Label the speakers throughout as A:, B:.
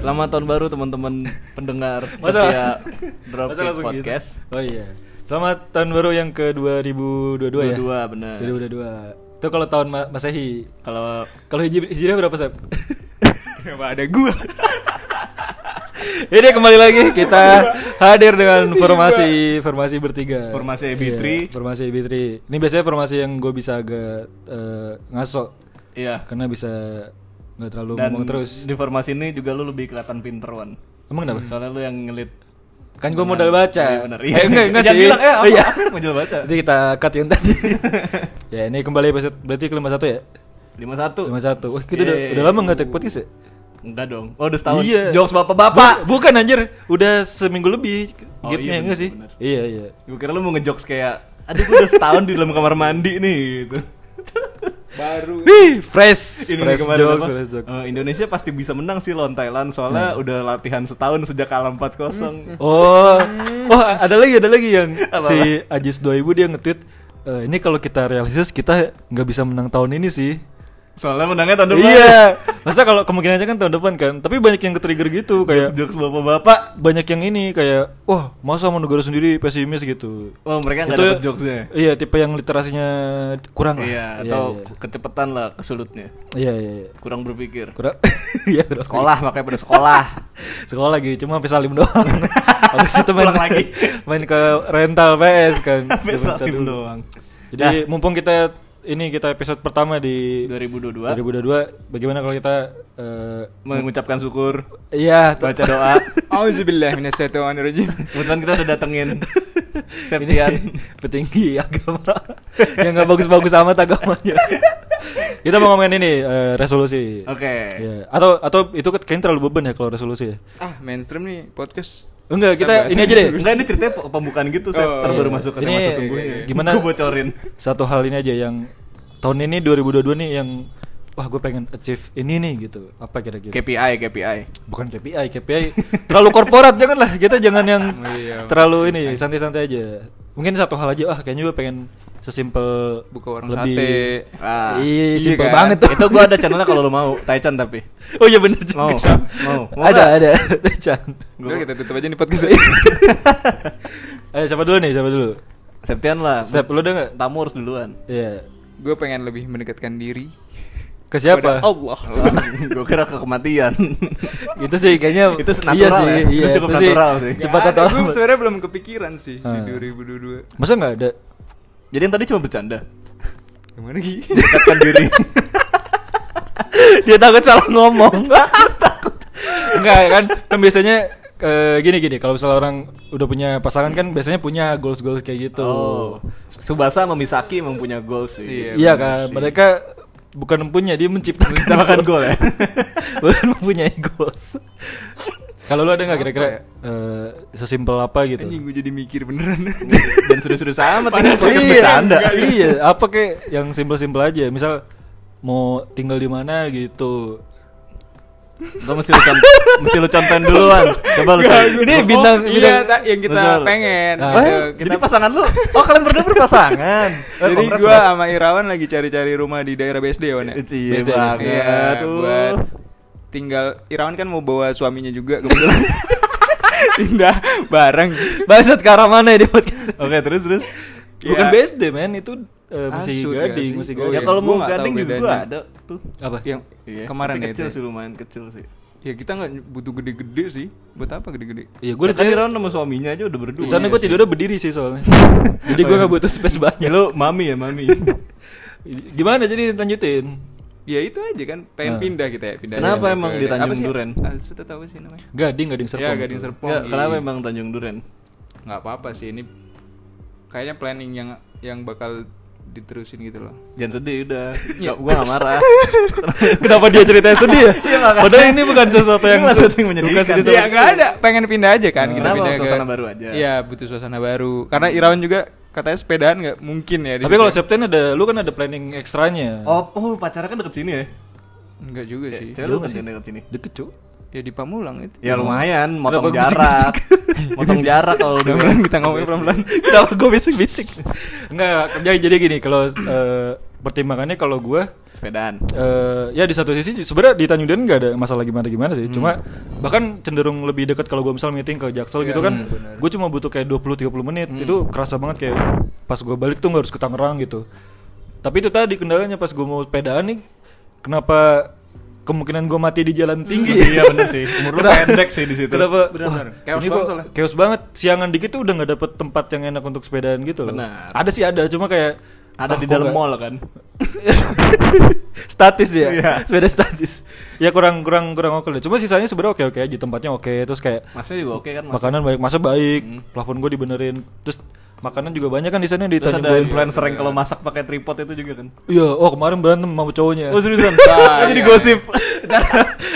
A: Selamat tahun baru teman-teman pendengar
B: Masa-
A: setia
B: Masa
A: Dropkick
B: langsung gitu?
A: Podcast.
B: Oh iya. Selamat tahun baru yang ke 2022 ya.
A: 22, bener.
B: 2022. Itu kalau tahun ma- Masehi.
A: Kalau
B: Kalau hijri- Hijriah berapa, Sep?
C: Kenapa ada gua?
B: Ini kembali lagi kita hadir dengan formasi Iya. formasi bertiga.
C: Formasi EB3.
B: Iya, formasi EB3. Ini biasanya formasi yang gue bisa agak eh, ngaso
A: iya.
B: karena bisa nggak terlalu
A: Dan
B: ngomong terus.
A: di formasi ini juga lu lebih kelihatan pinter wan.
B: Emang kenapa?
A: Soalnya lu yang ngelit.
B: Kan gue modal baca.
A: Iya bener. Iya.
B: Eh, enggak, enggak
A: Jangan
B: sih.
A: bilang, eh, apa?
B: Iya.
A: Apa yang modal baca?
B: Nanti kita cut yang tadi. ya, ini kembali episode berarti ke 51 ya?
A: 51.
B: 51. Wah, kita udah,
A: Yeay.
B: udah lama nggak take podcast ya?
A: Enggak Iya. dong. Oh, udah setahun.
B: Iya.
A: Jokes bapak-bapak.
B: Bu- bukan anjir, udah seminggu lebih.
A: Oh,
B: Gapnya,
A: iya,
B: enggak
A: bener,
B: sih?
A: bener.
B: Iya, iya.
A: Gue kira lu mau ngejokes kayak aduh gue udah setahun di dalam kamar mandi nih gitu.
C: Baru.
B: Wih, fresh,
A: Ini
B: fresh
A: kemarin
B: jokes,
A: apa?
B: fresh Nah. jokes.
A: Eh, Indonesia pasti bisa menang sih lawan Thailand soalnya udah latihan setahun sejak kalah 4-0.
B: Oh, oh ada lagi ada lagi yang
A: Apa-apa?
B: si Ajis 2000 dia nge-tweet "Eh, ini kalau kita realistis kita nggak bisa menang tahun ini sih.
A: Soalnya menangnya tahun depan.
B: Iya. Maksudnya kalau kemungkinannya kan tahun depan kan, tapi banyak yang ke-trigger gitu kayak
A: Jokes bapak-bapak.
B: banyak yang ini kayak wah, masa mau negara sendiri pesimis gitu.
A: Oh, mereka nggak
B: Itu-
A: dapet jokesnya.
B: Iya, tipe yang literasinya kurang lah.
A: Iya, atau kecepatan lah kesulutnya.
B: Iya, iya, iya.
A: Kurang berpikir.
B: Kurang. Iya, kurang.
A: Sekolah makanya pada sekolah.
B: sekolah lagi cuma sampai salim doang habis itu main
A: Pulang lagi.
B: main ke rental PS kan
A: Sampai
B: Dia bentar
A: salim
B: dulu.
A: doang.
B: jadi mumpung kita ini kita episode pertama di
A: 2022
B: 2022 bagaimana kalau kita eh,
A: mengucapkan syukur,
B: iya
A: baca doa.
C: Auzubillah minasyaitonirrajim.
A: Kebetulan kita udah datengin Septian.
B: petinggi agama yang nggak bagus-bagus amat agamanya kita mau ngomongin ini eh, resolusi
A: Oke.
B: Iya. atau atau itu kan kayaknya terlalu beban ya kalau resolusi ya
C: Ah, mainstream nih podcast.
B: enggak kita
C: Sabar,
B: ini aja
C: sabar.
B: deh
A: Enggak ini ceritanya pe- pembukaan gitu, saya
C: Oh,
A: ntar baru
C: iya.
A: masuk ke
B: Ini
A: tema sesungguhnya.
B: gimana-
A: Gue bocorin.
B: satu hal ini aja yang tahun ini 2022 nih yang wah gue pengen achieve ini nih gitu apa kira-kira
A: KPI, KPI.
B: bukan KPI KPI terlalu korporat janganlah kita jangan yang
C: Oh, iya,
B: terlalu ini santai-santai aja mungkin satu hal aja ah kayaknya gue pengen sesimpel
C: Buka warung
B: lebih-
C: sate.
A: Ah.
B: iya
C: Iya
B: simpel
C: kan?
B: banget tuh
A: Itu gue ada channelnya kalau lo mau, Taichan tapi.
B: oh iya bener juga
A: Mau,
B: Chan.
A: mau, mau
B: ada
A: nggak?
B: ada Chan
A: Gua-
C: Udah kita tutup aja nih podcast ini.
B: ayo Eh, siapa dulu nih siapa dulu
A: Septian lah.
B: Sep, lu udah nggak?
A: Tamu harus duluan.
B: Iya
C: Gue pengen lebih mendekatkan diri.
B: ke
A: oh.
B: siapa
C: Pada Allah.
A: gue kira ke kematian.
B: itu sih kayaknya
A: Itu natural
B: iya
A: ya?
B: sih,
A: Itu
B: iya,
A: cukup natural sih.
C: Nggak
B: cepat
C: ada,
B: atau
C: Gue Ya, sebenarnya belum kepikiran sih
B: Ah.
C: di 2022.
B: masa nggak ada
A: Jadi yang tadi cuma bercanda.
C: Gimana Ki?
B: Gitu.
A: Dekatkan diri.
B: dia takut salah ngomong enggak kan kan biasanya eh, gini gini kalau misalnya orang udah punya pasangan kan biasanya punya goals goals kayak gitu
A: Oh. Subasa sama Misaki emang punya goal sih.
C: Iya,
B: iya
C: bener
B: kan
C: sih.
B: mereka bukan punya dia menciptakan
A: Menciptakan goal ya?
B: bukan mempunyai goals kalau lu ada nggak
C: Apa
B: kira-kira
C: ya?
B: eh, sesimpel apa gitu
C: Anjing gue jadi mikir beneran.
B: Eh,
A: Dan serius-serius amat ini
C: Padahal
A: podcast
C: iya,
A: bercanda.
C: enggak.
B: iya apa kayak yang simpel-simpel aja misal mau tinggal di mana gitu
A: Lo mesti lu con- mesti lu contohin duluan. Coba lu.
B: Enggak,
A: contohin.
B: ini
C: Oh,
B: bintang-
C: iya,
B: bintang-
C: ta- yang kita
A: Betul.
C: pengen.
B: Ah.
C: Gitu.
B: Eh,
C: Kita
A: Jadi pasangan lu. Oh, kalian berdua berpasangan. Eh,
C: Jadi
A: congrats,
C: gua
A: Wan.
C: sama Irawan lagi cari-cari rumah di daerah BSD ya, Wan. ya?
A: It's iya
B: Best day.
A: banget.
C: Iya,
A: Uh.
C: buat tinggal Irawan kan mau bawa suaminya juga kebetulan. Pindah bareng.
B: Bangsat ke arah mana ya di podcast?
A: Oke, terus terus.
B: Bukan
C: Ya.
B: BSD men, itu eh, musik
C: Asut gak
B: gading,
C: sih?
B: musik
C: Oh,
A: ya
B: gading.
C: iya.
A: kalau
C: Gua
A: mau
C: nggak tahu
A: gading juga
C: bedanya.
A: gua ada tuh.
B: Apa?
C: Yang
A: Iya.
C: kemarin
A: tapi
C: ya,
A: kecil
C: itu
A: sih lumayan kecil sih.
C: Ya kita nggak butuh gede-gede sih. Buat apa gede-gede?
B: Iya, gue
A: Gue udah
B: udah
A: tadi
B: tidur.
A: Ron Ya, kan sama suaminya aja udah berdua.
B: Soalnya gue tidurnya berdiri sih soalnya. Oh, iya. Jadi gue gak butuh space
A: Ya
B: banyak.
A: lu mami ya, mami.
B: Gimana jadi lanjutin?
C: Ya itu aja kan pengen
B: Ah.
C: pindah kita ya, pindah.
A: Nah. Kenapa
C: daerah
A: emang
C: gitu
A: di
C: ya. Apa
A: Tanjung
C: sih?
A: Duren?
C: Alsut atau apa sih namanya?
B: Gading, Iya, gading serpong.
C: Ya, Gading
B: itu.
C: Serpong.
A: ya,
C: Pongi.
A: kenapa emang Tanjung Duren?
C: nggak apa-apa sih ini kayaknya planning yang yang bakal diterusin gitu loh
A: Jangan sedih udah. Ya, gua gak marah.
B: Kenapa dia ceritanya sedih ya?
A: Iya, makanya.
B: Padahal ini bukan sesuatu yang
A: Ini bukan sesuatu yang
B: bukan
A: menyedihkan.
B: sedih
A: Iya,
B: sama-
C: ya, nggak ada pengen pindah aja kan
B: Nah,
C: kita
A: kenapa
C: pindah
A: suasana baru aja?
C: iya butuh suasana baru karena Irawan juga katanya sepedaan nggak mungkin ya di
B: Tapi kalau
C: situ.
B: Septen ada, lu kan ada planning ekstranya.
A: Oh, oh pacarnya kan deket sini ya?
C: Iya, nggak juga
A: Ya,
C: sih
A: Cewek lu kan deket sini.
B: Deket cu.
C: Ya di Pamulang itu.
A: Ya lumayan, motong
C: Kenapa gua
A: jarak.
C: bisik-bisik?
A: motong jarak kalau udah
C: Pelan-pelan kita ngomongin pelan-pelan.
B: Kenapa gue bisik-bisik? Enggak, jadi jadi gini kalau eh, pertimbangannya kalau gue
A: Sepedaan.
B: eh ya di satu sisi sebenarnya di Tanjung Duren nggak ada masalah gimana gimana sih cuma
A: Hmm.
B: bahkan cenderung lebih dekat kalau gue misal meeting ke Jaksel
C: Iya,
B: gitu kan
C: bener, bener.
B: gue cuma butuh kayak 20-30 menit
C: Hmm.
B: itu kerasa banget kayak pas gue balik tuh nggak harus ke Tangerang gitu tapi itu tadi kendalanya pas gue mau sepedaan nih kenapa kemungkinan gue mati di jalan tinggi
A: Iya bener sih. Umur lu
B: Kenapa-
A: pendek sih di situ.
B: kenapa
C: Bener,
B: wah,
C: bener. Chaos
B: ini
C: banget
B: kok
C: soalnya.
B: chaos banget siangan dikit tuh udah nggak dapet tempat yang enak untuk sepedaan gitu loh
A: Benar.
B: ada sih ada cuma kayak
A: Ada
B: ah,
A: di
B: kok
A: dalam
B: nggak-
A: mall kan.
B: statis ya
A: Iya.
B: sepeda statis ya kurang kurang kurang oke lah cuma sisanya sebenarnya oke oke aja tempatnya oke terus kayak
A: Masnya juga oke kan Mas.
B: makanan baik masa baik
A: Hmm.
B: plafon gue dibenerin terus makanan juga banyak kan di sana di
A: Terus
B: Tanjung
A: ada
B: Duren.
A: influencer yang kalau masak pakai tripod itu juga kan.
B: iya oh kemarin berantem sama cowoknya
A: Oh seriusan?
C: Ah,
A: jadi
C: iya.
A: gosip.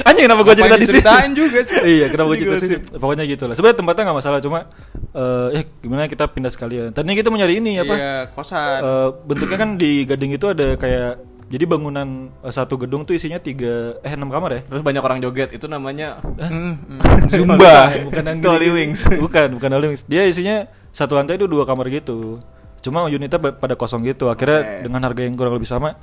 B: anjing kenapa gue
C: Ngapain
B: cerita di sini
C: diceritain juga sih.
B: iya kenapa gue
A: Jadi
B: cerita di sini
A: gosip.
B: pokoknya gitu lah sebenarnya tempatnya nggak masalah cuma eh eh, gimana kita pindah sekalian tadinya kita mau nyari ini apa
C: Iya,
A: Oh.
C: kosan.
B: Eh, bentuknya kan di Gading itu ada kayak jadi bangunan eh, satu gedung tuh isinya tiga eh enam kamar ya
A: Terus banyak orang joget itu namanya
C: Hmm, hmm.
B: Zumba bukan yang
A: Dolly
B: gini-gini.
A: Wings.
B: bukan bukan Dolly Wings dia isinya satu lantai itu dua kamar gitu cuma unitnya ba- pada kosong gitu akhirnya
A: Oke.
B: dengan harga yang kurang lebih sama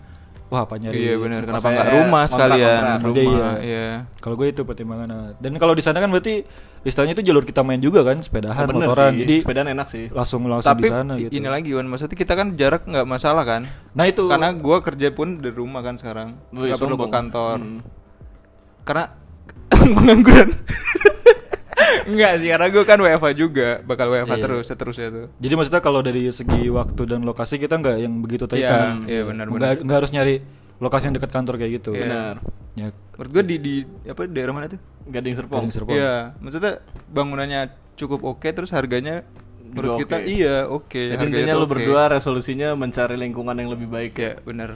B: wah apa nyari
C: Iya benar, kenapa
A: Kosan.
C: nggak rumah
A: Kontrak,
C: sekalian?
A: kontrak.
C: Rumah,
B: Iya.
C: iya.
B: kalau gue itu pertimbangan nah. dan kalau di sana kan berarti istilahnya itu jalur kita main juga kan sepedahan
A: Oh, Bener
B: motoran
A: sih,
B: jadi
A: sepedaan enak sih.
B: langsung langsung
C: Tapi
B: di sana gitu
C: ini lagi Wan, maksudnya kita kan jarak nggak masalah kan?
B: nah itu
C: Karena gua kerja pun dari rumah kan sekarang.
A: Wih,
C: Nggak perlu ke
A: sombong.
C: kantor.
A: Hmm.
C: Karena pengangguran. Enggak sih, karena gua kan WFH juga, bakal WFH
B: Iya.
C: terus seterusnya tuh.
B: Jadi maksudnya kalau dari segi waktu dan lokasi kita nggak yang begitu
C: Iya,
B: terikat.
C: iya, benar,
B: Nggak-
C: benar.
B: nggak harus nyari lokasi yang dekat kantor kayak gitu.
C: Iya.
A: Benar.
B: Ya,
C: Menurut gua di di apa daerah mana tuh?
A: Gading Serpong.
B: Gading Serpong.
C: Iya, maksudnya bangunannya cukup oke terus harganya menurut
A: Juga
C: kita
A: oke.
C: iya oke.
A: Jadi
C: harganya
A: intinya
C: tuh
A: lu
C: oke.
A: berdua resolusinya mencari lingkungan yang lebih baik ya.
C: Iya, benar.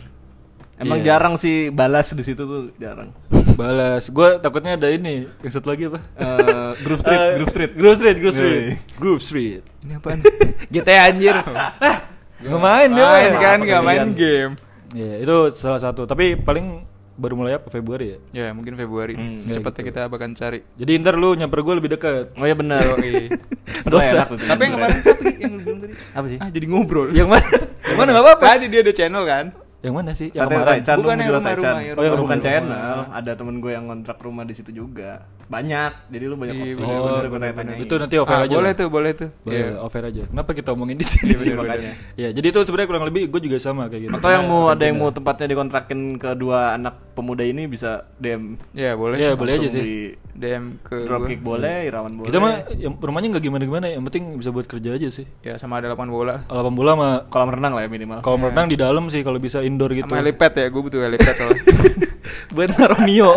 A: Emang
C: Iya.
A: jarang sih balas di situ tuh jarang.
B: balas. Gue takutnya ada ini. Yang satu lagi apa?
A: Eh, groove street,
B: Eh,
A: groove street.
B: Groove Street, Groove Street.
A: Yoi.
B: Groove Street.
C: Ini apaan? GTA anjir.
B: Nggak Eh, main dia.
C: main
B: mah.
C: kan
A: Apa
C: nggak main
A: kesedihan.
C: game.
B: Iya, itu salah satu. Tapi paling baru mulai apa Februari ya.
C: Ya, mungkin Februari.
A: Hmm,
C: Secepatnya
B: gitu.
C: kita bakal cari.
B: Jadi ntar lu nyamper gue lebih dekat.
A: Oh ya benar.
C: Yoi.
A: Padahal
B: Dosa.
A: enak tuh
C: Tapi yang
A: tiduran.
C: kemarin tapi yang lu bilang tadi
A: apa sih?
C: Ah, jadi ngobrol.
B: Yang mana? yang mana nggak apa-apa.
C: Tadi dia ada channel kan?
B: Yang mana sih? Yang
A: Sate
B: kemarin.
A: Taichan
C: Bukan yang
A: rumah
C: rumah-rumah,
A: Taichan. Oh,
C: yang
A: yang
B: rumah-rumah.
A: bukan channel, ada temen gue yang kontrak rumah di situ juga. Banyak. Jadi lu banyak
C: Iya,
A: opsi.
C: bener,
A: lu
B: Oh,
A: bisa gue
B: benar-benar.
A: tanya-tanyain.
B: itu nanti off air
C: Ah,
B: aja.
C: boleh
B: lah.
C: tuh, boleh tuh. Iya.
B: Boleh, off air aja. Kenapa kita omongin di sini?
A: Iya, makanya.
B: Ya, jadi itu sebenarnya kurang lebih gue juga sama kayak gitu.
A: Atau yang mau ada yang mau tempatnya dikontrakin ke dua anak pemuda ini bisa DM.
C: Iya, boleh.
B: Iya, boleh aja
A: Langsung
B: sih.
A: Di
C: DM ke
A: Dropkick
C: gua.
A: boleh, Irawan boleh.
B: Kita mah yang rumahnya nggak gimana-gimana, yang penting bisa buat kerja aja sih.
C: Ya, sama ada lapangan bola.
B: Alam bola sama
A: kolam renang lah ya minimal.
B: kolam renang di dalam sih kalau bisa indoor gitu.
C: Sama helipad ya, gue butuh helipad soalnya.
B: Buat naro Mio.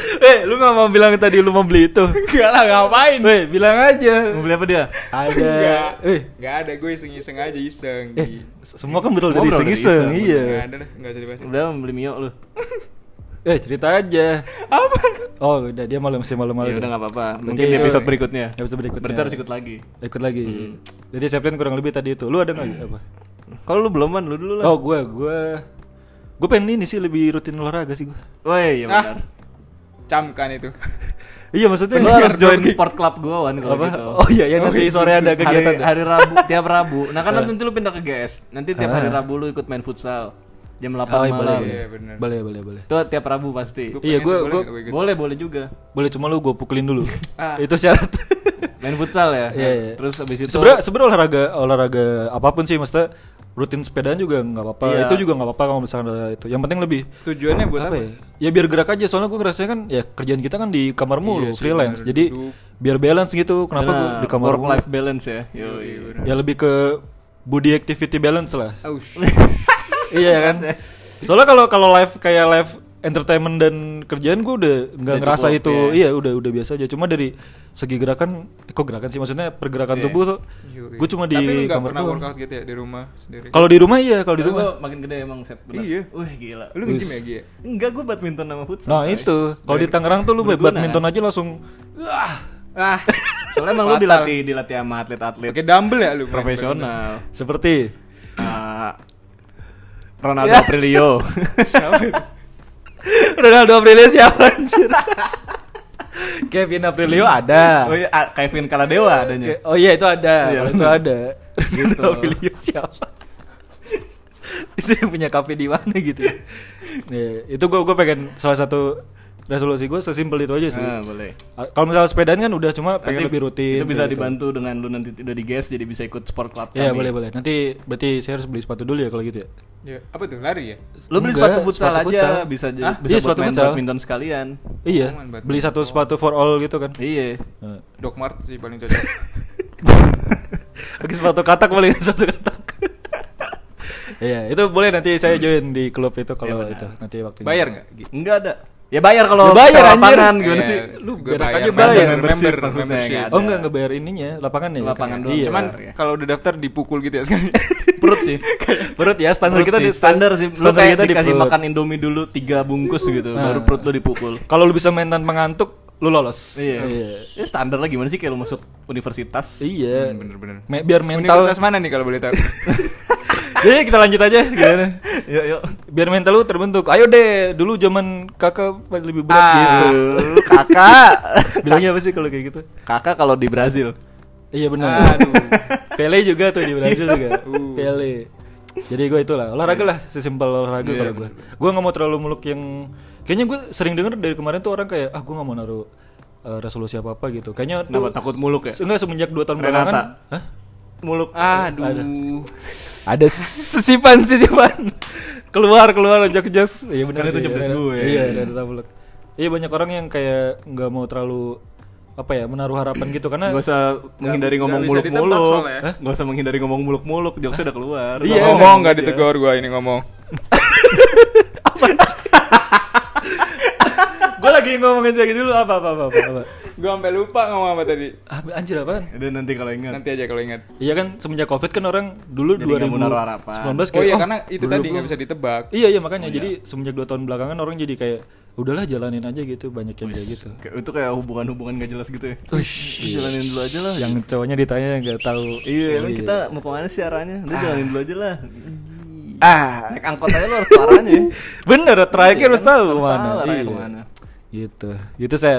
B: Eh, lu nggak mau bilang tadi lu mau beli itu?
C: Enggak lah, ngapain?
B: Weh, bilang aja.
A: Mau beli apa dia?
B: Ada.
C: Enggak.
B: Eh,
C: Enggak ada, gue iseng-iseng aja iseng.
B: eh, semua kan berawal
A: Semua
B: dari
A: berawal dari iseng,
B: iseng-iseng, iya.
C: Enggak ada deh, enggak usah dibahas.
A: Udah mau beli Mio lu.
B: Eh, cerita aja. Apa? Oh, udah dia malam masih malam-malam.
A: Ya udah nggak apa-apa.
B: Berarti
A: Mungkin di
B: itu-
A: episode berikutnya.
B: Episode berikutnya.
A: Berarti harus ikut lagi.
B: ikut lagi.
A: Hmm.
B: Jadi Septian kurang lebih tadi itu. Lu ada nggak apa?
A: Kalau lu belum man, Hmm. lu dulu lah.
B: Oh, gue gue gue pengen ini sih lebih rutin olahraga sih gue.
A: Woi, ya
C: Ah.
A: benar.
C: Camkan kan itu.
B: Iya maksudnya
A: Lu harus join sport club gua Wan kalau
B: Apa?
A: gitu.
B: Oh iya, ya, nanti sore ada
A: Hari-
B: kegiatan.
A: Hari, Rabu, tiap Rabu. Nah, kan nanti lu pindah ke GS. Nanti tiap hari Rabu lu ikut main futsal jam 8
B: Oh, Ah. iya, boleh,
A: malam.
B: boleh.
C: Iya, bener.
B: boleh boleh boleh.
A: Itu tiap Rabu pasti.
C: Gua
B: Iya,
C: pengen
B: gua-
C: tuh,
B: gua-
C: boleh nggak gue ikut?
A: Boleh, boleh juga.
B: Boleh cuma lu gue pukulin dulu.
C: Ah.
B: Itu syarat.
A: Main futsal ya.
B: Iya, iya.
A: Terus abis itu
B: Sebenarnya sebenarnya olahraga olahraga apapun sih maksudnya rutin sepedaan juga nggak apa-apa.
A: Iya.
B: Itu juga nggak apa-apa kalau misalkan ada itu. Yang penting lebih
C: Tujuannya buat
B: apa
C: apa?
B: ya? Ya biar gerak aja soalnya gue ngerasanya kan ya kerjaan kita kan di kamar mulu
C: Iya sih,
B: freelance.
C: bener.
B: Jadi
C: Duduk.
B: biar balance gitu. Kenapa gue
A: Benar,
B: di kamar
A: work
B: mulu?
A: life balance ya. Yo,
C: Yoi, benar.
B: Ya lebih ke body activity balance lah.
C: Aus.
B: iya kan? Soalnya kalau kalau live kayak live entertainment dan kerjaan gue udah nggak
C: Udah
B: ngerasa
C: cukup,
B: itu
C: iya.
B: iya udah udah biasa aja cuma dari segi gerakan eh, kok gerakan sih maksudnya pergerakan
C: Iya.
B: tubuh tuh
C: Yoi.
B: gue cuma di
C: Tapi lu nggak
B: kamar
C: pernah
B: doang.
C: workout gitu ya di rumah sendiri.
B: kalau di rumah iya kalau di rumah
A: Gua makin gede emang set benar.
C: Iya.
A: Wih, gila.
C: lu nge-gym ya, Gi?
A: Enggak, gue badminton sama futsal.
B: nah
A: coy.
B: itu kalau di Tangerang tuh lu
A: Berguna,
B: badminton
C: ya?
A: kan?
B: aja langsung
C: Ah.
A: Soalnya emang lu
C: Fatal.
A: dilatih dilatih sama atlet-atlet
C: Pakai dumbbell ya lu? main
A: profesional.
B: seperti
A: Ah, Ronaldo Aprilio.
C: badminton? Siapa itu?
B: Ronaldo Aprilia siapa anjir Kevin Aprilio ada.
A: Oh iya, ah, Kevin Kaladewa adanya.
B: Ke- Oh iya itu ada,
A: Iya,
B: itu
A: benar.
B: ada.
A: Gitu.
B: Aprilio siapa? itu yang punya kafe di mana gitu. Nih, itu gua gua pengen salah satu resolusi gua sesimpel itu aja sih.
A: Nah, boleh.
B: Ah, Kalau misalnya sepedaan kan udah cuma
A: Nanti
B: pengen lebih rutin.
A: Itu bisa
B: kayak gitu.
A: dibantu dengan lu nanti udah di gas jadi bisa ikut sport club
B: Iya
A: kami.
B: boleh boleh. Nanti berarti saya harus beli sepatu dulu ya kalau gitu ya.
C: Ya, apa tuh lari ya?
A: Lu beli
B: Enggak,
A: sepatu futsal
B: sepatu
A: aja
B: futsal.
A: bisa jadi
B: Hah?
A: bisa
B: Iya,
A: buat
B: sepatu
A: main
B: futsal.
A: badminton sekalian.
B: Iya.
C: Cuman badminton.
B: Beli satu sepatu for all gitu kan.
A: Iya.
B: Nah.
C: Doc Mart sih paling cocok.
B: Pakai sepatu katak boleh sepatu katak. Iya, itu boleh nanti saya join di klub itu
A: Iya,
B: kalau
A: benar.
B: itu nanti waktunya.
C: Bayar nggak?
A: Enggak ada. Ya bayar kalau
B: Ya bayar,
A: sewa
B: anjir.
A: lapangan gimana
C: Iya,
A: sih?
B: Lu
C: gua
B: berak aja
C: member,
B: bayar.
C: member,
A: Membership maksudnya,
C: membership. Oh,
A: nggak
B: Oh
A: ada.
B: enggak enggak bayar ininya, lapangannya. ya,
A: Lapangan
B: kayaknya.
A: doang.
B: Iya.
C: Cuman
A: Bayar, ya.
C: kalau udah daftar dipukul gitu ya sekali.
A: Perut sih.
B: perut ya standar
A: Perut
B: kita
A: sih,
B: di
A: standar sih. Lu kayak
B: kita di
A: dikasih
B: perut.
A: makan Indomie dulu tiga bungkus gitu
B: Nah.
A: baru perut lu dipukul.
B: Kalau lu bisa main tanpa ngantuk, lu lolos. Iya.
A: Iya. Ya standar lah gimana sih kayak lu masuk universitas.
B: Iya.
C: Hmm, bener-bener.
B: Me- biar mental.
C: Universitas mana nih kalau boleh tahu?
B: Jadi kita lanjut aja gimana?
A: Yuk yuk.
B: Biar mental lu terbentuk. Ayo deh, dulu zaman kakak lebih berat
A: Ah,
B: gitu.
A: lu kakak.
B: Bilangnya apa sih kalau kayak gitu?
A: kakak kalau di Brazil.
B: Iya benar.
C: Aduh.
B: Pele juga tuh di Brazil juga.
C: Uh.
B: Pele. Jadi gue itulah olahraga
A: Iya.
B: lah, sesimpel olahraga
C: Iya,
B: kalau gue. Gue nggak mau terlalu muluk yang kayaknya gue sering denger dari kemarin tuh orang kayak ah gue nggak mau naruh eh, resolusi apa apa gitu. Kayaknya
A: Kenapa
B: tuh
A: takut muluk ya?
B: enggak semenjak 2 tahun
A: Renata.
B: belakangan. Hah?
A: Muluk.
C: Aduh.
B: Ada ses- sesipan sesipan. keluar keluar lonjak jas. Iya benar.
A: Karena itu
B: sih,
A: jeblas
B: Renata.
A: gue.
B: Iya, Renata muluk. Iya banyak orang yang kayak nggak mau terlalu apa ya menaruh harapan gitu karena
A: Gak usah menghindari
C: nggak
A: ngomong
C: bisa ditebak
A: muluk-muluk.
C: soalnya.
A: Hah? Gak usah menghindari ngomong muluk-muluk, jokesnya udah keluar.
B: Iya,
C: Nggak ngomong gitu ya. nggak ditegur gua ini ngomong.
B: gue lagi ngomongin kayak dulu apa apa apa apa, apa.
C: Gua sampai lupa ngomong apa tadi.
B: Ah, anjir apa?
A: Jadi nanti kalau ingat.
C: Nanti aja kalau ingat.
B: Iya kan semenjak covid kan orang dulu
A: Jadi nggak mau naruh harapan.
B: 2019
C: Oh
B: kayak
C: iya karena itu
B: belum,
C: tadi nggak
B: belum."
C: bisa ditebak.
B: Iya iya makanya jadi semenjak 2 tahun belakangan orang jadi kayak udahlah jalanin aja gitu banyak yang kayak gitu.
A: Kayak- Itu kayak hubungan-hubungan gak jelas gitu ya.
B: Ush.
A: Jalanin dulu aja lah.
B: Yang cowoknya ditanya nggak tahu.
A: Iya, emang kita mau kemana sih arahnya? Udah jalanin dulu aja lah.
B: ah
A: Naik angkot aja lu harus tahu arahnya ya.
B: bener terakhir harus tahu
A: Harus
B: kemana.
A: tahu arahnya
B: Iya.
A: kemana.
B: Gitu gitu saya.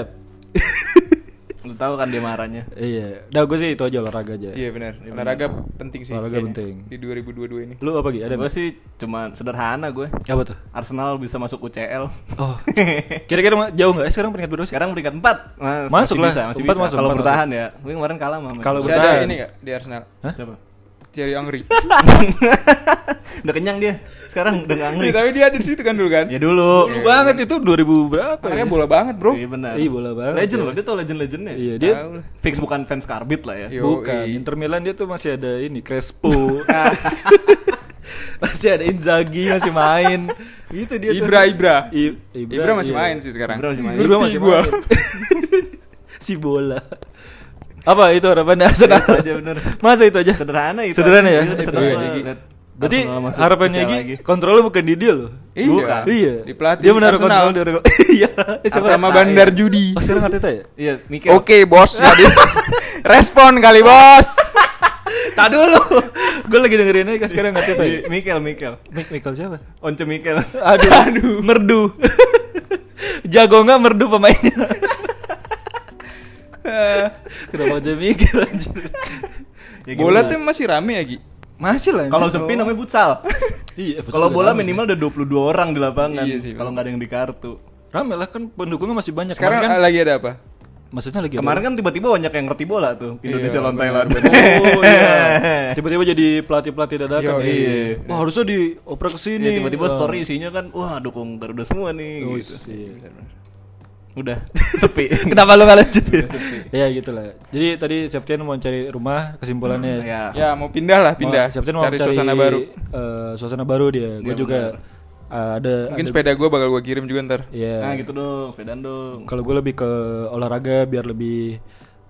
A: Lu tahu kan dia marahnya.
B: Iya, udah gue sih itu aja olahraga aja.
C: Iya benar. Olahraga penting sih.
B: Olahraga
C: kayaknya.
B: penting.
C: Di 2022 ini.
B: Lu apa Gi?
A: Gue
B: Ada nggak?
A: sih cuma sederhana gue.
B: Apa tuh?
A: Arsenal bisa masuk UCL.
B: Oh, kira-kira ma- jauh nggak? Eh, sekarang peringkat berapa sih?
A: Sekarang peringkat 4.
B: Masuk lah,
A: Bisa, Nah, masih
B: empat
A: bisa.
B: masuk,
A: Kalau
B: empat
A: bertahan ya. Gue kemarin kalah sama Manchester.
B: Kalau
C: Masih
B: besar.
C: ada ini nggak di Arsenal?
B: Hah?
A: Coba.
C: Thierry Angri.
A: Udah kenyang dia. Sekarang udah ngangri.
C: Tapi dia ada di situ kan dulu kan?
B: Iya,
A: Ya dulu.
B: Dulu banget itu 2000 berapa ya?
C: Makanya bola banget bro.
A: Iya benar.
B: Iya, bola banget
A: Legend
B: ya.
A: loh, dia tuh legend-legendnya.
B: Iya, dia
C: Tahu lah.
A: Fix bukan fans karbit lah ya.
C: Iya. Yoi.
B: bukan Inter Milan dia tuh masih ada ini Crespo.
C: Ah.
B: masih ada Inzaghi masih main. Gitu dia tuh.
C: Ibra, Ibra.
B: I-
C: Ibra masih
B: iya.
C: main sih sekarang.
A: Ibra masih main.
B: Ibra
C: Ngerti
B: masih
C: gua.
B: main. si bola. Apa itu harapan Arsenal?
A: Itu aja bener.
B: Masa itu aja?
A: Sederhana itu.
B: Sederhana ya.
A: Itu
B: Itu
A: sederhana.
B: aja, Gi.
A: Lihat
B: Berarti
A: Arsenal masuk
B: harapannya
A: pecah
B: Gi
A: lagi.
B: kontrolnya bukan di dia loh.
C: Iya.
A: Bukan.
B: Iya.
C: Di pelatih
B: Dia menaruh
C: Arsenal.
B: kontrol di orang. Iya. Siapa?
C: Sama Bandar Judi.
B: Oh, sekarang Arteta ya?
A: Iya, mikir.
C: Oke bos. Jadi respon kali bos.
B: Tak dulu. Gue lagi dengerin aja sekarang ngerti apa ya?
A: Mi-
C: Iya.
A: Iya, Mikel, Mikel.
B: Mik Michael siapa?
A: Once Mikel.
B: Aduh, aduh. Merdu. Jago nggak merdu pemainnya? Kenapa aja Michael anjir?
A: Ya,
C: Bola tuh
A: gimana?
C: masih rame ya Gi.
B: Masih lah.
A: kalau sepi namanya futsal.
B: Iya, futsal
A: Kalau
B: udah
A: bola
B: lama
A: minimal ada 22 orang di lapangan.
C: Iya sih,
A: Kalau
C: bener.
A: nggak ada yang di kartu.
B: sih. Rame lah kan pendukungnya masih banyak.
C: Sekarang
B: Kemarin
C: ah,
B: kan,
C: lagi ada apa?
B: maksudnya lagi.
A: Kemarin kan tiba-tiba banyak yang ngerti bola tuh. Indonesia
C: Iya,
A: lawan
C: bener,
A: Thailand.
C: bener.
B: Oh iya. Tiba-tiba jadi pelatih-pelatih dadakan.
C: Yo,
B: ya.
A: iya.
B: Wah harusnya dioper ke
A: Iya,
B: sini.
A: tiba-tiba
B: Wah.
A: story isinya kan, wah dukung Garuda semua nih
B: Oh,
A: gitu.
B: iya.
A: Udah, sepi.
B: Kenapa lu gak lanjut? ya gitu lah. Jadi tadi Septian mau cari rumah kesimpulannya.
A: Ya.
C: Ya mau pindah lah pindah.
B: Mau- Septian mau
C: cari, suasana baru.
B: eh, suasana baru dia.
A: Iya,
B: Gue juga
A: benar.
B: eh, ada
C: Mungkin
B: ada-
C: sepeda gua bakal gua kirim juga ntar.
B: Iya.
A: Nah gitu dong, sepedaan dong.
B: Kalau gue lebih ke olahraga biar lebih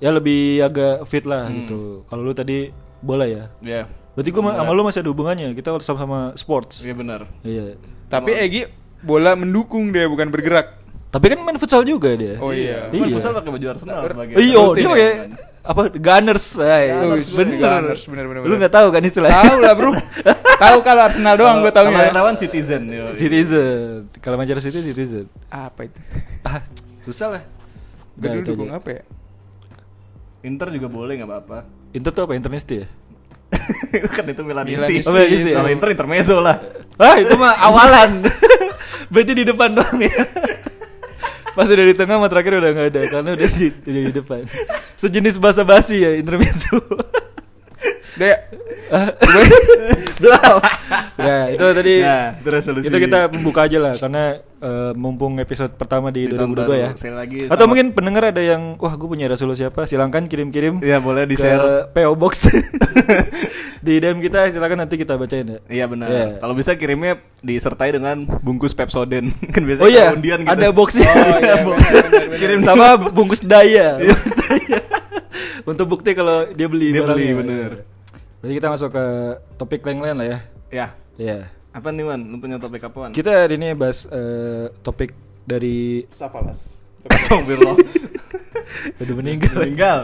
B: ya lebih agak fit lah
C: Hmm.
B: gitu. Kalau lu tadi bola ya.
A: Ya,
B: Berarti gue sama lu masih ada hubungannya. Kita sama-sama sports.
A: iya benar.
B: Iya.
C: Tapi Egi bola mendukung dia bukan bergerak.
B: Tapi kan main futsal juga dia.
C: Oh iya.
A: Cuman
B: Iya.
A: futsal pakai baju Arsenal sebagai.
B: Iya,
A: rutin
B: dia
A: ya.
B: pakai apa Gunners. ay.
C: kan? Gunners,
B: bener.
C: Gunners, bener, bener,
B: Lu
C: bener.
B: nggak tahu kan istilahnya?
C: Tahu lah bro. Tahu kalau Arsenal doang
A: Kalau-
C: gua
A: kalau
B: ya.
C: tahunya.
A: yang lawan Citizen. yo.
B: Citizen. Kalau Manchester City Citizen.
C: Apa itu?
B: Ah, susah lah.
C: Gue
B: Nah,
C: dulu
B: itu
C: dukung
B: aja.
C: apa ya?
A: Inter juga boleh nggak apa-apa.
B: Inter tuh apa Internisti ya?
A: kan itu Milanisti.
C: Milanisti.
B: Oh, Milanisti ya?
A: Kalau Inter intermezzo lah.
B: Ah itu mah awalan. Berarti di depan doang ya. Pas udah di tengah sama terakhir udah nggak ada karena udah di, udah di depan. Sejenis basa-basi ya intermezzo.
C: Udah ya?
B: Ah,
C: Belum.
B: ya itu tadi
A: Nah, itu resolusi.
B: itu kita buka aja lah karena eh, mumpung episode pertama di
A: Di tahun
B: 2022 ya.
A: baru. Sekali lagi,
B: Atau
A: selamat.
B: mungkin pendengar ada yang wah gue punya resolusi apa? Silahkan kirim-kirim.
A: Iya, boleh
B: ke
A: di-share.
B: PO Box di DM kita silakan nanti kita bacain ya.
A: Iya benar.
B: Iya.
A: Kalau bisa kirimnya disertai dengan bungkus Pepsodent. kan biasanya
B: Oh iya,
A: kalau undian gitu.
B: ada boxnya.
C: Oh, iya,
B: Box.
C: benar, benar, benar.
B: Kirim sama bungkus daya. Bungkus daya. Untuk bukti kalau dia beli
A: Iya. Dia beli,
B: barangnya.
A: bener.
B: Berarti kita masuk ke topik lain-lain lah ya.
A: Ya.
B: Iya.
A: Apa nih Wan? Lu punya topik apaan?
B: Kita hari ini bahas eh, topik dari
C: Safalas.
A: Astagfirullah.
B: udah meninggal.
A: Meninggal.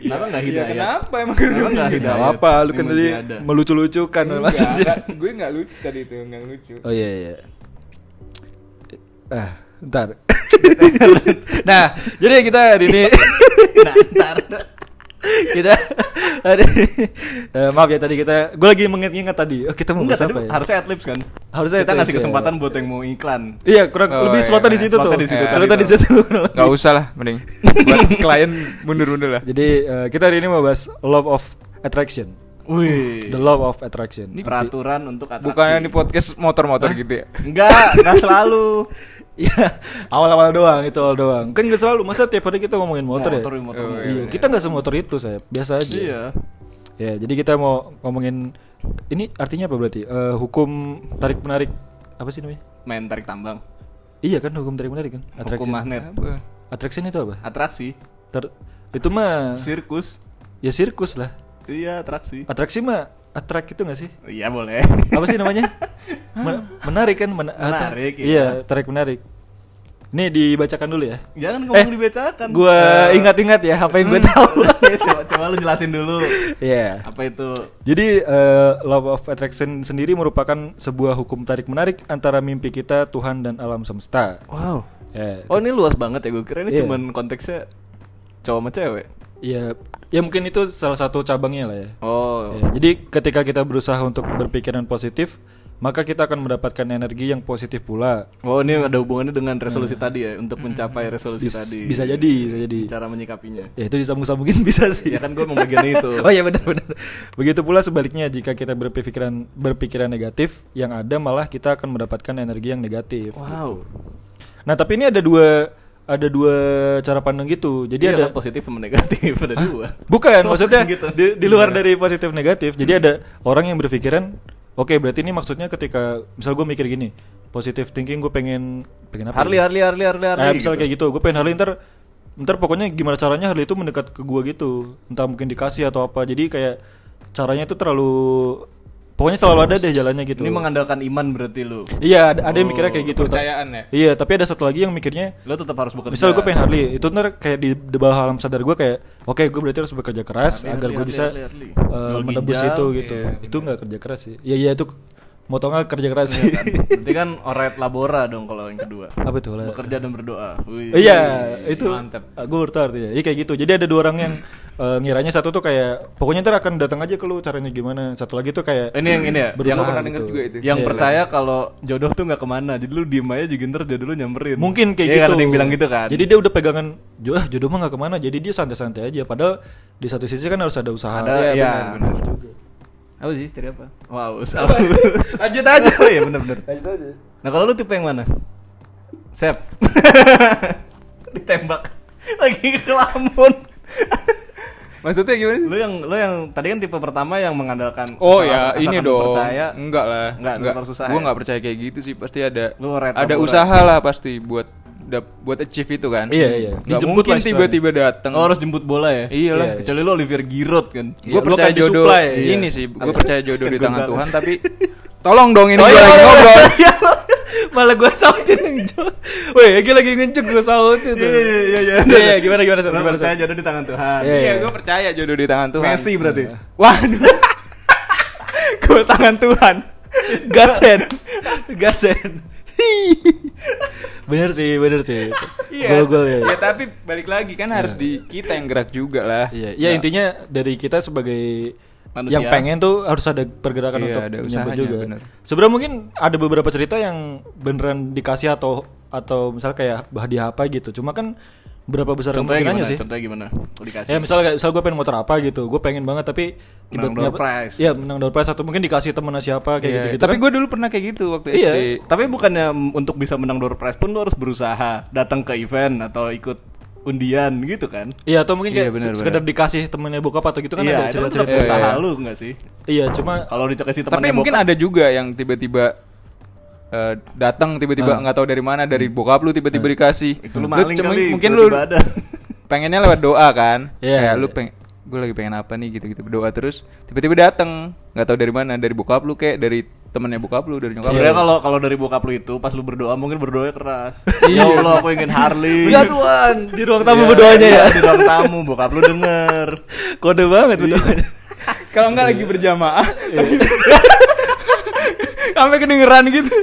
A: Kenapa enggak
C: Iya,
A: hidayat?
C: kenapa emang
A: Kenapa enggak
B: Tidak
A: hidayat?
B: apa, lu kan
A: Ini
B: tadi
A: masih ada.
B: melucu-lucukan Kan, maksudnya.
C: Gue gak lucu tadi itu, gak lucu.
B: Oh iya iya. Ah, ntar. nah, jadi kita hari ini
A: Nah, ntar.
B: kita hari ini- eh, maaf ya tadi kita gue lagi mengingat-ingat tadi. Oh, kita mau
A: Enggak
B: bahas
A: tadi
B: apa ya?
A: harusnya adlibs kan?
B: Harusnya
A: kita
B: adlibs,
A: ngasih
B: ya.
A: kesempatan buat yang mau iklan.
B: Iya, kurang
C: Oh,
B: lebih
C: iya,
B: slotnya
C: iya.
B: di situ
A: Slotnya
B: tuh. Eh,
A: di situ
B: Slotnya
A: tadi
B: di situ.
C: Gak usah lah, mending. Buat klien mundur-mundur lah.
B: Jadi eh, kita hari ini mau bahas love of attraction.
A: Wih.
B: The love of attraction.
A: Iya. Ini peraturan untuk atraksi.
C: Bukannya di podcast motor-motor gitu ya?
A: Enggak, enggak selalu.
B: Iya, awal-awal doang itu awal doang. Kan gak selalu masa tiap hari kita ngomongin motor,
A: Nah,
B: ya.
A: Eh, Motor, motor,
C: Oh,
B: Iya, kita nggak semotor itu saya biasa aja.
A: Iya.
B: Ya, jadi kita mau ngomongin ini artinya apa berarti? Eh, hukum tarik menarik apa sih namanya?
A: Main tarik tambang.
B: Iya kan hukum tarik menarik kan?
A: Hukum magnet.
C: Apa?
B: Attraction itu apa?
A: Atraksi.
B: Ter- itu mah
A: Sirkus.
B: ya sirkus lah.
A: Iya, atraksi.
B: Atraksi mah attract itu gak sih?
A: Iya, boleh.
B: Apa sih namanya? Men- menarik kan? Men- atra-
A: Menarik, iya.
B: Iya, tarik menarik. Ini dibacakan dulu ya.
A: Jangan Kan ngomong dibacakan.
B: Gua
A: Eh,
B: ingat-ingat ya apa yang gue tahu.
A: Oke, coba, coba lu jelasin dulu.
B: Iya.
A: Apa itu?
B: Jadi eh, law of attraction sendiri merupakan sebuah hukum tarik menarik antara mimpi kita, Tuhan dan alam semesta.
A: Wow.
B: Ya,
A: Oh, ini luas banget ya. Gue kira ini
B: Iya.
A: cuman konteksnya cowok sama cewek.
B: ya, ya mungkin itu salah satu cabangnya lah ya.
A: Oh.
B: Ya, jadi ketika kita berusaha untuk berpikiran positif, maka kita akan mendapatkan energi yang positif pula.
A: Oh, ini ada hubungannya dengan resolusi tadi ya untuk mencapai resolusi
B: Bis-
A: tadi.
B: Nah. Hmm. Bisa jadi, bisa jadi.
A: Cara menyikapinya.
B: Ya itu disambung-sambungin bisa sih.
A: Ya kan gue mau bagian itu.
B: Oh iya benar-benar. Begitu pula sebaliknya jika kita berpikiran berpikiran negatif, yang ada malah kita akan mendapatkan energi yang negatif.
A: Wow.
B: Nah tapi ini ada dua ada dua cara pandang gitu. Jadi
A: Iya
B: ada
A: kan, positif sama negatif ada dua.
B: bukan
A: Oh,
B: maksudnya
A: gitu. Hmm.
B: di, di luar dari positif negatif. Jadi ada orang yang berpikiran, oke berarti ini maksudnya ketika misal gue mikir gini, positif thinking gue pengen pengen apa?
A: Harley,
B: ya?
A: Harley, Harley, Harley, Harley.
B: Eh, misal kayak gitu, gue pengen Harley ntar ntar pokoknya gimana caranya Harley itu mendekat ke gue gitu, entah mungkin dikasih atau apa. Jadi kayak caranya itu terlalu pokoknya selalu ada deh jalannya gitu.
A: Ini mengandalkan iman berarti lu.
B: Iya, ada, ada yang
A: Oh,
B: mikirnya kayak gitu.
C: kepercayaan ya?
B: Iya, tapi ada satu lagi yang mikirnya
A: Lu tetap harus bekerja.
B: Misal gue pengen Harley, itu ntar kayak di, di bawah alam sadar gue kayak, oke gue berarti harus bekerja keras
A: Harley,
B: agar
A: Harley,
B: gue bisa
A: Harley, Harley,
B: eh,
A: Jual
B: menebus
A: ginjal,
B: itu gitu.
C: iya,
B: itu nggak kerja keras sih. Iya iya itu motongnya kerja keras sih.
A: Iya kan? Berarti kan oret labora dong kalau yang kedua.
B: Apa tuh? lah?
A: Bekerja dan berdoa. Wih.
B: Iya itu.
C: mantap.
B: Gue baru tahu artinya. Iya kayak gitu. Jadi ada dua orang yang eh, ngiranya satu tuh kayak, pokoknya ntar akan datang aja ke lu caranya gimana. Satu lagi tuh kayak
A: Ini yang ini ya.
B: berusaha
A: yang
C: pernah denger
B: gitu.
C: juga itu.
A: yang
B: Iya.
A: percaya kalau jodoh tuh nggak kemana jadi lu diem aja juga ntar jodoh lu nyamperin
B: Mungkin kayak
A: Iya
B: gitu.
A: kan, ada yang bilang gitu kan
B: Jadi dia udah pegangan jodoh, jodoh mah nggak kemana. Jadi dia santai-santai aja. Padahal di satu sisi kan harus ada usaha.
A: ada
C: Iya,
A: ya,
C: benar,
A: apa sih cari apa wow aus. lanjut aja oh, iya bener bener lanjut aja nah kalau lu tipe yang mana sep ditembak lagi kelamun
C: Maksudnya gimana sih?
A: lu yang lu yang tadi kan tipe pertama yang mengandalkan
C: Oh
A: salah-
C: ya,
A: asalkan
C: ini
A: lu
C: dong. Hmm,
A: percaya
C: Enggak lah.
A: Enggak, terlalu susah
C: Gua
A: ya?
C: enggak percaya kayak gitu sih. Pasti ada
A: Lu red
C: ada
A: taburan.
C: usaha lah pasti buat dap- buat achieve itu kan.
B: Iya, iya.
C: Enggak
B: Dijemput
C: mungkin
B: lah istilahnya.
C: tiba-tiba datang.
A: Oh, harus jemput bola ya?
C: Iya
A: Iyalah,
C: lah.
A: Kecuali lu Olivier Giroud kan.
B: Iya,
C: Gue
B: lu
C: percaya
B: kayak
C: jodoh
B: disuplai, iya.
C: ini sih. Gue
A: Apa?
C: percaya jodoh di
A: Christian
C: tangan Tuhan
A: Gonzalez.
C: tapi tolong dong ini
B: Oh,
C: gua
B: iya,
C: lagi
B: iya,
C: ngobrol.
A: iya.
B: Malah gue sautin yang jauh. Woi, Egi lagi ngejuk gue sautin. tuh. Iya, iya, gimana gimana Sar?
A: Lu
B: gimana Sar?
A: percaya jodoh di tangan Tuhan.
B: Iya,
C: Iya, gue percaya jodoh di tangan Tuhan. Iya.
A: Messi berarti.
C: Waduh.
B: Gue tangan Tuhan. Godsend. Godsend. bener sih bener sih
C: Iya.
B: gol-gol ya
C: Ya, tapi balik lagi kan harus di kita yang gerak juga lah. Nah.
B: Iya, ya intinya dari kita sebagai
A: Manusia.
B: yang pengen tuh harus ada pergerakan
C: Iya,
B: untuk
C: ada
B: menyambut
C: usahanya,
B: juga.
C: bener.
B: Sebenarnya mungkin ada beberapa cerita yang beneran dikasih atau atau misalnya kayak hadiah apa gitu. Cuma kan berapa besar
A: Contohnya
B: kemungkinannya
A: gimana?
B: sih?
A: Contohnya gimana? Lu dikasih.
B: Ya misalnya kayak- misal gue pengen motor apa gitu, gue pengen banget tapi
A: Menang
B: tiba-tiba-
A: door prize.
B: Iya menang door prize atau mungkin dikasih temennya siapa kayak
C: Iya,
B: gitu gitu.
C: Tapi gue dulu pernah kayak gitu waktu
B: Iya.
C: SD.
A: Tapi bukannya m- untuk bisa menang door prize pun lu harus berusaha datang ke event atau ikut undian gitu kan?
B: Iya atau mungkin kayak
C: Iya, bener,
B: se- sekedar
C: bener.
B: dikasih temennya bokap atau gitu kan ada
A: iya, itu tetap
B: cerita-cerita.
C: Iya,
A: usaha
C: iya.
A: lu enggak sih?
B: Iya cuma
A: Kalau dikasih temannya
C: Tapi mungkin
A: bokap,
C: ada juga yang tiba-tiba eh, datang tiba-tiba nggak tahu dari mana dari bokap lu tiba-tiba dikasih.
A: itu lu maling
C: cuman-
A: kali.
C: Mungkin lu
A: tiba-tiba ada.
C: pengennya lewat doa kan?
B: Iya.
C: Kayak lu pengen gue lagi pengen apa nih gitu-gitu berdoa terus tiba-tiba datang nggak tahu dari mana dari bokap lu kayak dari temennya bokap lu dari
B: Iya.
C: nyokap lu
A: Sebenarnya kalau kalau dari bokap lu itu pas lu berdoa mungkin berdoa keras.
B: Iya.
A: ya Allah aku ingin Harley.
B: Ya Tuhan, di ruang tamu
A: Iya,
B: berdoanya
A: iya,
B: ya. Iya.
A: Di ruang tamu bokap lu denger.
B: Kode banget berdoanya.
C: kalau nggak
A: Iya.
C: lagi berjamaah sampai kedengeran gitu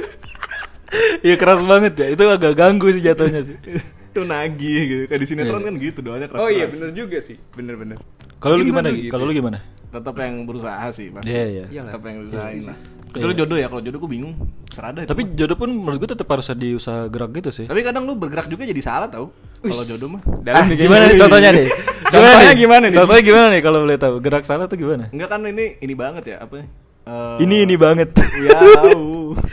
B: Iya keras banget ya. Itu agak ganggu sih jatuhnya sih.
A: Itu nagih gitu. Kayak di sinetron kan gitu doanya keras.
C: oh iya
A: keras.
C: bener juga sih bener-bener
B: Kalau
A: Iya,
B: lu
C: Ini
B: gimana?
C: bener
B: Gi?
C: gitu.
A: ya?
B: Kalau lu gimana?
A: Tetap yang berusaha sih pasti.
B: Iya, iya.
C: Iyalah.
A: Tetap yang berusahain lah.
B: sih.
A: Kecuali
C: Iya.
A: jodoh ya, kalau jodoh gue bingung. Serada itu.
B: Tapi jodoh pun menurut gue tetap harus ada usaha gerak gitu sih.
A: Tapi kadang lu bergerak juga jadi salah tau Kalau jodoh mah
B: Ah,
C: Dalam
B: gimana nih contohnya nih?
C: Contohnya gimana nih?
B: Contohnya gimana nih kalau boleh tahu? Gerak salah tuh gimana?
A: Enggak kan ini ini banget ya apa Eh,
B: Ini ini banget.
A: Ya tahu.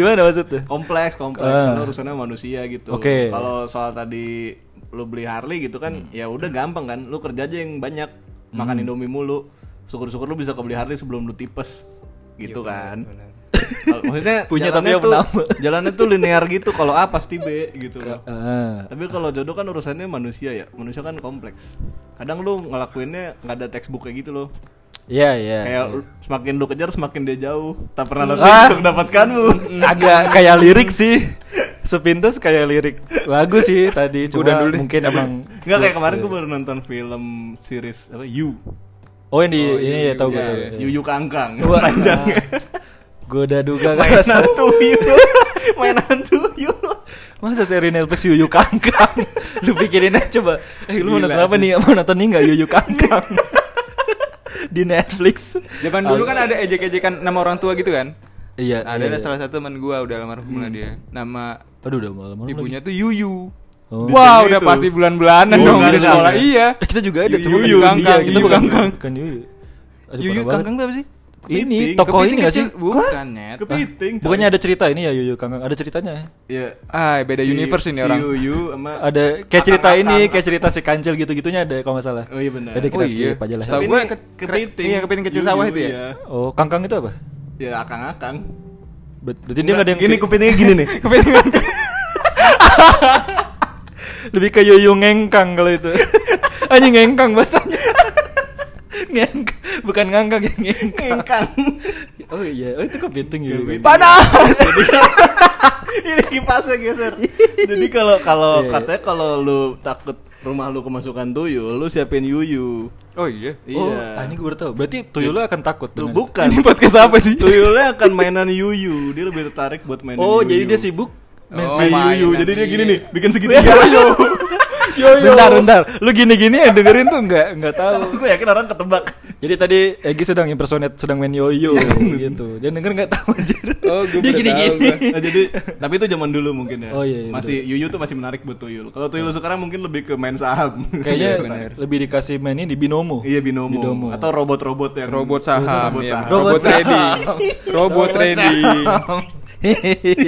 B: gimana maksudnya?
A: kompleks kompleks
B: Ah.
A: karena urusannya manusia gitu.
B: Oke. Hmm.
A: Kalau soal tadi lu beli Harley gitu kan ya udah gampang kan. Lu kerja aja yang banyak makan Indomie mulu. Syukur-syukur lu bisa kebeli Harley sebelum lu tipes gitu kan. Kalau- Maksudnya
B: Punya tapi
A: jalannya
B: yang
A: tuh,
B: menambah.
A: jalannya tuh linear gitu kalau A pasti B gitu.
B: Ah.
A: Tapi kalau jodoh kan urusannya manusia ya. Manusia kan kompleks. Kadang lu ngelakuinnya nggak ada textbook kayak gitu loh.
B: Iya iya.
A: Kayak lu- semakin lu kejar semakin dia jauh. Tak pernah lelah
B: Ah.
A: untuk mendapatkanmu.
B: Agak kayak lirik sih. Sepintas kayak lirik lagu sih tadi. Cuma
C: Udah dulu deh.
B: mungkin emang iya.
A: Enggak kayak kemarin gue baru nonton film series apa You.
B: Oh yang di
C: Oh,
B: ini
C: iya,
B: ya tahu
C: iya,
B: gue tahu.
C: iya.
A: You You Kangkang
B: Wah. nah, kan.
A: panjangnya.
B: Gue udah duga
A: Main
B: masa,
A: hantu You. Main hantu You.
B: masa seri Netflix Yuyu Kangkang Lu pikirin aja coba Eh lu mau
C: Gila
B: nonton apa
C: sih.
B: nih? Mau nonton ini gak Yuyu Kangkang? Di Netflix
C: Zaman dulu kan ada ejek-ejekan nama orang tua gitu kan?
B: Iya
C: Ada
B: iya, iya.
C: salah satu teman gua udah almarhum lah dia. Nama
B: Aduh udah malam-malam
C: ibunya tuh Yuyu.
B: Oh.
C: Wah,
A: Di
C: udah
A: itu.
C: pasti bulan-bulanan
A: Yuyu
C: dong di
A: Kangkang
C: sekolah.
A: ya?
C: Iya.
B: lagi. Eh, Kita juga ada
C: Yuyu
B: cuma bukan
C: Kangkang,
B: dia, Kita
C: Yuyu
B: bukan
C: Kangkang.
B: Bukan Yuyu Aduh,
C: Yuyu
B: parah
C: Kangkang
B: banget.
C: tuh apa sih?
B: Ini
A: Kepiting.
B: tokoh ini
C: Kepiting
B: gak sih?
C: kecil? Bukan, Net.
A: Kepiting. coy.
B: Bukannya ada cerita ini ya Yuyu Kangkang Ada ceritanya
A: Iya.
C: Ah, beda
A: Si-
C: universe ini
A: si
C: orang.
A: You You sama
B: Ada kayak cerita
A: Akang-akang.
B: ini Kayak cerita si Kancil gitu-gitunya ada kalau gak salah
A: Oh iya benar.
B: Jadi kita
C: Oh iya.
B: skip aja lah
C: Setahu
A: Tapi
C: gua
A: ini
C: ke-
A: kepiting.
C: iya, kepiting kecil
A: You
C: sawah
A: You,
C: itu ya?
A: iya.
B: Oh Kangkang itu apa?
A: Ya akang-akang.
B: Ber- Berarti dia gak ada yang
A: Gini kupingnya gini nih.
B: Lebih ke yoyo ngengkang kalau itu. Anjing ngengkang bahasanya. Ngeng bukan ngangkang ya ngengkang.
A: Ngengkang.
B: Oh iya, oh itu kepiting ya.
A: Panas. gitu. Ini kipasnya geser. Jadi kalau kalau
B: Iya, iya.
A: katanya kalau lu takut rumah lu kemasukan tuyul, lu siapin yuyu.
C: Oh iya.
B: Oh,
A: Iya.
B: ah, ini gue baru tahu. Berarti tuyulnya akan takut.
A: Tuh
B: dengan-
A: bukan.
C: Ini podcast apa sih?
A: Tuyulnya akan mainan yuyu. Dia lebih tertarik buat mainan yuyu.
B: Oh,
A: Iya.
B: jadi dia sibuk main
C: Oh,
B: si
C: main
B: yoyo.
A: yuyu. Jadi dia gini nih, bikin segitiga.
B: Iya, Bentar, bentar. Lu gini-gini yang dengerin tuh nggak nggak tahu.
A: Gue yakin orang ketebak.
B: Jadi tadi Egi sedang impersonate sedang main yoyo gitu. Dia denger nggak tahu anjir.
C: Oh, gua
B: Dia
C: baru tahu
B: gini-gini.
C: gua.
A: Nah, jadi tapi itu zaman dulu mungkin ya.
B: Oh, iya, iya,
A: masih yuyu tuh masih menarik buat tuyul. Kalau tuyul sekarang mungkin lebih ke main saham.
B: Kayaknya
C: Iya, bener.
B: lebih dikasih mainin di binomo.
A: Iya binomo.
B: Binomo.
A: atau robot-robot yang
C: Robot saham,
A: robot
C: ya.
A: saham.
B: Robot
C: robot
B: saham.
C: trading, robot trading.
B: Iya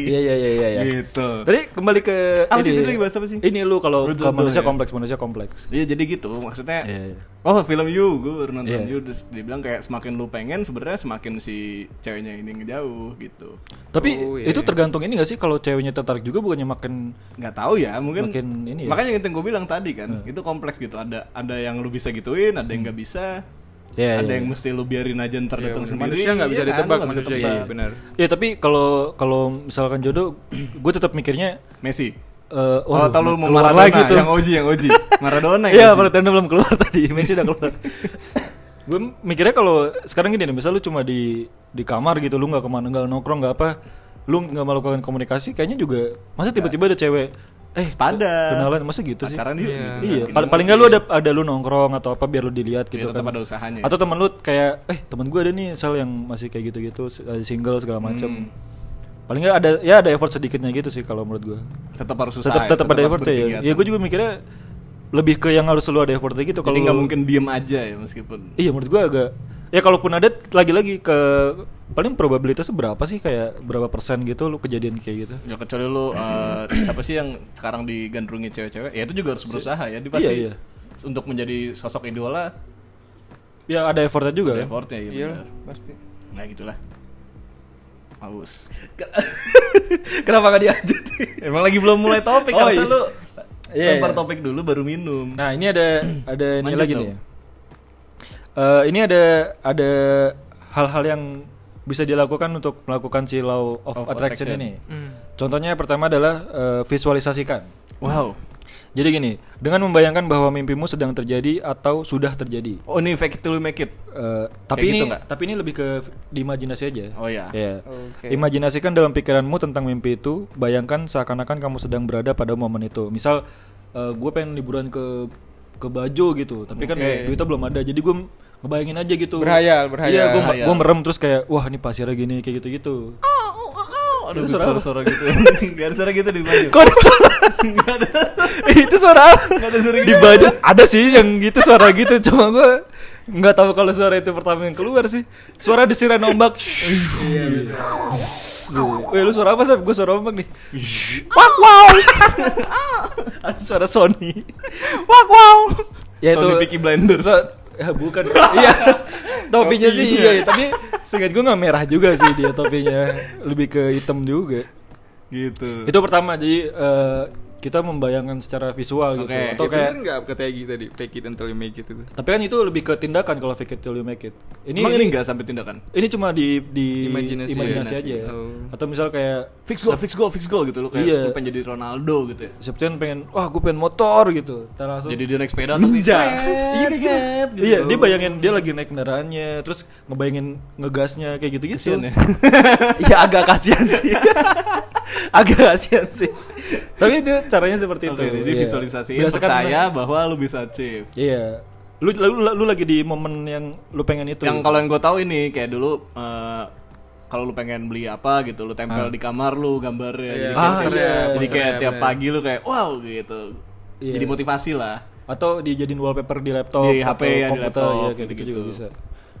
B: iya iya iya. iya.
A: Gitu.
B: Tadi kembali ke
A: Apa
B: ini.
A: sih tadi lagi bahas apa sih?
B: Ini lu kalau
A: Lu
B: ke
A: jodoh
B: manusia
A: ya?
B: kompleks, manusia kompleks.
A: Iya jadi gitu maksudnya.
B: Iya, iya.
A: Oh film You, gue baru nonton
B: Iya.
A: You, terus dibilang kayak semakin lu pengen sebenarnya semakin si ceweknya ini ngejauh gitu.
B: Tapi
C: Oh, iya,
B: itu
C: iya.
B: tergantung ini gak sih kalau ceweknya tertarik juga bukannya makin
A: Nggak tahu ya, mungkin.
B: Makin ini ya. Iya.
A: Makanya yang gue bilang tadi kan, itu kompleks gitu. Ada ada yang lu bisa gituin, ada yang nggak bisa.
B: Hmm. Iya,
A: ada
B: iya,
A: yang
B: iya.
A: mesti lu biarin aja ntar
C: Iya,
A: datang
C: bener.
A: sendiri.
C: Manusia nggak
A: Iya
C: bisa
A: kan,
C: ditebak
A: lu nggak bisa
C: manusia iya,
A: tebak.
C: benar.
B: Ya tapi kalau kalau misalkan jodoh gue tetap mikirnya
A: Messi.
B: eh
A: Kalau
B: waduh,
A: tau Oh, lu mau
B: keluar
A: Maradona,
B: lagi tuh.
A: yang Oji, yang Oji. Maradona yang
B: Iya,
A: Oji.
B: Maradona belum keluar tadi. Messi udah keluar. gue mikirnya kalau sekarang gini nih, misal lu cuma di di kamar gitu, lu nggak kemana, nggak nongkrong, nggak apa, lu nggak melakukan komunikasi kayaknya juga masa tiba-tiba ada cewek eh
A: Sepadan.
B: kenalan masa gitu sih
A: Pacaran yuk,
C: Iya.
A: gitu.
B: iya
A: Yakin
B: paling paling nggak lu ada ada lu nongkrong atau apa biar lu dilihat
A: Iya,
B: gitu
A: tetap
B: kan
A: ada usahanya ya.
B: atau temen lu kayak eh temen gue ada nih sel yang masih kayak gitu-gitu eh, single segala macam
A: Hmm.
B: paling nggak ada ya ada effort sedikitnya gitu sih kalau menurut gue
A: tetap harus usaha
B: tetap
A: ya,
B: tetap ada
A: harus
B: effort ya
A: berkegiatan.
B: ya gue juga mikirnya lebih ke yang harus lu ada effort
A: jadi
B: gitu kalau
A: nggak mungkin diem aja ya meskipun
B: Iya menurut gua agak ya kalaupun ada lagi-lagi ke paling probabilitasnya berapa sih kayak berapa persen gitu lu kejadian kayak gitu.
A: ya kecuali lu eh, siapa sih yang sekarang digandrungi cewek-cewek ya itu juga harus berusaha ya dia pasti
B: Iya, iya.
A: untuk menjadi sosok idola
B: Ya ada effortnya juga.
A: ada
B: kan?
A: effortnya ya
C: Iya
A: benar
C: pasti.
A: nah gitulah haus
B: Kenapa gak dilanjutin?
A: emang lagi belum mulai topik
B: Oh,
A: harusnya
B: iya.
A: lu
B: Iya,
A: lempar
B: iya.
A: topik dulu baru minum
B: Nah ini ada ada ini
A: Lanjut
B: lagi
A: dong.
B: nih. ya. Eh, ini ada ada hal-hal yang bisa dilakukan untuk melakukan si law of,
A: Of
B: attraction,
A: attraction.
B: ini. Contohnya yang pertama adalah eh, visualisasikan.
A: wow
B: Jadi gini, dengan membayangkan bahwa mimpimu sedang terjadi atau sudah terjadi.
A: oh ini fake it till you make it
B: Eh,
A: Kayak
B: tapi ini
A: gitu nggak?
B: tapi ini lebih ke di imajinasi aja.
A: Oh, iya.
C: Oke.
B: Imajinasikan dalam pikiranmu tentang mimpi itu, bayangkan seakan-akan kamu sedang berada pada momen itu. Misal gue pengen liburan ke ke Bajo gitu, tapi kan
C: Oke.
B: duitnya belum ada. Jadi gue ngebayangin aja gitu.
C: Berhayal, berhayal.
B: Iya, gue
A: Berhayal.
B: merem terus kayak wah ini pasirnya gini kayak gitu-gitu.
A: Oh, aduh
B: Itu suara apa?
A: suara-suara gitu nggak ada suara gitu di Bajo
B: Kok ada suara? itu suara
A: Nggak ada suara
B: di
A: gitu.
B: Bajo ada sih yang gitu suara gitu cuma gue nggak tahu kalau suara itu pertama yang keluar sih suara desiran ombak
A: Iya,
B: Wih, lu suara apa sih? Gue suara ombak nih. Wak wow. Ada suara Sony. Wak wow.
A: Sony Peaky Blinders.
B: Nggak, Ya bukan. Iya. Topinya sih
A: Topinya.
B: iya, tapi seingat gue nggak merah juga sih dia topinya. Lebih ke hitam juga.
A: gitu
B: Itu pertama jadi eh, kita membayangkan secara visual gitu
A: Oke.
B: atau kayak
C: enggak kata Egi tadi, fake it until you make it itu.
B: tapi kan itu lebih ke tindakan kalau fake it till you make it. Ini
A: emang ini nggak sampai tindakan
B: ini cuma di di
C: Imajinasi.
B: imajinasi aja.
C: Oh.
B: Atau misal kayak
A: fix goal fix goal fix goal gitu lu kayak
B: Iya.
A: lu pengen jadi Ronaldo gitu ya
B: Septian pengen, wah gue pengen motor gitu. Ntar langsung
A: jadi dia naik sepeda tapi
B: ninja.
A: Iya,
B: iya kayak gitu. Iya, dia bayangin dia lagi naik kendaraannya, terus ngebayangin ngegasnya kayak gitu-gitu.
A: Kasian ya.
B: Iya agak kasihan sih. agak kasihan sih. Tapi itu caranya seperti
A: Oke,
B: itu.
A: jadi
B: iya.
A: visualisasiin
B: Berdasarkan-
A: percaya bahwa lu bisa achieve.
B: Iya. Lu, lu, lu- lu lagi di momen yang lu pengen itu.
A: Yang kalau yang gue tahu ini kayak dulu eh, kalau lu pengen beli apa gitu, lu tempel di kamar lu gambarnya. gitu.
C: Iya,
A: Jadi,
B: Ah,
A: kayak-
B: iya.
A: jadi kayak
C: Posternya,
A: tiap
C: bener.
A: pagi lu kayak wow gitu.
B: Iya.
A: Jadi motivasi lah.
B: atau dijadiin wallpaper di laptop,
A: Di HP
B: atau
A: ya, di
B: komputer,
A: laptop,
B: iya, kayak gitu,
A: gitu-gitu.
B: juga bisa.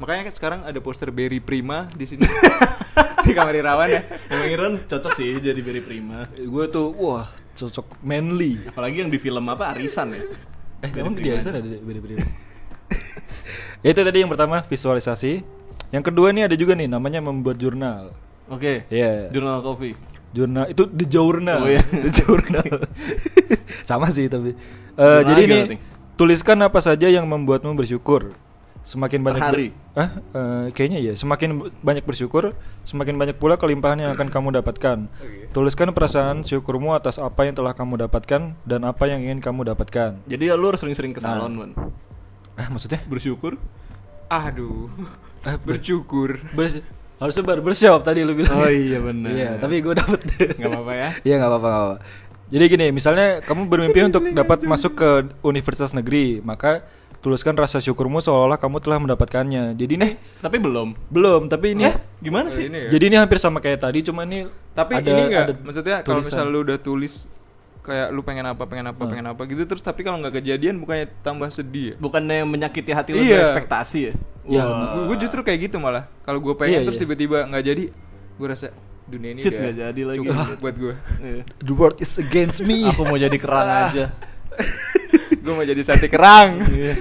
C: Makanya kan sekarang ada poster Berry Prima di sini. di kamar Irawan ya.
A: Emang Iron cocok sih jadi Berry Prima.
B: Gue tuh wah cocok manly.
A: Apalagi yang di film apa Arisan ya.
B: Eh, emang dia ada beda-beda. ya itu tadi yang pertama visualisasi. Yang kedua ini ada juga nih namanya membuat jurnal.
A: Oke.
B: Iya.
A: Jurnal Coffee.
B: Jurnal itu the journal.
A: Oh, iya.
B: The journal. Sama sih tapi. Eh,
A: Jurnal
B: jadi
A: juga
B: ini
A: penting.
B: tuliskan apa saja yang membuatmu bersyukur. Semakin
A: Per
B: banyak ber-
A: hari.
B: Hah? Eh, kayaknya ya. Semakin b- banyak bersyukur, semakin banyak pula kelimpahan yang akan kamu dapatkan. Tuliskan perasaan syukurmu atas apa yang telah kamu dapatkan dan apa yang ingin kamu dapatkan.
A: Jadi ya, lu harus sering-sering ke salon, Man.
B: Ah, maksudnya?
A: Bersyukur.
C: Aduh.
B: Eh,
C: Bersyukur.
B: Bers harusnya baru bersiap tadi lu
A: Oh,
B: bilang.
A: iya, benar.
B: Iya, tapi gue dapet.
A: Nggak apa-apa ya.
B: Iya nggak apa-apa nggak apa. Jadi gini, misalnya kamu bermimpi untuk dapat masuk ke universitas negeri, maka tuliskan rasa syukurmu seolah-olah kamu telah mendapatkannya. Jadi nih
A: Tapi belum.
B: belum, tapi ini
A: Gimana
C: Oh,
A: sih?
C: ini ya.
B: Jadi ini hampir sama kayak tadi, cuma ini
C: Tapi
B: ada-
C: ini enggak
B: ada
C: maksudnya kalau
B: tulisan. Nah.
C: misal lu udah tulis kayak lu pengen apa, pengen apa, pengen apa gitu terus tapi kalau nggak kejadian bukannya tambah sedih ya?
A: Bukannya yang menyakiti hati lu
C: Iya.
A: berespektasi ya?
B: Iya,
A: Wah.
C: Gue justru kayak gitu malah. Kalau gue
B: Iya,
C: pengen terus
B: iya.
C: tiba-tiba nggak jadi, gue rasa dunia ini
A: Shit,
C: udah
A: nggak jadi lagi.
C: cukup
A: Ah.
C: buat gue.
A: Iya.
B: the world is against me.
A: Aku mau jadi kerang
B: Ah.
A: aja.
C: gue mau jadi sate kerang.
A: Iya.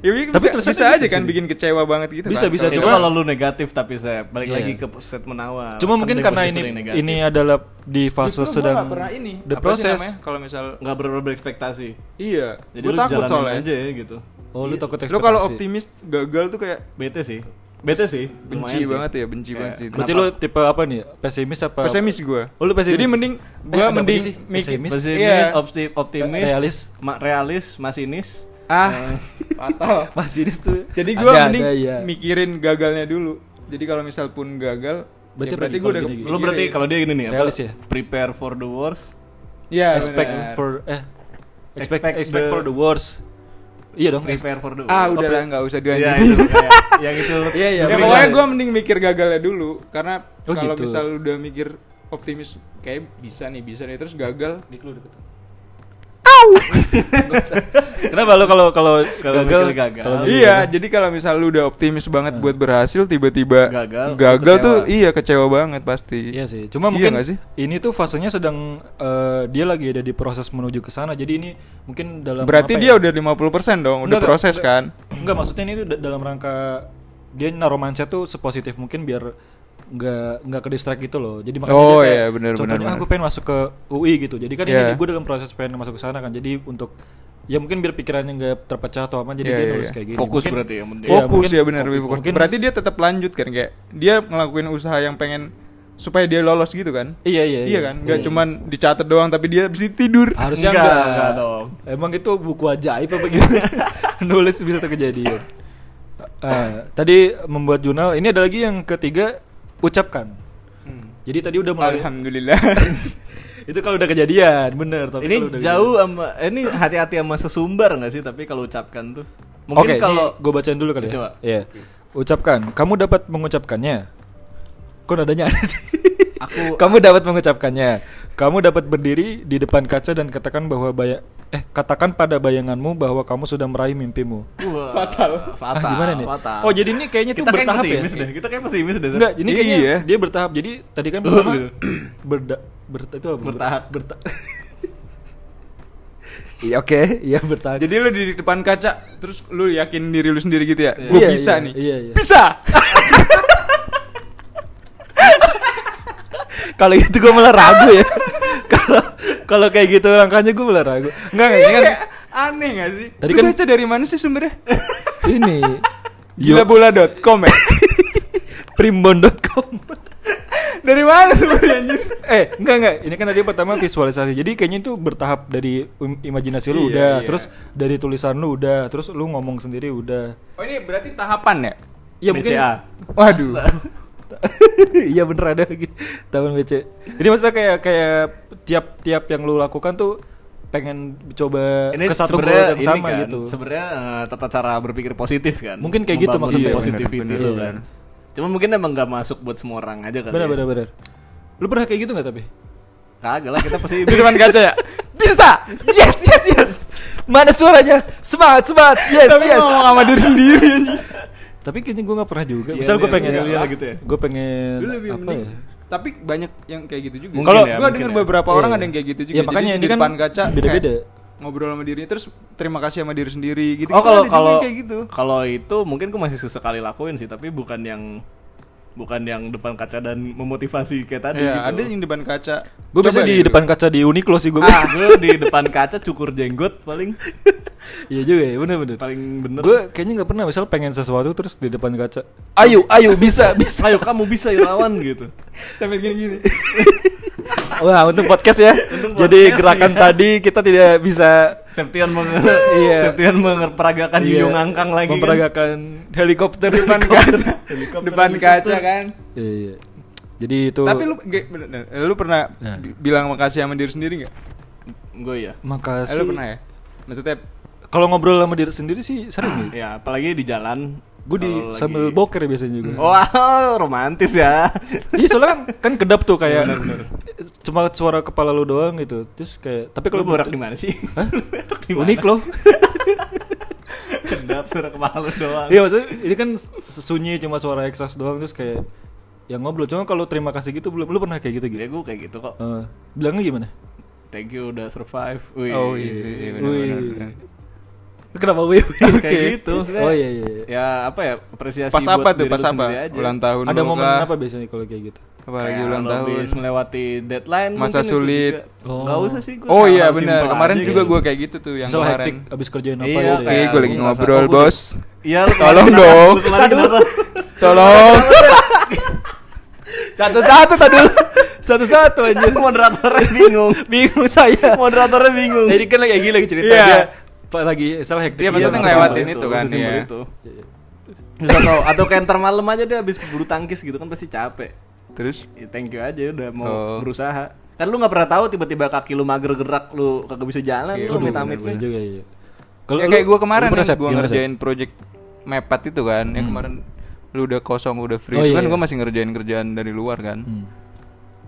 C: ya, tapi
B: Tapi
C: bisa,
B: tulisannya
C: bisa
B: gitu
C: aja kan
B: sih.
C: bikin kecewa banget gitu
B: Bisa,
C: kan.
B: bisa,
C: Kalau
A: itu
B: cuma-
A: kalau lu negatif tapi saya balik
B: Iya.
A: lagi ke set menawar.
B: Cuma mungkin karena ini ini adalah di fase
C: Justru gua
B: sedang
C: nggak pernah ini
B: the
C: Apa sih
B: process.
C: namanya? kalau misal
A: nggak ber- berekspektasi.
C: iya
A: Jadi
C: gua
A: lu
C: takut
A: jalanin
C: soalnya
A: aja ya gitu.
B: Oh, lu takut
C: lu Iya. kalau
B: ekspektasi.
C: optimis gagal tuh kayak
A: Bete sih. Bete sih.
C: benci
A: lumayan sih.
C: banget ya benci banget sih
A: Kayak,
B: Berarti lu tipe apa nih? Pesimis apa?
C: pesimis gue
B: Oh, lu pesimis.
C: jadi mending
B: Eh,
C: gue
B: ada
C: mending
B: apa sih?
C: mikir
B: Pesimis?
A: Pesimis,
C: Iya.
A: opti- optimis,
B: Realis.
A: ma- realis, masinis. Eh,
C: ah fatal
B: Masinis tuh.
C: jadi gue
B: Ada-
C: mending
B: ada, iya.
C: mikirin gagalnya dulu jadi kalau misal pun gagal
B: Berarti, apa
C: Ya, berarti gua
B: nih kalau
C: udah-
B: gini-gini?
A: Lo berarti kalau dia ini nih apa?
B: Realis ya?
A: Prepare for the worst.
C: Iya,
B: expect
C: benar.
B: for eh expect
A: Expect
B: expect
A: the-
B: for the worst. Iya dong.
A: Prepare for the worst.
C: Ah, udah lah nggak usah
A: Iya, itu
C: dilanjutin.
A: lo kayak yang itu. lo.
B: Iya, iya,
C: Ya,
B: bener.
C: pokoknya gue mending mikir gagalnya dulu karena
B: Oh,
C: kalau
B: gitu.
C: misal udah mikir optimis kayak bisa nih bisa nih terus gagal
B: Dik lu deket. Kenapa lo kalau kalau kalau
A: Gagal,
B: gagal
A: gagal.
B: kalau Nah. gagal?
C: iya jadi kalau misal lu udah optimis banget buat berhasil tiba-tiba
A: Gagal,
C: gagal
A: kecewa.
C: tuh iya kecewa banget pasti
B: Iya sih. Cuma
C: Iya
B: mungkin
C: nggak sih?
B: ini tuh fasenya sedang eh, dia lagi ada di proses menuju ke sana. Jadi ini mungkin dalam
C: berarti
B: apa
C: dia
B: ya?
C: udah 50% dong udah
B: Enggak,
C: proses
B: enggak.
C: kan
B: Enggak, maksudnya ini da- dalam rangka dia naruh mindset tuh sepositif mungkin biar nggak nggak ke distract gitu loh. Jadi makanya
C: Oh,
B: dia kayak,
C: iya, bener,
B: contohnya
C: bener,
B: "Ah,
C: bener.
B: gue pengen masuk ke UI gitu. Jadi kan ini
C: Iya.
B: gue dalam proses pengen masuk ke sana kan. Jadi untuk ya mungkin biar pikirannya nggak terpecah atau apa jadi
C: Iya,
B: dia
C: iya,
B: nulis
C: iya.
B: kayak gini.
A: Fokus
B: Mungkin-
A: berarti yang penting.
B: Iya,
C: fokus
B: mungkin-
C: ya benar lebih fokus
B: mungkin-
C: berarti dia tetap lanjut kan kayak dia ngelakuin usaha yang pengen supaya dia lolos gitu kan
B: Iya iya Ah,
C: iya kan nggak cuman dicatat doang tapi dia bisa tidur
B: Harusnya
A: Enggak,
B: enggak.
A: enggak dong.
B: Emang itu buku ajaib apa gimana? Nulis bisa tuh kejadian. Ah, tadi membuat jurnal. Ini ada lagi yang ketiga ucapkan. Jadi tadi hmm. udah mulai.
C: alhamdulillah
B: itu kalau udah kejadian, bener. Tapi
A: ini
B: kalau udah gitu.
A: jauh sama eh, ini hati-hati sama sesumbar nggak sih tapi kalau ucapkan tuh
B: kejadian. Oke,
A: mungkin kalau
B: gue bacain dulu kali ya.
A: Coba.
B: Iya. Ucapkan. Kamu dapat mengucapkannya. Kok nadanya aneh sih?
A: Aku-
B: Kamu dapat mengucapkannya. Kamu dapat berdiri di depan kaca dan katakan bahwa baya- eh katakan pada bayanganmu bahwa kamu sudah meraih mimpimu.
A: Wah,
C: Fatal.
A: fatal
B: Ah, gimana nih?
A: fatal.
B: Oh, jadi ini kayaknya tuh
A: kita kayak
B: bertahap ya?
A: pesimis deh kita kayak pesimis deh Sar.
B: Enggak, ini kayaknya
C: Iya.
B: dia bertahap. Jadi tadi kan pertama
A: Gitu.
B: berda, berta, itu apa?
A: Bertahap.
B: Berta. Iya oke, iya bertahap.
C: Jadi lu di depan kaca, terus lu yakin diri lu sendiri gitu ya?
A: Iya.
C: Gue
B: Iya,
C: bisa
B: iya,
C: nih.
B: iya, iya.
C: Bisa.
B: kalau gitu gue malah ragu ya. Kalau kalau kayak gitu langkahnya gue malah ragu. Enggak enggak, ini kan
C: Iya, Kayak Aneh gak sih?
B: Tadi
C: Tadi kan
B: kan-
C: baca dari mana sih sumbernya?
B: ini
C: Gilabola.com ya.
B: primbon.com.
C: dari mana sumbernya anjir?
B: eh, enggak enggak, ini kan tadi pertama visualisasi. Jadi kayaknya itu bertahap dari im- imajinasi lu
C: Iya,
B: udah,
C: iya.
B: terus dari tulisan lu udah, terus lu ngomong sendiri udah.
C: Oh ini berarti tahapan ya?
B: Ya mungkin
A: BCA.
C: Waduh.
B: Iya bener ada lagi tahun BC. Jadi maksudnya kayak kayak tiap-tiap yang lu lakukan tuh pengen coba
A: ini
B: ke satu goal
A: sebenarnya
B: yang
A: ini
B: sama
A: kan,
B: gitu.
A: sebenarnya eh, tata cara berpikir positif kan
B: Mungkin kayak gitu
A: Membangun
B: maksudnya. Iya,
A: positivity
B: bener,
A: lo
B: bener.
A: kan cuma mungkin emang nggak masuk buat semua orang aja kan
B: Bener bener bener. Lu pernah kayak gitu nggak tapi?
A: kagak lah kita pesimis
C: Di depan kaca ya? Bisa. Yes, yes, yes.
B: Mana suaranya? Semangat semangat. Yes
C: Tapi
B: yes.
C: ngomong sama diri sendiri anjir.
B: Tapi kayaknya gue nggak pernah juga.
A: Iya,
B: Misal gue
A: iya,
B: pengen
A: iya, iya, gitu ya.
B: Gue pengen
C: Lu lebih
B: apa
C: mending.
B: ya?
C: Tapi banyak yang kayak gitu juga.
A: Mungkin
C: Kalau
A: ya,
C: gua
A: mungkin
C: denger
A: ya.
C: beberapa
B: Iya,
C: orang
B: iya.
C: ada yang kayak gitu juga.
B: Ya, makanya
C: Jadi
B: ini
C: di
B: kan
C: depan kaca
B: beda-beda.
C: kayak Ngobrol sama dirinya terus terima kasih sama diri sendiri gitu.
A: oh
C: Kan
A: kalau
C: ada juga
A: kalau
C: yang kayak gitu.
A: kalau itu mungkin gue masih sesekali lakuin sih tapi bukan yang bukan yang depan kaca dan memotivasi kayak tadi
C: Iya,
A: gitu.
C: ada yang di depan kaca.
B: Gue bisa
C: Coba gitu.
B: di
C: deh lu.
B: depan kaca di Uniqlo sih gue.
A: ah gue di depan kaca cukur jenggot paling
B: Iya juga ya bener bener.
A: paling bener
B: Gue kayaknya nggak pernah misal pengen sesuatu terus di depan kaca.
C: Ayo, ayo bisa, bisa.
A: ayo kamu bisa Irawan gitu
C: Sambil gini-gini.
B: Wah, untuk podcast ya.
A: Untung
B: Jadi
A: podcast,
B: gerakan
A: ya.
B: tadi kita tidak bisa
A: Septian meng
B: Iya.
A: Septian mengerperagakan
B: iya,
A: Yuyung Angkang lagi kan.
B: memperagakan helikopter
C: depan
B: helikopter.
C: kaca. depan kaca kan.
B: Iya, iya. Jadi itu
C: Tapi lu ge- bener- bener, Eh, lu pernah
B: Nah.
C: bi- bilang makasih sama diri sendiri nggak?
A: Gue ya.
C: Eh,
B: makasih.
C: lu pernah ya? Maksudnya
B: Kalau ngobrol sama diri sendiri sih sering
A: Ya, apalagi di jalan.
B: Gue di
A: kalau lagi- Oh.
B: sambil boker ya biasanya juga.
A: Wow, romantis ya.
B: Iya soalnya kan kan kedap tuh kayak
A: Bener, bener.
B: cuma suara kepala lu doang gitu. Terus kayak tapi
A: Kalau
B: kalau
A: borak di mana sih?
B: Hah?
A: Borak di mana?
B: Unik loh.
A: Kedap suara kepala lu doang.
B: Iya maksudnya ini kan sunyi cuma suara exhaust doang terus kayak yang ngobrol cuma kalau terima kasih gitu belum lu pernah kayak gitu gitu
A: Ya gue kayak gitu kok.
B: Eh, bilangnya gimana?
A: Thank you udah survive. Wih.
C: Oh iya sih, iya, bener,
B: Wih.
C: bener, bener.
B: Kenapa gue?
A: Kayak gitu maksudnya.
B: Oh iya iya. iya.
A: Ya apa ya apresiasi
C: pas
A: buat
C: apa tuh?
A: diri
C: Pas
A: lu
C: apa?
A: sendiri Aja.
C: Ulang tahun
B: Ada
C: lu
B: momen
C: kah?
B: apa biasanya kalau kayak gitu?
C: Apalagi
A: Kayak
C: ulang
A: lu
C: tahun.
A: habis melewati deadline
C: Masa
A: mungkin itu
C: sulit.
A: juga.
B: Oh.
A: Nggak usah sih gua
C: Oh
A: hal-hal
C: iya
A: simpel
C: benar.
A: aja
C: Kemarin juga
A: gitu.
C: gue kayak gitu tuh yang
B: Misal hektik
C: kemarin.
B: abis kerjain apa
A: Iya,
B: gitu
C: Oke,
A: kayak
B: ya.
C: gue lagi
A: gua ngerasa,
C: ngobrol,
A: oh, gua-
C: Bos.
A: Iya, lu
C: Tolong
A: kemarin
C: dong.
A: kenapa? Lu kemarin kenapa?
C: Tolong.
B: Satu-satu tadi dulu. Satu-satu aja.
A: Moderatornya bingung.
B: Bingung saya.
A: Moderatornya bingung.
B: Jadi kan lagi gini lagi cerita
C: Iya.
B: dia Pak lagi salah hektik.
C: Iya, maksudnya
B: Iya,
C: ngelewatin
B: sesimpel
C: itu kan,
A: sesimpel
C: iya.
A: itu. Terus atau atau kayak ntar malam aja dia habis bulu tangkis gitu kan pasti capek.
C: Terus
A: Ya, thank you aja udah mau
C: Oh.
A: berusaha. Kan lu nggak pernah tahu tiba-tiba kaki lu mager gerak, lu kagak bisa jalan, lu
C: Iya,
B: Aduh,
A: amit-amit
B: bener-bener juga iya.
C: ya
B: lu-
C: kayak gue
B: lu
C: kemarin
B: pernah,
C: yang
B: Sep?
C: gue
B: Gimana, Sep?
C: ngerjain project mepet itu kan, yang kemarin lu udah kosong udah free,
B: Oh,
C: itu
B: iya,
C: kan
B: iya.
C: gue masih ngerjain kerjaan dari luar kan.
B: Hmm.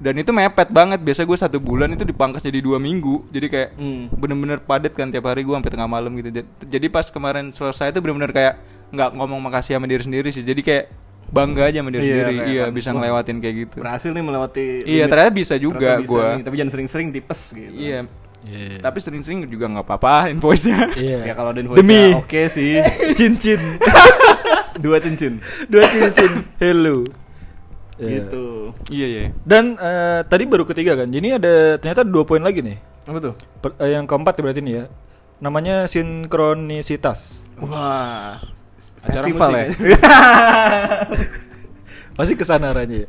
C: Dan itu mepet banget, biasa gue satu bulan itu dipangkas jadi dua minggu, jadi kayak
A: Hmm.
C: bener-bener padat kan tiap hari gue sampai tengah malam gitu. Jad- Jadi pas kemarin selesai itu bener-bener kayak nggak ngomong makasih sama diri sendiri sih, jadi kayak bangga aja sama diri
A: Iya,
C: sendiri,
A: kayak
C: iya
A: kan.
C: bisa
A: Wah,
C: ngelewatin kayak gitu.
A: Berhasil nih melewati
C: Iya
A: limit.
C: ternyata bisa juga
A: Ternyata bisa
C: gue.
A: nih, tapi jangan sering-sering tipes gitu.
C: Iya.
B: Iya.
C: Tapi sering-sering juga nggak apa-apa invoice-nya.
B: Iya.
A: Ya kalau ada
B: Demi.
A: invoice oke sih.
B: cincin.
A: Dua cincin.
B: Dua cincin. Hello. Iya.
A: Gitu.
C: Iya, iya.
B: Dan eh, tadi baru ketiga kan. Jadi ada ternyata dua poin lagi nih.
A: Apa tuh?
B: Per- eh, yang keempat berarti nih ya. Namanya sinkronisitas.
A: Wah.
C: Acara
A: Festival ya?
C: musik
B: Pasti kesana arahnya ya.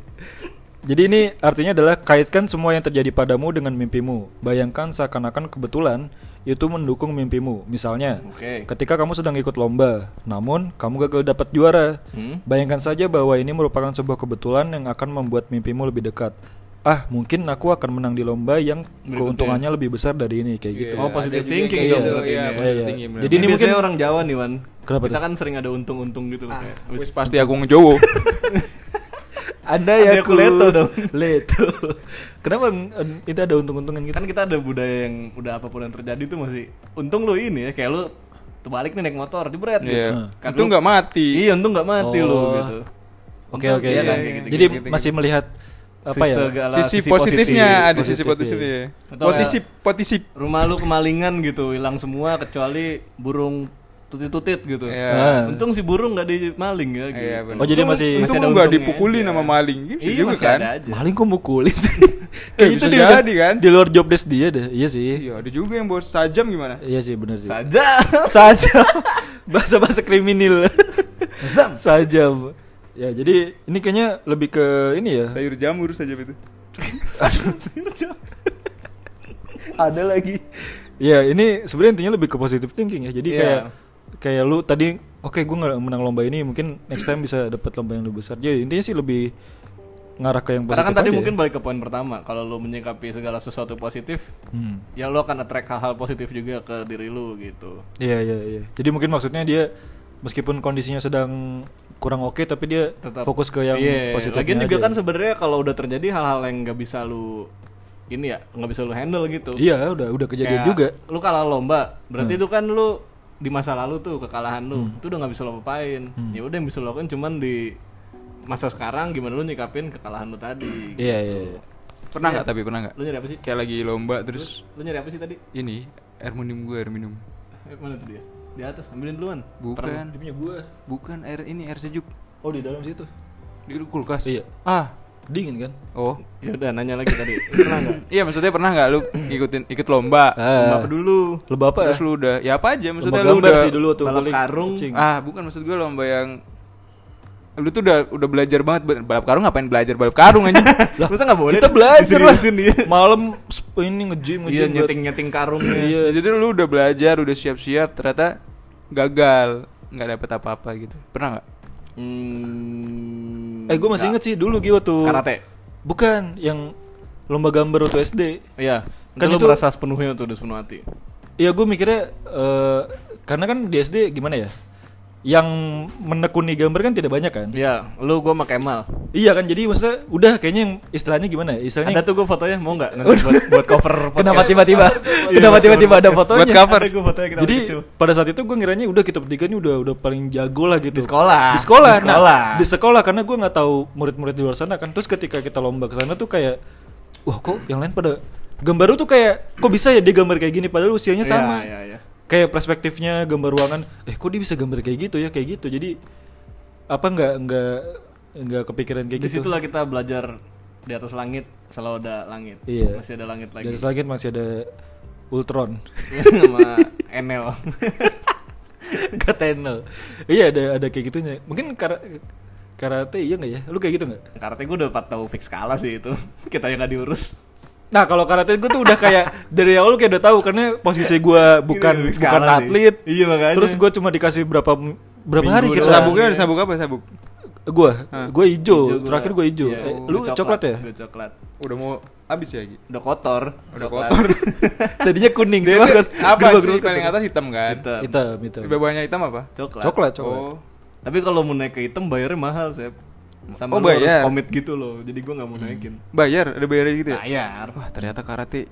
B: Jadi ini artinya adalah kaitkan semua yang terjadi padamu dengan mimpimu. Bayangkan seakan-akan kebetulan itu mendukung mimpimu. Misalnya,
A: Oke.
B: ketika kamu sedang ikut lomba, namun kamu gagal dapat juara.
A: Hmm?
B: Bayangkan saja bahwa ini merupakan sebuah kebetulan yang akan membuat mimpimu lebih dekat. Ah, mungkin aku akan menang di lomba yang keuntungannya lebih besar dari ini kayak gitu.
A: Oh, positive
C: Iya, ada juga
A: thinking
C: kayak
B: dong
C: gitu,
A: berarti
C: iya,
A: ini ya.
C: positive
B: Iya,
C: thinking,
B: iya.
C: benar.
B: Jadi ini
A: biasanya
B: mungkin-
A: orang Jawa nih, Wan.
B: Kenapa
A: Kita
B: tuh?
A: kan sering ada untung-untung gitu loh kayak.
C: Ah, Wis pasti aku ngejowo.
B: Anda
A: Ada aku leto dong.
B: ya, Leto. Kenapa eh, itu ada untung-untungan gitu?
A: Kan kita ada budaya yang udah apapun yang terjadi tuh masih untung lu ini ya kayak lu terbalik nih naik motor jebret
C: Iya.
A: gitu. Kan
C: Itu
A: lu-
C: nggak mati.
A: Iya, untung nggak mati lu
B: Hmm. Oh.
A: gitu.
B: Oke oke.
A: Iya,
B: iya.
A: kan, kayak gitu,
B: Jadi
A: gitu, gitu.
B: masih melihat apa ya?
A: Segala
C: Sisi, positifnya ada sisi
B: Positif,
C: positifnya.
B: iya.
A: Atau
C: Potisip, potisip.
A: Rumah lu kemalingan gitu, hilang semua kecuali burung tutit-tutit gitu.
C: Iya.
B: Ah.
A: Untung si burung nggak dimaling ya gitu.
C: Iya, benar.
B: Oh, jadi masih-
C: Untung
A: masih ada
C: lu nggak
A: untungnya
C: dipukulin
A: aja.
C: sama maling. Gitu
A: Iya,
C: juga
A: masih
C: kan.
A: ada aja.
B: Maling kok mukulin sih?
C: Eh,
B: Kayak gitu. itu
C: bisa
B: dia udah
C: jadi kan?
B: Di luar job desk dia deh. Iya sih.
C: Iya, ada juga yang bawa sajam gimana?
B: Iya sih benar sih.
A: Saja.
B: Saja. Bahasa-bahasa kriminal.
A: Zam.
B: Saja. Ya, jadi ini kayaknya lebih ke ini ya.
C: Sayur jamur sajam itu.
B: ada lagi. Ya, ini sebenarnya intinya lebih ke positive thinking ya. Jadi
A: Iya.
B: kayak kayak lu tadi oke gue nggak menang lomba ini mungkin next time bisa dapat lomba yang lebih besar. Jadi intinya sih lebih ngarah ke yang positif.
A: Karena kan tadi
B: aja ya.
A: mungkin balik ke poin pertama, kalau lu menyikapi segala sesuatu positif,
B: Hmm.
A: ya lu akan attract hal-hal positif juga ke diri lu gitu.
B: Iya, iya, iya. Jadi mungkin maksudnya dia meskipun kondisinya sedang kurang oke tapi dia
A: Tetap
B: fokus ke yang ya.
A: Iya,
B: positif.
A: Lagian juga kan sebenarnya kalau udah terjadi hal-hal yang nggak bisa lu ini ya, nggak bisa lu handle gitu.
B: Iya, udah udah
A: Kayak
B: kejadian
A: gitu.
B: juga. Hmm.
A: Lu kalah lomba, berarti itu kan lu di masa lalu tuh kekalahan lu, itu udah nggak bisa lo apain.
B: Hmm.
A: Ya udah yang bisa lo lakukan cuman di masa sekarang gimana lu nyikapin kekalahan lu tadi.
B: Iya, iya, iya.
C: Pernah nggak tapi pernah nggak?
A: Lu nyari apa sih?
C: Kayak lagi lomba terus
A: Lu nyari apa sih tadi?
C: ini air minum gue air minum.
A: Eh, mana tuh dia? Di atas, ambilin duluan.
C: Bukan,
B: Kan Dia punya gua.
C: bukan air ini air sejuk
B: Oh, di dalam situ.
C: di kulkas.
B: Iya.
C: Ah,
B: Dingin kan?
C: oh.
A: Ya udah nanya lagi tadi. Pernah nggak? Eh.
C: Iya maksudnya pernah nggak lu ngikutin ikut lomba?
A: Lomba
B: Ah.
A: apa dulu?
B: Leba apa ya?
C: Terus lu udah ya apa aja
B: Lomba
C: maksudnya lu
B: gambar
C: udah
B: sih dulu tuh
A: balap
B: paling.
A: karung.
B: Kucing.
C: Ah, bukan maksud gue lomba yang lu tuh udah udah belajar banget Ba- balap karung ngapain belajar balap karung anjing.
B: Lah,
A: Masa nggak boleh?
B: Kita belajar lah. Iya,
A: Diseriusin dia.
B: Malam sp- ini nge-gym
A: Iya
B: nge-gym. buat-
A: nyeting-nyeting karungnya.
B: Iya.
C: Ya, jadi lu udah belajar, udah siap-siap, ternyata gagal, nggak dapet apa-apa gitu. Pernah nggak?
A: Hmm,
B: Eh, gua masih inget sih dulu gua tuh.
A: Karate.
B: Bukan yang lomba gambar waktu SD.
A: Iya.
B: Kan
A: Kan lu
B: itu-
A: merasa sepenuhnya tuh udah sepenuh hati.
B: Ya gue mikirnya eh, karena kan di SD gimana ya? Yang menekuni gambar kan tidak banyak kan?
A: Iya, lu gua sama Kemal.
B: Iya kan jadi maksudnya udah kayaknya yang istilahnya gimana? ya? Istilahnya
A: Ada tuh gue fotonya mau nggak nanti buat, buat cover podcast.
B: Kenapa tiba-tiba?
A: Iya,
B: Kenapa
A: buat
B: tiba-tiba ada
A: podcast.
B: fotonya?
C: Buat cover.
A: Ada gua fotonya kita
B: Jadi
A: waktu kecil.
B: pada saat itu gue ngiranya udah kita bertiga nih udah udah paling jago lah gitu.
A: Di sekolah.
B: Di sekolah.
A: Di sekolah.
B: Nah, di sekolah karena gue nggak tahu murid-murid di luar sana kan. Terus ketika kita lomba ke sana tuh kayak wah kok yang lain pada gambar lu tuh kayak kok bisa ya dia gambar kayak gini padahal usianya
A: Iya,
B: sama.
A: Iya, iya.
B: Kayak perspektifnya gambar ruangan, eh kok dia bisa gambar kayak gitu ya kayak gitu. Jadi apa nggak nggak nggak kepikiran kayak
A: Di
B: gitu.
A: situlah kita belajar di atas langit selalu ada langit.
B: Iya.
A: Masih ada langit lagi. Iya,
B: Dari langit masih ada Ultron.
A: sama Enel.
B: Katenel. Iya ada ada kayak gitunya. Mungkin kara- karate iya nggak ya? Lu kayak gitu nggak?
A: Karate gue udah pat- tahu fix kalah sih itu. kita yang gak diurus.
B: Nah kalau karate gue tuh udah kayak dari awal kayak udah tahu karena posisi gue
A: Ini
B: bukan
A: fix
B: bukan
A: kalah Iya, sih.
B: atlet.
A: Iya, makanya.
B: Terus gue cuma dikasih berapa berapa
A: Minggu
B: hari
A: doang.
B: kita
C: Sabuknya ada sabuk apa sabuk?
B: Gua,
A: Hah?
B: gua hijau.
A: gua.
B: Terakhir gua hijau.
A: Iya,
B: Eh,
A: gua
B: lu coklat ya?
A: Gua coklat.
C: Udah mau habis ya Gi?
A: Udah kotor.
C: Udah
A: coklat.
C: kotor.
B: Tadinya kuning,
C: Dia
B: cuma
C: tuh
B: gua-
C: apa
B: gua-
C: sih
B: gua-
C: paling atas hitam kan?
A: Hitam.
B: Hitam, hitam.
C: Di bawahnya hitam apa?
A: Coklat.
B: Coklat, coklat.
C: Oh.
A: Tapi kalau mau naik ke hitam bayarnya mahal, Sep. Sama
C: Oh,
A: lu harus
C: bayar.
A: komit gitu loh. Jadi gua nggak mau naikin.
C: Bayar, ada bayarnya gitu ya?
A: Bayar.
C: Wah, ternyata karate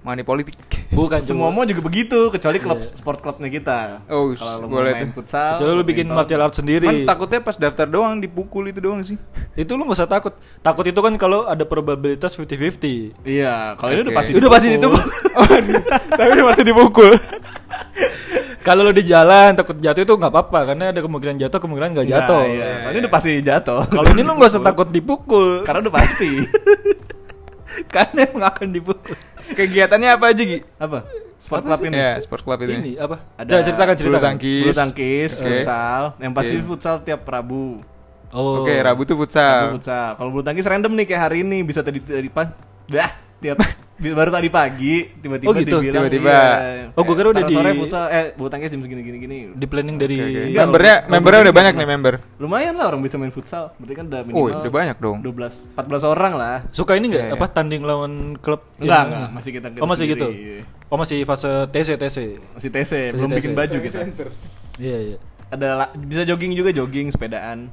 C: money politik.
B: Bukan
A: Semua
B: semua.
A: mau juga begitu, kecuali klub sport klubnya kita.
C: Iya. Oh,
A: kalau lu mau
C: boleh
A: main
C: tuh.
A: futsal,
B: Kecuali lu bikin
A: badminton.
B: martial art sendiri.
C: Cuman takutnya pas daftar doang dipukul itu doang sih.
B: Itu lu gak usah takut. Takut itu kan kalau ada probabilitas 50-50.
A: Iya, kalau ini udah
C: Oke.
A: pasti
B: Udah pasti itu.
A: dipukul.
B: Tapi udah pasti dipukul. Kalau lu di jalan takut jatuh itu nggak apa-apa karena ada kemungkinan jatuh, kemungkinan nggak
A: Nggak,
B: jatuh.
A: iya. Kalau ini udah pasti jatuh.
B: Kalau ini lu nggak usah takut dipukul
A: karena udah pasti.
B: karena emang akan dipukul.
C: Kegiatannya apa aja, Gi?
A: Apa? Sport club ini.
C: Ya, sport club itu.
B: Ini apa?
A: Ada
B: Jangan ceritakan
C: bulu
B: ceritakan.
C: tangkis.
A: Bulu tangkis,
C: Oke.
A: futsal. Yang pasti
C: Oke.
A: futsal tiap Rabu.
B: Oh.
C: Oke, Rabu tuh
A: Rabu
C: futsal.
A: futsal. Kalau bulu tangkis random nih kayak hari ini bisa tadi tadi pagi. Dah, tiap baru tadi pagi tiba-tiba
B: Oh, gitu?
A: dibilang,
C: Tiba-tiba.
A: iya,
B: Oh, gua kira udah
A: ntar sore
B: di-
A: futsal eh bulu tangkis jam segini gini gini.
B: Di planning dari
C: Oke, oke.
A: Iya,
C: Membernya,
A: kalau-
C: membernya
A: kalau
C: udah
A: bisa
C: banyak
A: mah.
C: nih member.
A: Lumayan lah orang bisa main futsal. Berarti kan udah minimal.
C: Oh, udah banyak dong.
A: 12 14 orang lah.
B: suka ini nggak
C: Iya, iya.
B: apa tanding lawan klub?
A: Enggak,
B: yang-
A: enggak, masih kita
B: Oh, masih gitu.
A: sendiri.
B: Oh, masih fase TC TC.
A: Masih TC,
B: Masih
A: belum
B: TC.
A: bikin baju kita.
B: Iya, iya.
A: Ada la- bisa jogging juga, jogging, sepedaan.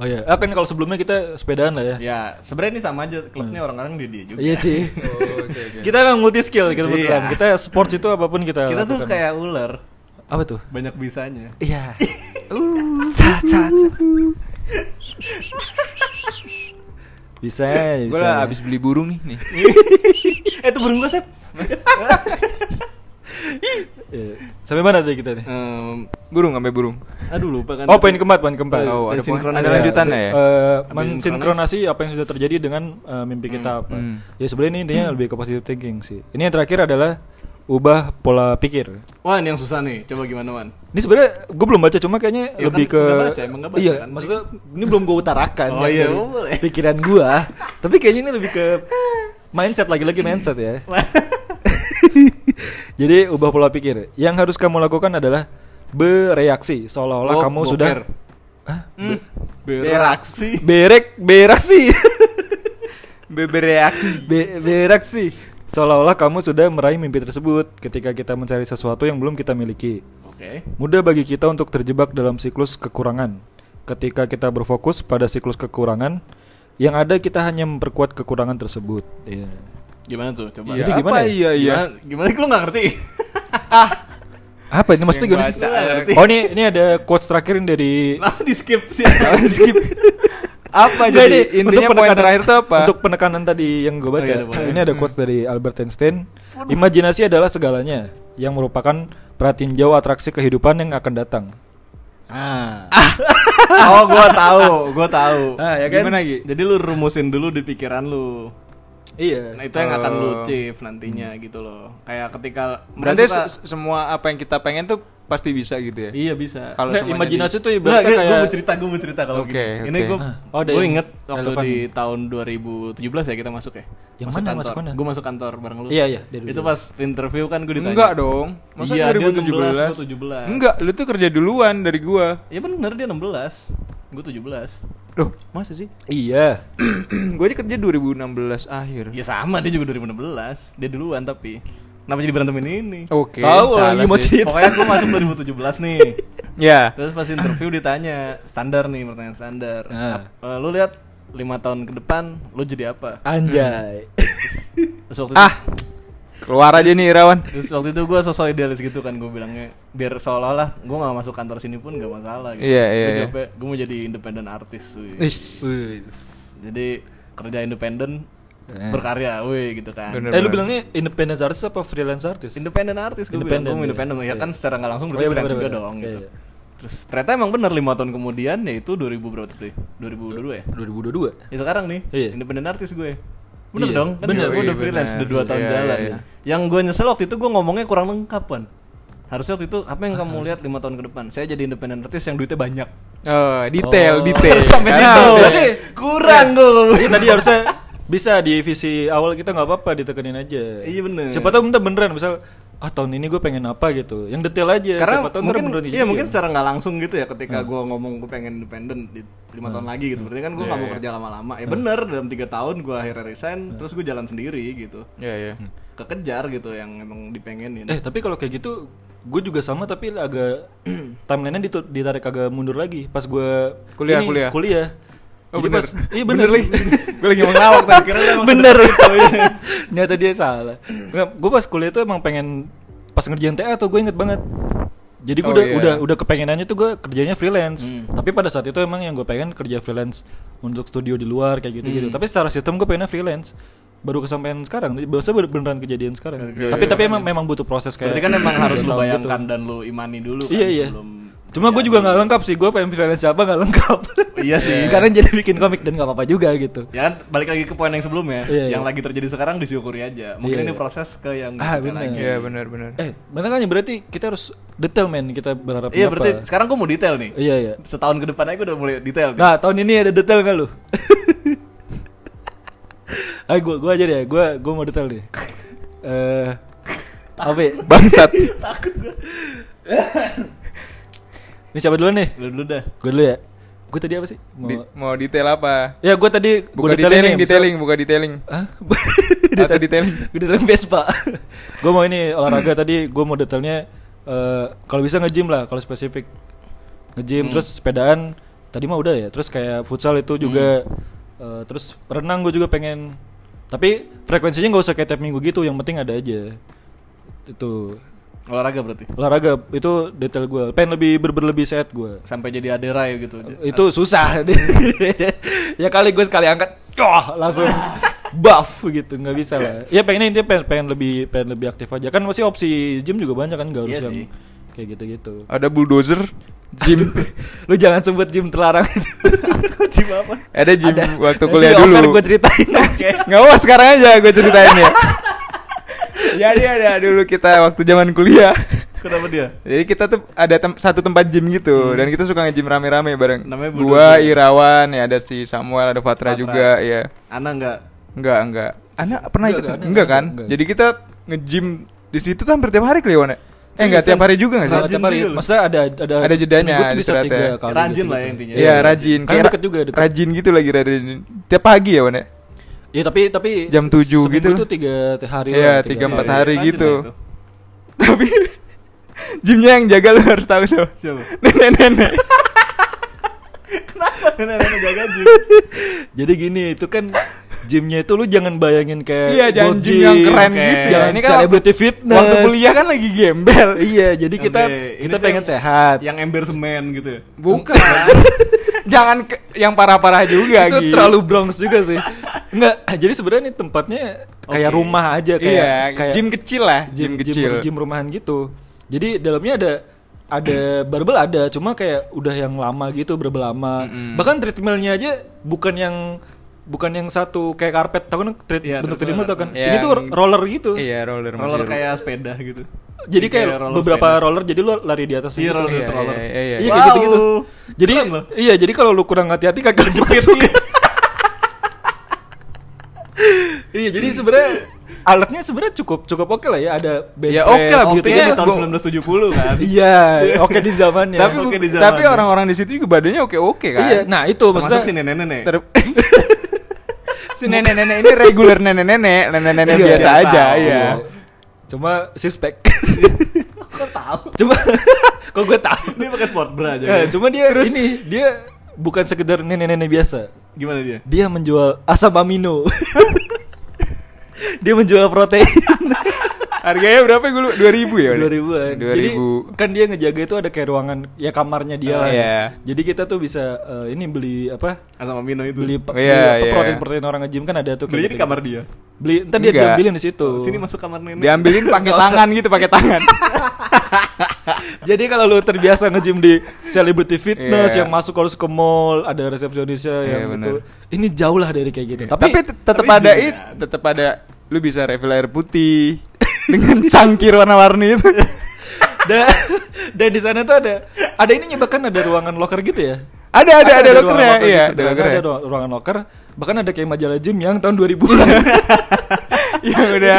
B: Oh iya. Ah, kan kalau sebelumnya kita sepedaan lah ya.
C: Iya
A: Ya, sebenarnya ini sama aja klubnya orang-orang dia dia juga.
B: Iya sih.
C: Oh, oke, oke.
B: Kita emang multi skill kita beneran.
A: Iya.
B: Kita sports itu apapun kita.
A: Kita tuh
B: lakukan.
A: kayak ular,
B: apa tuh?
A: banyak bisanya.
B: Iya. Bisa, iya, bisa.
C: Gue lah abis beli burung nih, nih.
A: eh, itu burung gue, Sep.
B: Iya. Sampai mana tadi kita nih?
C: Eh,
A: Em,
C: Burung sampai burung.
A: aduh lupa kan.
B: Oh, poin keempat, poin keempat.
A: Oh,
C: Oh, ada, poin-
A: sinkronisasi.
C: ada lanjutannya ya.
B: Eh,
A: Habis
B: mensinkronasi apa yang sudah terjadi dengan eh, mimpi kita apa.
C: hmm.
B: Ya sebenarnya ini intinya lebih ke positive thinking sih. Ini yang terakhir adalah ubah pola pikir.
A: Wah, ini yang susah nih. Coba gimana, Wan?
B: Ini sebenarnya gue belum baca cuma kayaknya
A: Ya
B: lebih
A: kan,
B: ke
A: udah baca, emang nggak baca
B: iya
A: kan?
B: maksudnya ini belum gue utarakan
A: Oh
B: yang
A: iya,
B: dari
A: boleh.
B: pikiran gue tapi kayaknya ini lebih ke mindset lagi-lagi mindset ya jadi ubah pola pikir yang harus kamu lakukan adalah bereaksi seolah-olah
A: Bo-
B: kamu
A: boker.
B: sudah Hah?
C: Hmm.
A: Beraksi.
B: berek bereaksi
C: Bebereaksi.
B: Be- bereaksi seolah-olah kamu sudah meraih mimpi tersebut ketika kita mencari sesuatu yang belum kita miliki
A: Oke.
B: Mudah bagi kita untuk terjebak dalam siklus kekurangan. Ketika kita berfokus pada siklus kekurangan, yang ada kita hanya memperkuat kekurangan tersebut. Iya.
A: Gimana tuh? Coba.
B: Jadi
C: Iya,
B: gimana
C: apa
B: ya? Ah.
C: Iya, iya.
A: Gimana? Gimana? Lu nggak ngerti?
B: Apa ini maksudnya
C: Yang
B: gimana?
C: baca,
B: sih?
A: ngerti.
B: Oh, ini ini ada quotes terakhir ini dari
A: Langsung di skip sih.
C: skip. apa
B: Nggak, Nah,
C: jadi
B: ini
C: intinya
B: untuk
C: poin
B: penekanan-
C: terakhir tuh apa?
B: Untuk penekanan tadi yang gue
A: Oh,
B: baca.
A: iya, ada poin.
B: ini ada quotes dari Albert Einstein. Hmm. Imajinasi adalah segalanya yang merupakan pratinjau atraksi kehidupan yang akan datang.
A: oh, gua tahu, gua tahu.
B: Ah, ya kan?
C: Gimana, Gi?
A: Jadi lu rumusin dulu di pikiran lu.
B: Iya.
A: Nah, itu yang akan lu
C: Oh.
A: achieve nantinya gitu loh. Kayak ketika
C: Berarti
A: mereka-
C: se- semua apa yang kita pengen tuh pasti bisa gitu ya.
A: Iya bisa.
C: Kalau
B: Nggak,
C: semuanya
B: Eh, imajinasi
C: di-
B: tuh
A: Enggak,
B: ibaratnya
A: gue,
B: kayak
A: mau cerita, gue mau cerita kalau
C: Oke,
A: gini. Ini
C: oke.
A: gue,
B: Ah, oh, ada
A: gue
B: yang
A: inget waktu
B: relevan.
A: di tahun 2017 ya kita masuk ya.
B: Yang mana
A: kantor.
B: masuk mana?
A: Gue masuk kantor bareng lu.
B: Iya, iya, dari
A: Itu
B: 2017.
A: pas interview kan gue ditanya.
C: Enggak dong. Masa
A: Iya, dia
C: 2017?
A: 16, gua 17.
C: Enggak, lu tuh kerja duluan dari gua.
A: Ya bener dia 16. Gue 17.
C: Loh, masa sih?
B: Iya.
C: gua aja kerja 2016 akhir.
A: Ya sama, dia juga 2016. Dia duluan tapi. Kenapa jadi berantem ini? ini?
C: Oke.
B: Tahu
C: salah
B: lagi mau
C: sih.
B: cerita.
A: Pokoknya gue masuk 2017 nih.
C: Ya.
A: Terus pas interview ditanya, standar nih pertanyaan standar.
B: Ah.
A: Ap- eh, lu lihat 5 tahun ke depan lu jadi apa?
B: Anjay.
A: Terus waktu itu-
C: Ah. Keluar aja nih Irawan.
A: Terus waktu itu gue sosok idealis gitu kan gue bilangnya biar seolah-olah gue nggak masuk kantor sini pun gak masalah gitu.
C: Iya, iya, iya.
A: Gue mau jadi independen artis. wih.
C: Ish.
A: Jadi kerja independen
C: Eh.
A: berkarya, wih gitu kan.
C: Bener.
B: Eh lu bilangnya independence artist apa freelance artist?
A: Independen artis gue bilang
B: Independen,
A: gue mau
B: iya.
A: independen ya kan
B: Iya.
A: secara nggak langsung
B: Oh,
A: berarti
B: iya,
A: freelance
B: bener,
A: juga
B: bener.
A: dong
B: Iya,
A: gitu.
B: iya.
A: Terus ternyata emang bener 5 tahun kemudian yaitu 2000 berapa tuh? 2002 ya?
B: 2022.
A: Ya sekarang nih,
B: Iya.
A: independen artis gue. Bener
B: Iya,
A: dong, kan
B: bener.
A: gue udah
C: Iya,
A: freelance
C: bener.
A: udah 2 tahun
C: Iya,
A: jalan.
C: iya, iya.
A: Yang gue nyesel waktu itu gue ngomongnya kurang lengkap kan. Harusnya waktu itu apa yang
B: Ah.
A: kamu lihat lima tahun ke depan? Saya jadi independen artis yang duitnya banyak.
C: Oh, detail,
B: Oh.
C: detail.
A: Sampai
C: Karena
A: situ.
C: udah-
A: Berarti kurang gue.
B: Iya tadi harusnya bisa di visi awal kita nggak apa-apa ditekenin aja.
A: Iya, bener.
B: Siapa tahu bentar beneran misal ah tahun ini gue pengen apa gitu yang detail aja
A: Karena
B: Siapa tahu ntar
A: mungkin,
B: beneran
A: iya
B: dijadiin.
A: mungkin secara nggak langsung gitu ya
B: Hmm.
A: ketika gua ngomong gue pengen independen di lima tahun lagi gitu. Berarti kan
B: Iya,
A: gua nggak mau kerja lama-lama.
B: Hmm.
A: Ya bener dalam tiga tahun gua akhirnya resign, terus gue jalan sendiri gitu.
C: Iya, iya.
A: Kekejar gitu yang emang dipengenin.
B: eh tapi kalau kayak gitu gue juga sama tapi agak timelinenya ditu- ditarik agak mundur lagi pas gue
C: Kuliah, kuliah.
B: kuliah
C: Oh,
B: Jadi
C: bener.
B: pas- iya bener,
C: Bener, Li.
A: gue lagi mau ngelawak tadi kira lu emang
B: bener
A: Iya,
B: nyata Oh, iya. dia salah gue pas kuliah tuh emang pengen pas ngerjain TA tuh gue inget banget jadi gue
C: Oh,
B: udah,
C: iya.
B: udah udah kepengenannya tuh gue kerjanya freelance
A: Hmm.
B: tapi pada saat itu emang yang gue pengen kerja freelance untuk studio di luar kayak gitu gitu
A: Hmm.
B: tapi secara sistem gue pengennya freelance baru kesampaian sekarang biasanya bener- beneran kejadian sekarang
A: Iya,
B: tapi
A: iya,
B: tapi emang memang butuh proses kayak
A: Berarti kan emang harus lu
B: tahun gitu.
A: bayangkan dan lu imani dulu kan
B: iya iya
A: sebelum ya,
B: cuma gue
A: jadi.
B: juga nggak lengkap sih gue pengen freelance siapa nggak lengkap
A: Iya sih.
B: sekarang jadi bikin komik dan nggak apa-apa juga gitu
A: Ya kan balik lagi ke poin yang sebelumnya,
B: Iya,
A: yang
B: iya.
A: lagi terjadi sekarang disyukuri aja. Mungkin
B: Iya.
A: ini proses ke yang
B: Ah,
A: kita
B: bener.
A: lagi.
C: Iya, benar benar.
B: Eh, makanya berarti kita harus detail men kita berharap
A: Iya
B: apa.
A: berarti sekarang gue mau detail nih.
B: Iya, iya.
A: Setahun ke depan aja gue udah mulai detail. nih.
B: Nah, tahun ini ada detail gak lu? Ayo gua gua aja deh, gua gua mau detail deh. Eh apa ya?
C: Bangsat.
B: Ini siapa dulu nih?
A: Lu dulu dah.
B: Gua dulu ya. Gua tadi apa sih? Mau...
C: Di- mau detail apa?
B: Ya, gua tadi
C: Buka
B: gua
C: detailing,
B: nih,
C: detailing, buka detailing.
B: misal- Hah? detail,
C: Atau detailing.
B: Gua detailing Vespa. gua mau ini olahraga tadi, gua mau detailnya eh kalau bisa nge-gym lah, kalau spesifik. Nge-gym terus sepedaan tadi mah udah ya. Terus kayak futsal itu juga eh, terus renang gue juga pengen. Tapi frekuensinya nggak usah kayak tiap minggu gitu, yang penting ada aja. Itu
A: Olahraga berarti.
B: olahraga itu detail gue. Pengen lebih berber lebih sehat gue.
A: Sampai jadi aderai gitu.
B: Itu susah. ya kali gue sekali angkat, wah langsung buff gitu nggak bisa lah. Ya pengennya intinya pengen, pengen lebih pengen lebih aktif aja. Kan masih opsi gym juga banyak kan nggak harus
A: Iya
B: yang
A: sih.
B: kayak gitu-gitu.
C: Ada bulldozer, gym.
B: Lu jangan sebut gym terlarang itu.
A: Gym apa?
C: Ada gym Hmm, waktu
B: Nanti
C: kuliah
B: di offer
C: dulu.
B: Gue ceritain aja.
C: Nggak mau sekarang aja gue ceritain ya. Jadi ada dulu kita waktu zaman kuliah.
A: Kenapa dia?
C: Jadi kita tuh ada tem- satu tempat gym
B: Hmm.
C: gitu dan kita suka nge-gym rame-rame bareng.
A: Namanya
C: Gua,
A: bulldozer.
C: Irawan, ya ada si Samuel, ada Fatra
A: Fatra.
C: juga, ya.
A: Ana nggak?
C: Enggak, enggak. Anda pernah
B: Enggak,
C: ikut?
B: enggak,
C: Enggak,
B: enggak,
C: kan?
B: enggak.
C: Jadi kita nge-gym di situ tuh hampir tiap hari kali, Wan. ya? Eh, enggak tiap hari juga enggak sih? Iya,
B: Nggak, tiap hari.
A: juga lu.
B: Maksudnya ada ada
C: Ada jedanya,
B: seminggu tuh
C: ada
B: bisa
C: istirahat
B: tiga
C: ya.
B: kali
A: Rajin
B: gitu-gitu.
A: lah ya intinya.
C: Iya, rajin.
B: Karena
C: Kayak
B: deket juga, deket.
C: Rajin gitu lagi rajin. Tiap pagi ya, Wan. ya?
B: Ya tapi tapi
C: Jam 7
B: seminggu
C: gitu
B: tuh
C: loh.
B: tiga hari.
C: Iya,
B: lah,
C: tiga, empat
A: hari.
C: hari
A: Rajin
C: gitu.
A: lah itu.
C: Tapi gymnya yang jaga lu harus tahu siapa.
A: Siapa?
C: Nenek-nenek.
A: Kenapa nenek jaga gym?
B: Jadi gini, itu kan gymnya itu lu jangan bayangin kayak
C: Iya, jangan
B: gold
C: gym yang keren
B: kayak
C: gitu.
B: Jangan
C: Ini kan
B: celebrity fitness.
C: Waktu kuliah kan lagi gembel.
B: Iya, jadi kita
A: Oke, ini
B: kita
A: tuh
B: pengen
A: yang-
B: sehat.
A: Yang ember semen gitu ya.
C: Bukan. Jangan ke- yang parah-parah juga
B: itu
C: gitu.
B: terlalu Bronx juga sih. Enggak, jadi sebenarnya ini tempatnya kayak
A: Oke.
B: rumah aja kayak
C: iya,
B: kayak
C: gym kecil lah,
B: gym
C: gym, kecil.
B: gym rumahan gitu. Jadi dalamnya ada ada barbel ada, cuma kayak udah yang lama gitu barbel lama.
C: Mm-mm.
B: Bahkan treadmillnya aja bukan yang bukan yang satu kayak karpet, tau kan tread,
A: Iya,
B: bentuk
A: treadmill.
B: treadmill tau kan?
C: Iya,
B: Ini tuh
C: yang-
B: roller gitu.
C: Iya, roller
A: Roller
C: masih-
A: kayak sepeda gitu.
B: Jadi kayak
A: roller
B: beberapa
A: sepeda.
B: roller jadi lu lari di atas
A: Iya,
B: gitu.
A: roller
C: Iya,
A: roller.
C: iya, iya, iya.
B: Iya, kayak gitu-gitu. Jadi
A: Keren loh.
B: iya, jadi kalau lu kurang hati-hati kagak masuk. iya, jadi sebenarnya alatnya sebenarnya cukup cukup oke lah ya, ada bench
C: Ya, oke
B: press
C: lah,
A: Waktu
B: gitu-gitu.
A: itu di tahun
C: Bo-
A: 1970 kan.
B: Iya, oke di zamannya.
C: Tapi
A: Oke
C: bu-
A: di zaman.
C: tapi orang-orang di situ juga badannya oke-oke kan.
B: iya, nah itu maksudnya
A: Termasuk si nenek-nenek.
C: Ter- si nenek-nenek ini reguler nenek-nenek, nenek-nenek
B: Iya,
C: biasa
A: biasa.
C: aja,
A: Oh.
C: iya.
B: cuma six pack.
A: Kok tahu?
B: cuma kok gue tahu.
A: Dia pakai sport bra aja.
B: Ya,
A: kan?
B: cuma dia ini dia bukan sekedar nenek-nenek biasa.
A: Gimana dia?
B: Dia menjual asam amino. dia menjual protein.
C: Harganya berapa gue lu? 2000 ya?
B: 2000-an.
C: 2000.
B: Jadi kan dia ngejaga itu ada kayak ruangan ya kamarnya dia
C: Oh,
B: lah.
C: iya.
B: Jadi kita tuh bisa eh, ini beli apa?
A: Asam amino Ah, itu.
B: Beli pe-
C: Oh, iya,
B: beli apa,
C: iya.
B: protein-protein orang nge-gym kan ada tuh. kayak
A: Belinya di
B: gitu.
A: kamar dia. Oh,
B: Beli entar dia
C: Enggak.
B: diambilin di situ.
A: Sini masuk kamar nenek.
C: Diambilin pakai
B: Nggak usah.
C: tangan gitu, pakai tangan.
B: Jadi kalau lu terbiasa nge-gym di Celebrity Fitness
C: Iya.
B: yang masuk harus ke mall, ada resepsionisnya
C: Iya,
B: yang
C: bener.
B: gitu. Ini jauh lah dari kayak gitu.
C: tapi
B: Tapi,
C: tetap
A: tapi
C: ada
A: gym
C: itu,
A: kan?
C: tetap ada lu bisa refill air putih dengan cangkir warna-warni itu.
B: dan, dan di sana tuh ada ada ininya bahkan ada ruangan locker gitu ya.
C: Iya, ada ada ada,
B: ruangan
C: lokernya,
B: locker gitu
C: iya, ada
B: sederhana,
C: lokernya.
B: ada ruang- ruangan locker bahkan ada kayak majalah gym yang tahun 2000 an
C: yang Iya, udah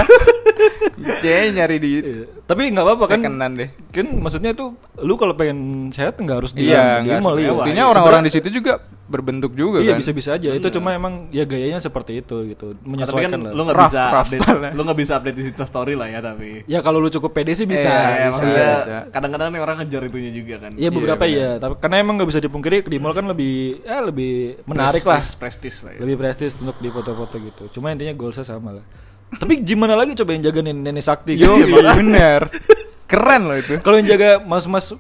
C: C nyari di
B: Iya. Tapi nggak apa-apa kan?
C: secondan deh.
B: Kan maksudnya itu lu kalau pengen sehat nggak harus di
C: Iya, nggak
B: mall iya.
C: Buktinya
B: Iya,
C: orang-orang di
B: sebenarnya-
C: situ juga berbentuk juga
B: Iya
C: kan.
B: bisa-bisa aja. Itu cuma emang ya gayanya seperti itu
A: tapi
B: gitu.
A: kan
B: Menyesuaikan lah.
A: lu nggak
C: Rough,
A: bisa
C: rough
A: update,
C: style ya.
A: lu nggak bisa update di Insta story lah ya tapi.
B: Ya kalau lu cukup pede sih bisa.
A: Ya,
C: Iya, iya,
B: bisa.
A: maksudnya
C: bisa.
A: kadang-kadang nih orang ngejar itunya juga kan.
B: Iya beberapa
C: benar.
B: iya, tapi karena emang nggak bisa dipungkiri di mall kan lebih ya lebih menarik lah,
A: Prestis- prestis lah ya.
B: lebih prestis untuk di foto-foto gitu. Cuma intinya goalsnya sama lah. Tapi gimana lagi coba yang jaga Nen- Nenek Sakti?
C: Yo, iya,
B: gitu.
C: bener. Keren loh itu.
B: Kalau yang jaga mas-mas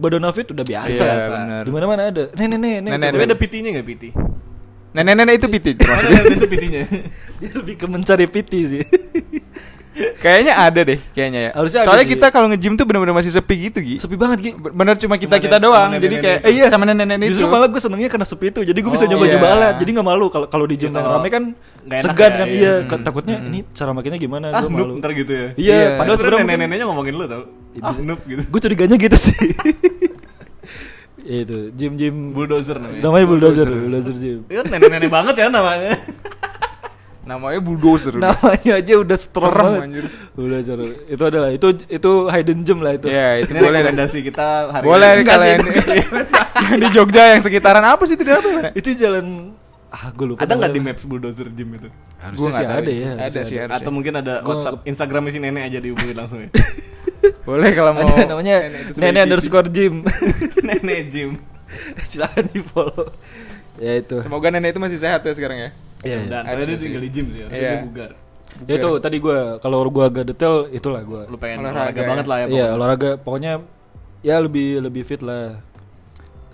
B: badan fit udah biasa.
C: Iya,
B: Sa.
C: benar.
B: Dimana-mana ada. Nenek nenek
C: Nenek,
A: Tapi
B: coba.
A: ada PT-nya nggak PT?
C: Nenek-nenek itu piti.
A: Mana ada itu PT-nya?
C: Ah,
B: Dia lebih ke mencari piti sih.
C: Kayaknya ada deh, kayaknya ya.
B: Harusnya ada
C: Soalnya
B: sih.
C: kita kalau nge-gym tuh bener-bener masih sepi gitu, Gi.
B: Sepi banget Gi.
C: Bener cuma
A: Cuma
C: kita-kita
A: nenek-
C: doang.
A: cuma
C: Jadi
A: nenek-nenek
C: kayak
A: itu.
C: eh, iya sama nenek-nenek itu.
B: Justru malah gue senengnya karena sepi itu. Jadi gue bisa
C: Oh,
B: nyoba-nyoba
C: iya.
B: alat. Jadi nggak malu kalau kalau di
A: Iya,
B: gym yang
A: kalau
B: rame kan
A: nggak enak
B: segan
A: ya,
B: kan
A: iya.
B: iya.
A: Hmm,
B: Kan takutnya ini cara makinnya gimana?
A: Ah,
B: Gue malu.
A: noob ntar gitu ya.
B: Iya,
C: Iya.
B: padahal
A: Padahal
B: sebenarnya
A: sebenarnya
B: mungkin-
A: nenek-neneknya ngomongin lu tau. Ah, noob gitu.
B: gue curiganya gitu sih ya itu gym gym
A: Bulldozer namanya.
B: namanya bulldozer bulldozer gym
A: Iya, nenek-nenek banget ya namanya.
C: Namanya bulldozer. udah.
B: namanya aja udah strong
C: Serem,
B: banget
C: anjir.
B: bulldozer itu adalah itu itu hidden gym lah itu
C: Iya, itu
A: Ini
C: boleh deh.
A: rekomendasi kita hari
C: Boleh
A: ini.
C: kalian
A: kan-
C: yang di Jogja yang sekitaran apa sih tidak apa? ya?
B: itu jalan ah gue lupa
A: Ada nggak di
B: namanya.
A: maps bulldozer gym itu?
B: harusnya
C: Gua nggak
B: sih
C: tahu
B: ada
C: sih.
B: ya
C: Ada
B: harusnya
C: sih harusnya.
A: Atau mungkin ada
B: Gua-
A: WhatsApp Instagramnya si nenek aja dihubungin langsung ya.
C: Boleh kalau mau.
B: ada namanya
C: itu sebagai
B: nenek
C: tips.
B: underscore gym
A: nenek gym.
B: silakan di follow ya itu
C: Semoga nenek itu masih sehat ya sekarang ya.
A: Dan
B: Iya, iya.
A: soalnya dia
C: Harusnya
A: tinggal
C: sih.
A: di gym sih, harusnya
C: Iya.
A: dia bugar.
B: ya itu tadi gue kalau gue agak detail itulah gue
A: Lu pengen
C: Olahraga
A: olahraga
C: ya.
A: banget lah ya.
B: Iya olahraga pokoknya ya lebih lebih fit lah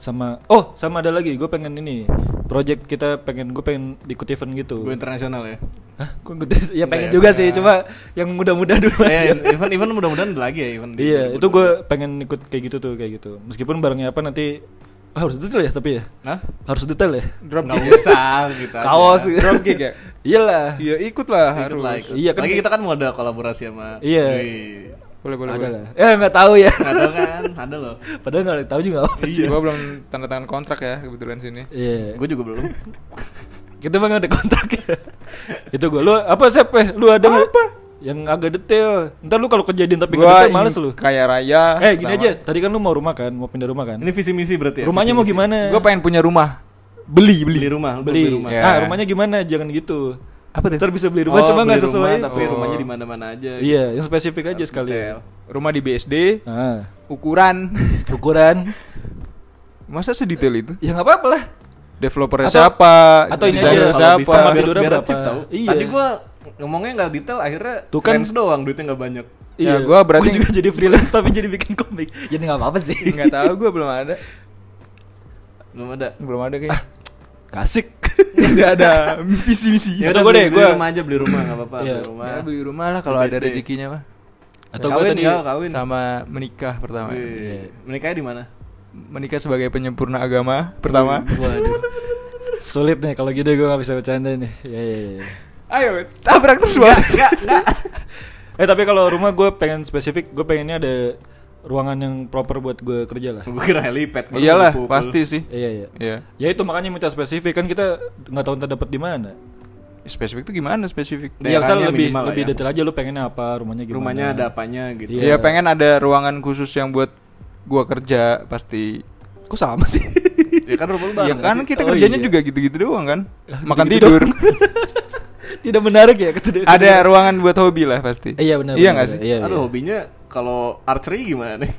B: sama oh sama ada lagi gue pengen ini project kita pengen gue pengen ikut event gitu
A: Gue internasional ya.
B: Hah? Gua ikut- ya pengen
C: Enggak ya,
B: juga
C: enggak.
B: sih cuma yang muda-muda dulu
A: Eh,
B: aja
A: event event mudah-mudahan ada lagi ya event. di-
B: iya
A: di-
B: itu gue pengen ikut kayak gitu tuh kayak gitu meskipun barangnya apa nanti ah, harus detail ya tapi ya
A: Hah?
B: harus detail ya
C: Drop
A: Nggak
C: kick.
A: usah gitu. aja.
B: kaos
C: Dropkick ya?
B: iyalah
C: Iya ikut lah
A: Ikut
C: harus.
A: lah, ikut.
B: Iya, kan-
A: Lagi kita kan mau ada kolaborasi sama.
B: Iya.
A: Wih.
C: Boleh boleh
B: ada
C: boleh.
B: lah ya nggak tahu ya
A: Ada kan? Ada loh.
B: padahal nggak tahu juga apa sih
C: Gua belum tanda tangan kontrak ya kebetulan sini.
B: iya
A: Gue juga belum.
B: Kita emang ada kontrak ya. itu gue lu apa Sep? Eh, Lu ada apa? Yang agak detail. Ntar lu kalau kejadian tapi nggak
C: Gua
B: detail males
C: ingin
B: lu.
C: Kaya raya.
B: eh gini
C: sama-
B: aja, tadi kan lu mau rumah kan, mau pindah rumah kan.
A: Ini visi misi berarti ya.
B: rumahnya mau gimana?
C: Gua pengen punya rumah. Beli
A: beli
C: beli.
A: rumah, lu
B: beli.
A: beli rumah.
C: Ya.
B: Ah, rumahnya gimana? Jangan gitu.
C: Apa tuh?
B: Ntar bisa beli rumah
A: Oh,
B: cuma nggak
A: beli rumah,
B: sesuai.
A: tapi
C: Oh.
A: rumahnya di mana-mana aja. gitu.
B: Iya, yang spesifik aja sekali.
A: detail.
C: Rumah di BSD.
B: Ah.
C: Ukuran.
B: Ukuran
C: Masa sedetail itu?
B: ya nggak apa-apa lah.
C: Developernya
B: Atau-
C: siapa?
B: atau ini
C: desainer
B: aja,
A: kalau
C: siapa?
A: bisa
B: Kamar
A: biar,
B: tidurnya
A: biar
B: berapa?
A: cheap tau.
B: Iya.
A: Tadi gua ngomongnya nggak detail akhirnya
B: Tuh kan-
A: friends doang duitnya nggak banyak.
C: Ya, gua berarti-
B: Iya, juga jadi freelance tapi jadi bikin komik. Jadi nggak apa-apa sih.
C: Enggak tahu gua belum ada.
A: Belum ada.
C: Belum ada kayaknya.
B: Kasik.
C: Tidak ada visi misi.
B: Ya
A: Ya udah
B: udah, gua
A: beli,
B: deh,
A: beli
B: gua-
A: rumah aja beli rumah nggak apa-apa
B: Iya.
A: beli rumah.
C: Ya, beli rumah lah kalau ada
A: BSD.
C: rezekinya mah.
B: Atau
A: Kawin
B: gue tadi
A: nggak, kawin. Iya.
C: Sama menikah pertama. Iya.
A: Wih, Menikahnya di mana?
C: Menikah sebagai penyempurna agama pertama.
B: Waduh. Sulit nih kalau gitu gue gak bisa bercanda nih. Ya, ya, ya.
C: Ayo, tabrak terus bos.
B: Eh tapi kalau rumah gue pengen spesifik, gue pengennya ada ruangan yang proper buat gue kerja lah.
A: Gue kira helipad. baru
C: Iyalah,
A: dipukul.
C: pasti sih.
B: Iya iya.
C: Iya.
B: Ya itu makanya minta spesifik kan kita nggak tahu ntar dapat di mana.
C: Spesifik tuh gimana spesifik?
A: Daerahnya
B: Ya misalnya lebih
A: minimal lah
B: lebih
A: ya.
B: detail aja lu pengennya apa, rumahnya gimana.
A: Rumahnya ada apanya gitu.
B: Iya.
C: Iya, pengen ada ruangan khusus yang buat gua kerja pasti.
B: Kok sama sih?
A: Ya kan rumah lu bareng.
C: Iya kan
A: nggak
C: kita
B: Oh,
C: kerjanya
B: iya.
C: juga gitu-gitu doang kan.
B: Ah,
C: Makan
B: gitu-gitu
C: tidur.
B: Tidak menarik ya kata
C: ada ruangan buat hobi lah pasti.
B: Iya benar.
C: Iya
B: benar,
C: nggak
B: benar.
C: sih?
A: sih?
B: Iya,
A: Aduh
B: iya.
A: hobinya kalau archery gimana nih?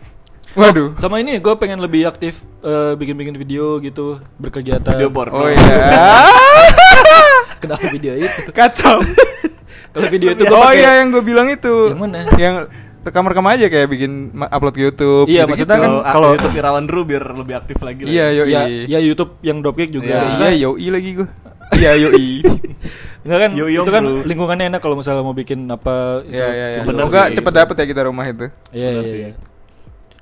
C: Waduh.
B: Sama ini gue pengen lebih aktif eh, bikin-bikin video gitu, berkegiatan.
A: Video porno.
C: Oh iya.
B: Kenapa video itu?
C: Kacau.
B: Kalau video itu gua
C: Oh
B: pakai-
C: iya yang gue bilang itu.
B: Yang mana?
C: Yang rekam-rekam aja kayak bikin ma- upload ke YouTube.
B: Iya,
C: gitu-gitu.
B: maksudnya kan
A: Kalau kalau
B: kalau-
A: YouTube Irawan Drew biar lebih aktif lagi lah.
C: Iya,
A: ya.
C: yoi.
B: Ya, ya YouTube yang dropkick juga.
A: Iya.
C: Iya,
B: Maksudnya-
C: yoi lagi gue. Iya, yoi.
B: Enggak kan?
A: Yo, yo,
B: itu kan
A: bro.
B: lingkungannya enak kalau misalnya mau bikin apa
C: Iya, iya, iya.
B: video.
A: Bener
C: Semoga
A: sih.
C: cepet dapet ya kita rumah itu.
B: gitu. Iya,
A: Bener
B: iya,
A: sih.
B: iya.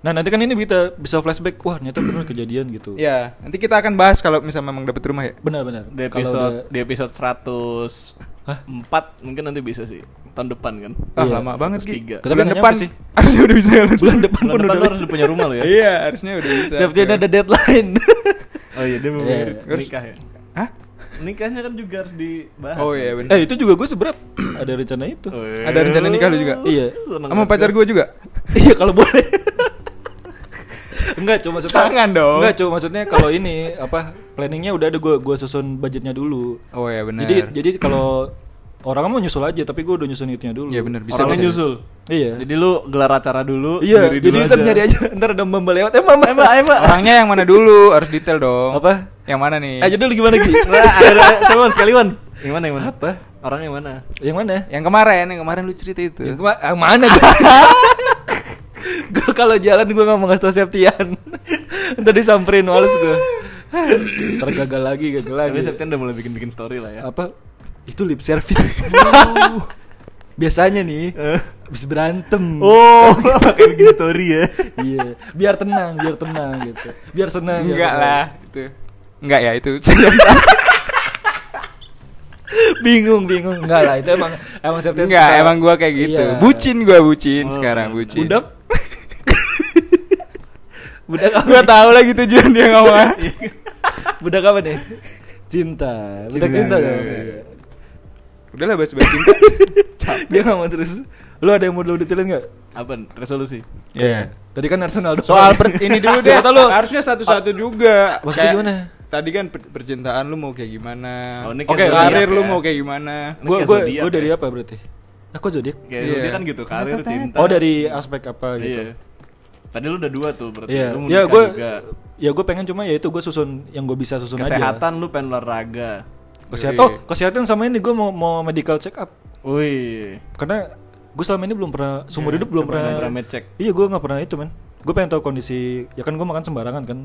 B: Nah, nanti kan ini kita bisa flashback. Wah, ternyata benar kejadian gitu.
C: Iya, nanti kita akan bahas kalau misalnya memang dapet rumah ya.
B: Benar, benar.
A: Di
B: Kalau
A: episode
B: udah-
A: di episode 100
B: Hah?
A: empat mungkin nanti bisa sih tahun depan kan
C: Ah,
B: Iya,
C: lama banget sih.
A: 103.
B: Tapi
C: Bulan
B: nanya
C: depan
B: apa sih?
C: harusnya udah bisa jalan.
B: bulan depan
A: Bulan
B: pun
A: depan
B: udah
A: lu harus punya rumah lo ya
C: Iya, harusnya udah bisa.
B: Siapnya ada deadline.
A: oh iya dia mau
B: Iya.
A: menikah ya
C: Hah?
A: nikahnya kan juga harus dibahas.
C: Oh
A: kan?
C: iya benar. Oh, iya.
B: Eh itu juga gue seberat ada rencana itu.
A: Eh,
C: Ada rencana nikah lu juga?
B: Iya.
A: seneng
C: Sama
A: banget.
C: pacar gue juga.
B: Iya kalau boleh. Enggak cuma maksudnya
C: Jangan dong.
B: Enggak cuma maksudnya kalau ini apa planningnya udah ada gue gue susun budgetnya dulu.
C: Oh iya benar.
B: Jadi jadi kalau orang mau nyusul aja tapi gue udah nyusun itunya dulu.
C: Iya, bener, bisa,
A: Orangnya
C: bisa.
A: nyusul.
B: Iya.
A: Jadi lu gelar acara dulu,
B: iya.
A: sendiri
B: Jadi
A: dulu
B: ntar nyari aja ntar ada mbak lewat eh mama
A: Emang, emang.
C: orangnya yang mana dulu harus detail dong.
B: Apa? Eh,
C: Yang mana nih?
B: Aja Oh. Iya. dulu gimana Gi?
A: Nah, ada, coba sekali Wan. Yang mana yang mana? Apa? Orang yang mana?
B: Yang mana?
C: Yang kemarin, yang kemarin lu cerita itu.
B: Yang kema- ah, mana gue? gue kalau jalan gue nggak mau ngasih tau Septian. Ntar disamperin males gue. Ntar gagal lagi, gagal lagi.
A: Tapi Septian udah mulai bikin-bikin story lah ya.
B: Apa? Itu lip service. Biasanya nih, habis berantem. gitu.
A: Oh, pakai bikin story ya.
B: Iya, biar tenang, biar tenang gitu. Biar senang. biar
C: Enggak
B: tenang.
C: lah, itu. Enggak ya itu.
B: bingung, bingung. Enggak lah, itu emang emang Septian.
C: Enggak,
B: suka-
C: emang gua kayak gitu.
B: Iya.
C: Bucin gua bucin
A: Oh,
C: sekarang
A: bener.
C: bucin.
B: Budak. Budak apa?
C: gua tahu lagi tujuan dia ngomong. apa.
B: Budak apa nih? Cinta. Budak cinta,
C: Cinta,
B: dong.
C: iya.
B: Iya.
C: Udah lah bahas bahas cinta.
B: Dia nggak mau terus. Lu ada yang mau lu detailin nggak?
A: Apa? Resolusi.
C: Iya.
B: Tadi kan Arsenal doang.
C: Soal per- ini dulu deh.
B: Siapa tahu lu. Oh.
C: Harusnya satu-satu juga.
B: Maksudnya gimana?
C: Tadi kan per- percintaan lu mau kayak gimana?
A: Oh, ini kayak
C: Oke,
A: zodiak
C: karir
A: ya.
C: lu mau kayak gimana?
A: Ini
B: Gua
A: kayak
B: gua
A: zodiak
B: gua dari
A: ya.
B: apa berarti? Aku zodiak.
A: Kayak
C: Iya.
A: dia kan gitu, karir cinta.
B: Oh dari aspek apa gitu?
A: Iya. Tadi lu udah dua tuh berarti.
B: Iya.
A: Lu mau
B: Ya
A: nikah
B: gue.
A: juga.
B: Ya gue pengen cuma ya itu gue susun yang gue bisa susun aja.
A: Kesehatan lu pengen olahraga. Iya,
C: Iya,
B: Kesehatan. Oh kesehatan sama ini gue mau mau medical check up
A: Wih.
B: karena gue selama ini belum pernah seumur hidup belum
A: Lu pernah
B: pernah.
A: Iya, pernah ngecek.
B: Iya gue nggak pernah itu men. Gue pengen tahu kondisi. Ya kan gue makan sembarangan kan.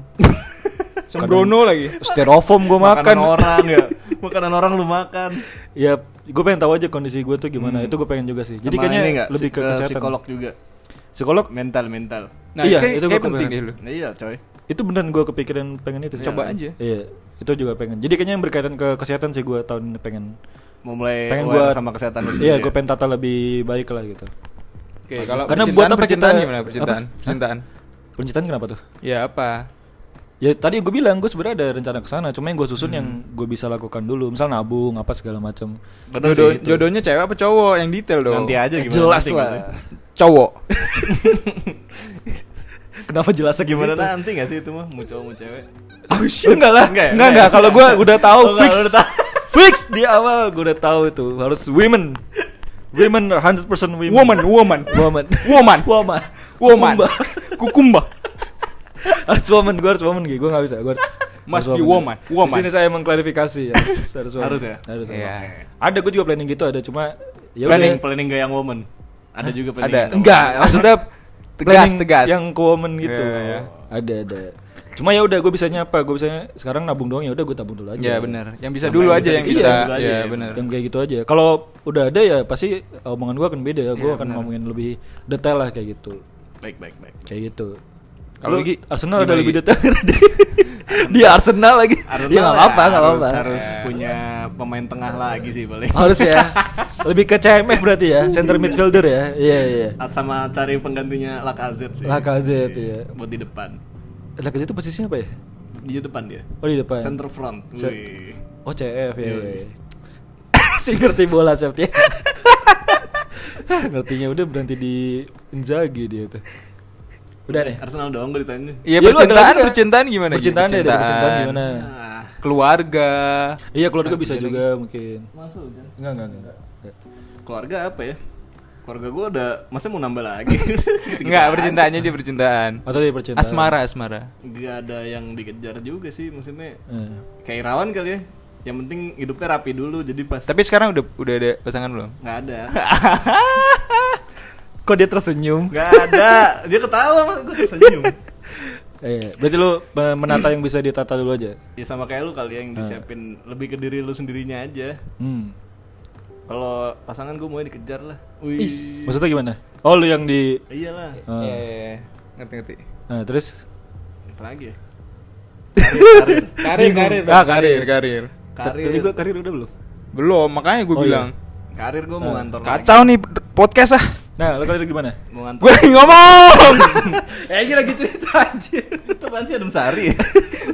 C: Sembrono lagi.
B: Styrofoam gue makan.
A: Makanan orang ya. Makanan orang lu makan.
B: Ya, gue pengen tahu aja kondisi gue tuh gimana. Itu gue pengen juga sih. Jadi
A: Hmm. Sama
B: kayaknya
A: ini nggak?
B: lebih
A: Psi-
B: ke
A: eh,
B: kesehatan.
A: psikolog juga.
B: Psikolog
A: Mental, mental.
B: Iya,
C: Nah, kayak-
B: itu gua
C: kayak penting deh
B: kebetulan.
C: lu.
A: Iya, coy.
B: itu beneran gue kepikiran pengen itu. sih.
C: Coba aja.
B: Iya, itu juga pengen. Jadi kayaknya yang berkaitan ke kesehatan sih gue tahun ini pengen.
A: Mau mulai
B: pengen
A: Eh, aware
B: gue
A: sama kesehatan lu
B: Iya,
A: sendiri. ya?
B: gue pengen tata lebih baik lah gitu.
C: Oke, kalau
B: Karena
C: percintaan,
B: buat apa
C: percintaan
B: kita-
C: gimana?
B: apa?
C: Percintaan,
B: Hah?
C: percintaan.
B: Pencintaan kenapa tuh?
C: Ya apa?
B: Ya tadi gue bilang gue sebenarnya ada rencana ke sana, cuma yang gue susun yang gue bisa lakukan dulu, misal nabung apa segala macam.
A: Bener
C: Jodoh-
A: sih itu.
C: jodohnya cewek apa cowok yang detail dong.
A: Nanti aja
B: Eh,
A: gimana
B: jelas
A: nanti nggak
B: lah.
A: sih?
C: Cowok.
B: Kenapa jelasnya
A: Gimana
B: gimana?
A: nanti gak sih itu mah Mau cowok mau cewek
B: Oh shit. Enggak
A: Enggak
B: lah. Enggak,
A: ya?
B: enggak,
A: Enggak ya?
B: kalau gua udah tahu
A: Oh,
B: fix.
A: kalau udah tahu.
B: fix di awal gua udah tahu itu harus women. Women 100% women.
C: Woman, woman.
B: Woman.
C: Woman.
B: Woman.
C: Woman.
B: Kumba.
C: Kukumba.
B: harus woman, gua harus woman gitu. Gua enggak bisa, gua harus
C: Must
B: harus
C: be woman,
B: Di
C: woman.
B: sini saya mengklarifikasi harus, harus, woman.
A: Harus ya?
B: Harus.
C: Iya.
B: woman. Ada gua juga planning gitu ada cuma ya
A: Planning
B: udah.
A: planning gak yang woman Ada juga planning
C: Ada.
A: gak yang
B: Enggak, maksudnya
C: Tegas,
B: planning
C: tegas.
B: Yang ke woman gitu.
C: Iya, iya.
B: Ada, ada. Cuma ya udah gue bisanya apa? Gue bisanya sekarang nabung doang ya udah gue tabung dulu aja.
C: Ya benar. Yang bisa
A: Yang
C: dulu
A: bisa
C: aja yang
A: dikejar
C: bisa.
A: dulu aja
C: Ya
A: ya.
C: benar.
B: Yang kayak gitu aja. Kalau udah ada ya pasti omongan gua akan beda. Gua
C: Iya,
B: akan
C: benar.
B: ngomongin lebih detail lah kayak gitu.
A: woman. Baik baik baik
B: Kayak gitu.
C: Kalau
B: Kalau
C: Gi,
B: Arsenal ada
C: gimana,
B: lebih
C: Gi?
B: detail tadi. Di Arsenal lagi.
A: Arsenal
B: ya nggak
A: ya,
B: apa-apa, nggak
A: harus-
B: apa-apa.
A: Harus punya pemain tengah lagi sih paling
B: Harus ya. lebih ke CMF berarti ya, center midfielder ya. Iya, iya.
A: At- Sama cari penggantinya Lacazette sih
B: Lacazette,
A: Iya.
B: iya.
A: Buat di depan
B: Lagi itu posisinya apa ya?
A: Di depan dia
B: Oh di depan.
A: Center front
B: Se-
A: Wih.
B: Oh CF ya.
A: Iya.
B: ya. iya. si ngerti bola ya. Septian. Ngertinya udah berhenti di Inzaghi dia tuh. Udah deh.
A: Arsenal doang gue ditanya
B: Ya,
C: Iya
B: lu ada
C: percintaan,
B: lagi nggak?
C: percintaan gimana? Ji?
B: Percintaan ya, deh, dari percintaan gimana?
A: Nah,
C: Keluarga.
B: Iya keluarga bisa juga mungkin.
A: Masuk Jan.
B: Enggak enggak enggak.
A: Keluarga apa ya Keluarga gue udah Masa mau nambah lagi
C: Enggak, percintaannya di percintaan.
B: Atau dari percintaan.
C: Asmara, asmara.
A: Gak ada yang dikejar juga sih Maksudnya
B: Eh.
A: kayak Irawan kali ya yang penting hidupnya rapi dulu jadi pas
C: Tapi sekarang udah udah ada pasangan belum?
A: nggak ada
B: Kok dia tersenyum?
A: nggak ada dia ketawa mas gue tersenyum
B: Eh, berarti lu eh, menata yang bisa ditata dulu aja.
A: ya sama kayak lu kali ya,
C: Eh.
A: yang disiapin lebih ke diri lu sendirinya aja
B: Hmm.
A: kalau pasangan gue mau dikejar lah wih
B: Is. Maksudnya gimana? Oh lu yang di
A: iyalah
B: Ah.
C: iya. Ngerti, ngerti.
B: Nah, terus
A: apalagi ya
C: Karir,
B: Bingung.
C: karir.
B: Ah,
C: karir,
B: karir.
C: karir.
A: karir
B: Tadi gua
C: kan-
B: karir udah belum?
C: Belum, makanya gue
B: Oh, iya.
C: bilang.
A: karir gue mau ngantor lagi
C: Kacau nih podcast ah.
B: Nah, lo kali itu gimana?
A: Mau ngantuk.
C: Gue lagi ngomong.
B: Eh, ini lagi cerita anjir.
A: Itu apaan sih Adam Sari?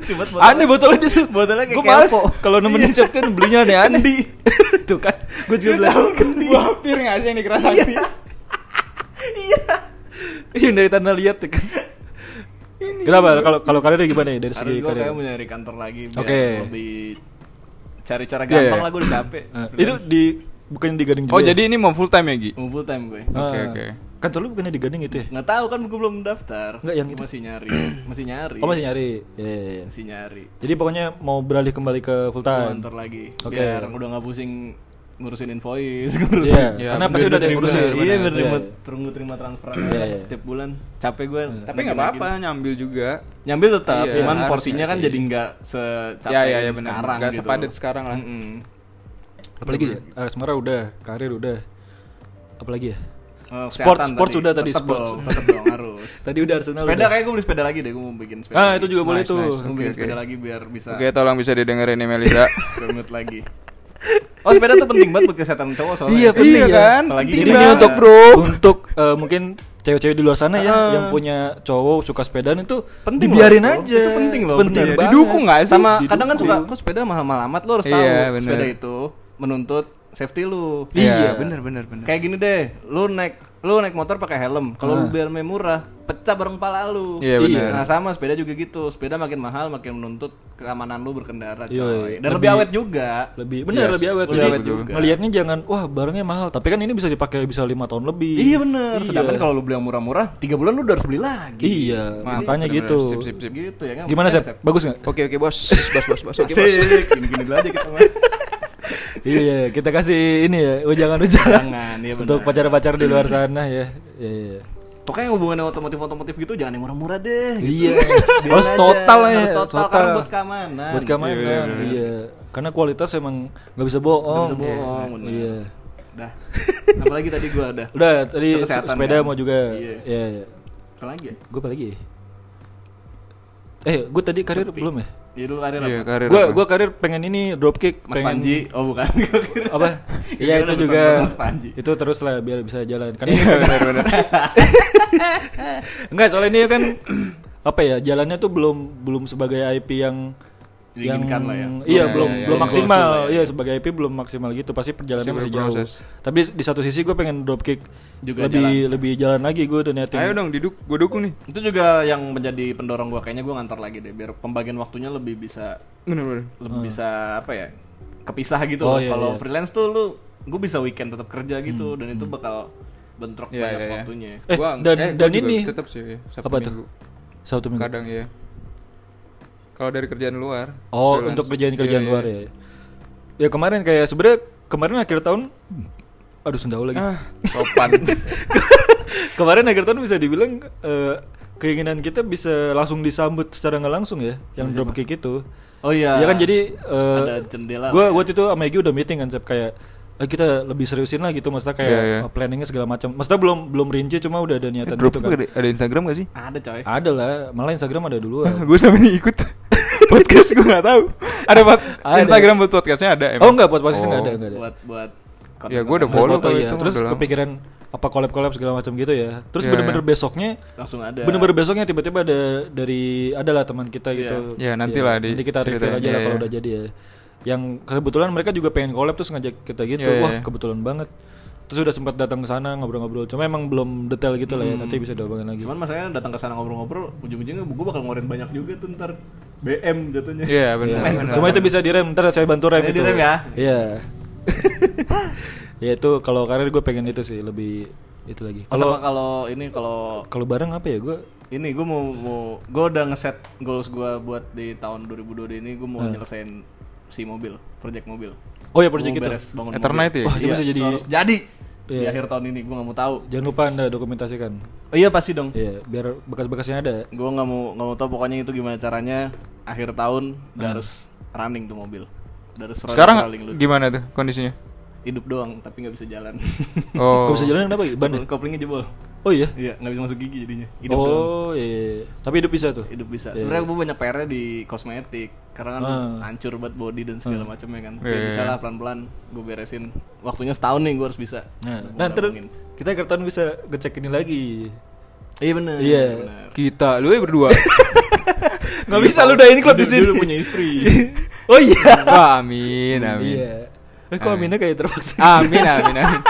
A: Cuma
B: Aneh botolnya dia tuh.
A: Botolnya kayak
B: Gua males Iya.
A: kepo.
B: kalau nemenin Septian belinya aneh Andi. tuh kan. Gue juga bilang.
A: kan.
C: Gue hampir ngasih yang dikeras hati.
B: Yang dari tanah liat tuh kan. Kenapa? Kalau kalau kalian gimana ya dari
A: Harus
B: segi
A: gue kayak mau
B: kalian?
A: nyari kantor lagi biar
B: Oke.
A: lebih cari cara
C: Iya,
A: gampang
C: iya.
A: lah gue udah capek.
B: Ah. Itu di bukannya di Gading juga.
C: Oh
B: ya?
C: jadi ini mau full time ya Gi?
A: Mau full time gue.
B: Ah,
C: Oke, oke.
B: Kantor lu bukannya di Gading itu ya?
A: Nggak tahu kan gue belum daftar.
B: Nggak, yang
A: Gua
B: itu.
A: masih nyari, masih nyari.
B: Oh masih nyari. Iya, iya, iya.
A: Masih nyari.
B: Jadi pokoknya mau beralih kembali ke full
A: Gua
C: Iya,
B: time.
A: Kantor lagi.
B: Oke.
A: Biar udah nggak pusing ngurusin invoice, ngurusin.
B: Iya,
C: Iya,
B: karena pasti udah ada yang
C: bener-bener,
B: ngurusin.
C: bener-bener.
A: Iya, biar terima
B: Iya.
A: terima terima transferan
B: Iya,
A: aja
B: iya.
A: tiap bulan. Capek gue.
C: Tapi nggak apa-apa nyambil juga.
A: Nyambil tetap,
C: Iya,
A: cuman
C: harus
A: porsinya kan
C: sih.
A: jadi nggak secapek
C: Ya ya ya benar.
A: sekarang
C: Gak
A: gitu.
C: sepadat sekarang lah.
A: Mm-mm.
B: Apalagi ya? Eh, Semarang udah, karir udah. Apalagi ya?
A: Eh,
B: Sport,
A: kesehatan
B: sport sudah tadi,
A: Tetep
B: sport.
A: dong, tetep dong harus.
B: Tadi udah Arsenal.
A: sepeda
B: udah.
A: kayak gue beli sepeda lagi deh, gue mau bikin sepeda.
B: Ah,
A: lagi.
B: itu juga boleh
C: Nice,
B: tuh.
C: nice.
A: Gue
C: Oke,
A: bikin
C: oke.
A: sepeda lagi biar bisa
C: Oke tolong bisa didengerin nih Melisa.
A: permit lagi. Oh, sepeda tuh penting banget buat kesehatan cowok soalnya.
B: Iya,
A: Sepeda.
B: penting ya.
A: kan? Apalagi
B: Jadi
A: kita-
B: ini
C: banget.
B: untuk bro, untuk eh, mungkin cewek-cewek di luar sana ya
A: Heeh.
B: yang punya cowok suka sepedaan itu
A: Ah. Penting
B: dibiarin
A: loh,
B: aja.
A: itu penting loh,
B: Penting
A: bener.
B: banget.
C: Didukung nggak sih?
A: Sama kadang kan
C: Didukung.
A: suka kok sepeda mahal-mahal amat lo harus tahu
C: Iya, bener.
A: sepeda itu menuntut safety lu.
B: Iya.
C: Iya bener bener bener.
A: Kayak gini deh, lu naik lu naik motor pakai helm. Kalau lu
B: Ah.
A: biar main murah, pecah bareng pala lu.
C: Iya, benar.
A: Nah, sama sepeda juga gitu. Sepeda makin mahal makin menuntut keamanan lu berkendara, coy.
B: Yoi,
A: Dan lebih,
B: lebih-
A: awet juga.
B: Iya, Lebih bener
C: Yes,
B: lebih awet.
A: lebih
B: Jadi
A: awet juga.
B: Ngelihatnya jangan wah barangnya mahal, tapi kan ini bisa dipakai bisa lima tahun lebih.
A: Iya bener. Sedangkan
B: Iya.
A: kalau lu beli yang murah-murah, tiga bulan lu udah harus beli lagi.
B: Iya,
C: Mantap,
B: makanya gitu.
C: bener-bener. Sip, sip, Iya, sip.
A: Gitu ya kan.
B: Gimana
A: Makanya,
B: sih? Bagus nggak?
C: Oke oke bos, bos bos bos. Oke bos.
A: Asik, gini-gini dulu aja kita mah.
B: iya, kita kasih ini ya, ujangan-ujangan.
A: Jangan, iya benar.
B: Untuk pacar-pacar di luar sana ya. Iya, iya.
A: Pokoknya hubungan otomotif-otomotif gitu jangan yang murah-murah deh.
B: Iya.
A: Biarin
B: Harus
A: aja,
B: total lah ya.
A: Harus total, karena buat keamanan.
B: Buat keamanan.
A: Iya,
B: Iya.
A: iya, iya.
B: Karena kualitas emang nggak bisa
A: Nggak
B: bohong.
A: bisa bohong,
B: Iya.
A: bener.
B: Iya.
A: Dah. Apalagi tadi gua ada.
B: Udah tadi
A: Itu
B: se-
A: kesehatan
B: sepeda
A: kan?
B: mau juga.
A: Iya.
B: Iya. iya.
A: Apa lagi ya?
B: Gue apa lagi? ya? Eh, gue tadi karir
A: Sepi.
B: belum ya?
A: Jadi lu karir
C: Iya
A: apa?
C: karir.
B: Gue
C: apa?
B: gua karir pengen ini dropkick.
A: Mas
B: pengen-
A: Panji. Oh bukan. Gua kira-
B: apa?
A: Gua
B: Iya
A: kira
B: itu
A: lu
B: juga.
A: bersama Mas Panji.
B: Itu terus lah biar bisa jalan. Karena ini
C: Iya bener bener.
B: Enggak, soalnya ini kan apa ya jalannya tuh belum belum sebagai IP yang
A: Diinginkan lah ya.
B: Iya,
C: Iya,
B: belum
C: iya,
B: belum
C: iya.
B: maksimal.
A: Goals lah ya.
B: Iya, sebagai IP belum maksimal gitu. Pasti perjalanannya
C: Masih
B: masih
C: berproses.
B: jauh. Tapi di satu sisi gue pengen dropkick
A: Juga
B: lebih
A: jalan.
B: lebih jalan lagi gue udah niatin.
C: Ayo dong diduk, gue dukung nih.
A: Itu juga yang menjadi pendorong gua kayaknya gua ngantor lagi deh biar pembagian waktunya lebih bisa
C: Bener bener.
A: lebih bisa apa ya? Kepisah gitu
B: Hmm. Oh,
A: loh.
B: iya,
A: Kalau
B: iya. Hmm.
A: freelance tuh lu gua bisa weekend tetap kerja gitu dan itu bakal bentrok
C: Iya,
A: banyak
C: iya, iya.
A: waktunya.
B: Eh,
C: Gua-
B: dan-
C: eh, gua
B: dan
C: juga
B: ini.
C: tetap sih. Sabtu
B: Apa tuh?
C: Minggu.
B: Satu minggu.
C: Kadang ya. Kalau dari kerjaan luar.
B: Oh,
C: freelance.
B: untuk kerjaan kerjaan
C: Iya,
B: luar
C: iya.
B: ya. Ya kemarin kayak sebenarnya kemarin akhir tahun aduh sendawa lagi.
C: Ah, sopan.
B: Kemarin akhir tahun bisa dibilang eh, keinginan kita bisa langsung disambut secara nggak langsung ya, yang dropkick itu.
A: Oh iya.
B: Ya kan jadi
A: Ada jendela
B: Gue
A: lah ya.
B: waktu itu sama Egy udah meeting kan Sep, kayak "Eh, kita lebih seriusin lah gitu maksudnya kayak
C: Iya, iya.
B: uh, planningnya segala macam. Maksudnya belum belum rinci cuma udah ada niatan
C: Drop
B: gitu
C: tuh
B: kan.
C: ada- ada Instagram gak sih?
A: ada coy.
B: Ada lah, malah Instagram ada duluan.
C: gue sama ini ikut podcast gue nggak tahu. Ada buat
B: Ada.
C: Instagram buat podcastnya ada.
B: oh enggak buat posisi enggak
C: Oh.
B: ada enggak ada.
A: Buat buat
C: Ya, gua udah
B: Ada
C: follow
B: foto,
C: tuh
B: iya.
C: itu
B: Terus
C: udah lama.
B: kepikiran apa collab-collab segala macam gitu ya. Terus
C: Iya,
B: bener-bener
C: iya.
B: besoknya
A: langsung ada.
B: bener-bener besoknya tiba-tiba ada dari adalah teman kita
A: Iya.
B: gitu.
C: Iya, nantilah di-
B: Nanti kita review
C: ceritain.
B: aja lah
C: Iya,
B: kalau
C: iya.
B: udah jadi ya. Yang kebetulan mereka juga pengen collab terus ngajak kita gitu.
C: Iya, iya,
B: Wah,
C: iya.
B: kebetulan banget. Terus udah sempat datang ke sana ngobrol-ngobrol. Cuma emang belum detail gitu
A: Hmm.
B: lah ya. Nanti bisa diobongin lagi.
A: Cuman masalahnya datang ke sana ngobrol-ngobrol, ujung-ujungnya gue bakal ngeluarin banyak juga tuh ntar BM jatuhnya.
C: Iya benar.
B: Iya,
A: Main
B: benar.
A: kesana.
B: Cuma itu bisa direm, ntar saya bantu rem
A: Ini
B: itu.
A: direm ya.
B: Iya. ya itu kalau karir gue pengen itu sih lebih itu lagi.
A: Kalau
B: Kalau
A: kalau ini kalau
B: kalau bareng apa ya gue?
A: ini gue mau mau gue udah ngeset goals gue buat di tahun 2022 ini gue mau nyelesain si mobil, Hmm. project mobil.
B: Oh ya
A: Gua
B: project
A: mau
B: itu.
A: beres bangun
C: Eternite
A: mobil.
C: ya?
B: Wah, itu
A: Iya,
B: bisa jadi-
A: itu harus jadi di
B: Iya.
A: akhir tahun ini gue nggak mau tahu.
B: Jangan lupa anda dokumentasikan.
A: Oh iya pasti dong.
B: Iya, biar bekas-bekasnya ada.
A: Gue nggak mau nggak mau tahu pokoknya itu gimana caranya akhir tahun udah
B: Hmm.
A: harus running tuh mobil. Udah harus rolling-
C: Sekarang
A: rolling dulu.
C: gimana tuh kondisinya?
A: hidup doang tapi nggak bisa jalan.
C: Oh.
B: Gak bisa jalan kenapa? Ban ya?
A: Koplingnya jebol.
B: Oh iya.
A: Iya, nggak bisa masuk gigi jadinya. Hidup doang.
B: Oh iya. Tapi hidup bisa tuh.
A: Hidup bisa.
B: Iya.
A: Sebenarnya gue banyak PR-nya di kosmetik karena kan
B: Ah. Hmm.
A: hancur banget body dan segala macamnya kan.
C: Iya,
A: Kayak
C: iya.
A: bisa lah pelan-pelan gue beresin. Waktunya setahun nih gue harus bisa.
B: Nah,
A: Gua
B: nah terus
A: gabungin.
B: kita kertan bisa ngecek ini lagi.
A: Iya benar.
B: Iya.
C: Kita, lu ya berdua.
B: Nggak bisa lu udah ini klub di sini.
A: Dulu punya istri.
B: oh iya.
C: Wah, amin, amin.
B: Iya. Eh kok aminnya kayak terpaksa.
C: Amin, amin, amin.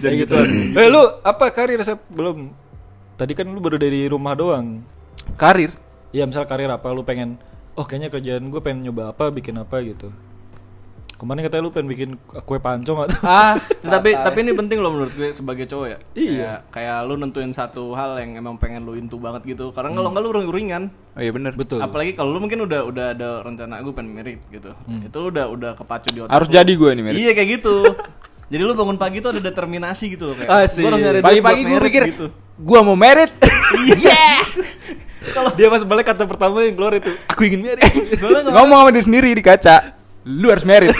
B: Jadi gitu. Eh lu apa karir resep belum? Tadi kan lu baru dari rumah doang.
C: Karir.
B: Ya misal karir apa lu pengen oh kayaknya kerjaan gue pengen nyoba apa bikin apa gitu. Kemarin katanya lu pengen bikin kue pancong atau
A: ah, tapi tapi ini penting loh menurut gue sebagai cowok ya.
B: Iya.
A: Kayak, kayak lu nentuin satu hal yang emang pengen lu intu banget gitu. Karena
C: Hmm.
A: kalau nggak lu ring-ringan.
C: Oh iya bener.
B: betul.
A: Apalagi kalau lu mungkin udah udah ada rencana gue pengen merit gitu. Itu lu udah udah kepacu di otak.
C: Hmm. Harus jadi gue nih, Mer.
A: Iya kayak gitu. Jadi lu bangun pagi tuh ada determinasi gitu loh kayak.
B: Asik.
A: Gua harus nyari duit
C: Pagi-pagi
A: buat
C: gue
A: merit
C: pikir,
A: gitu.
C: gue mau merit.
B: Kalau dia pas balik kata pertama yang keluar itu aku ingin married.
A: Soalnya kemarin,
C: Ngomong sama diri sendiri di kaca. Lu harus merit.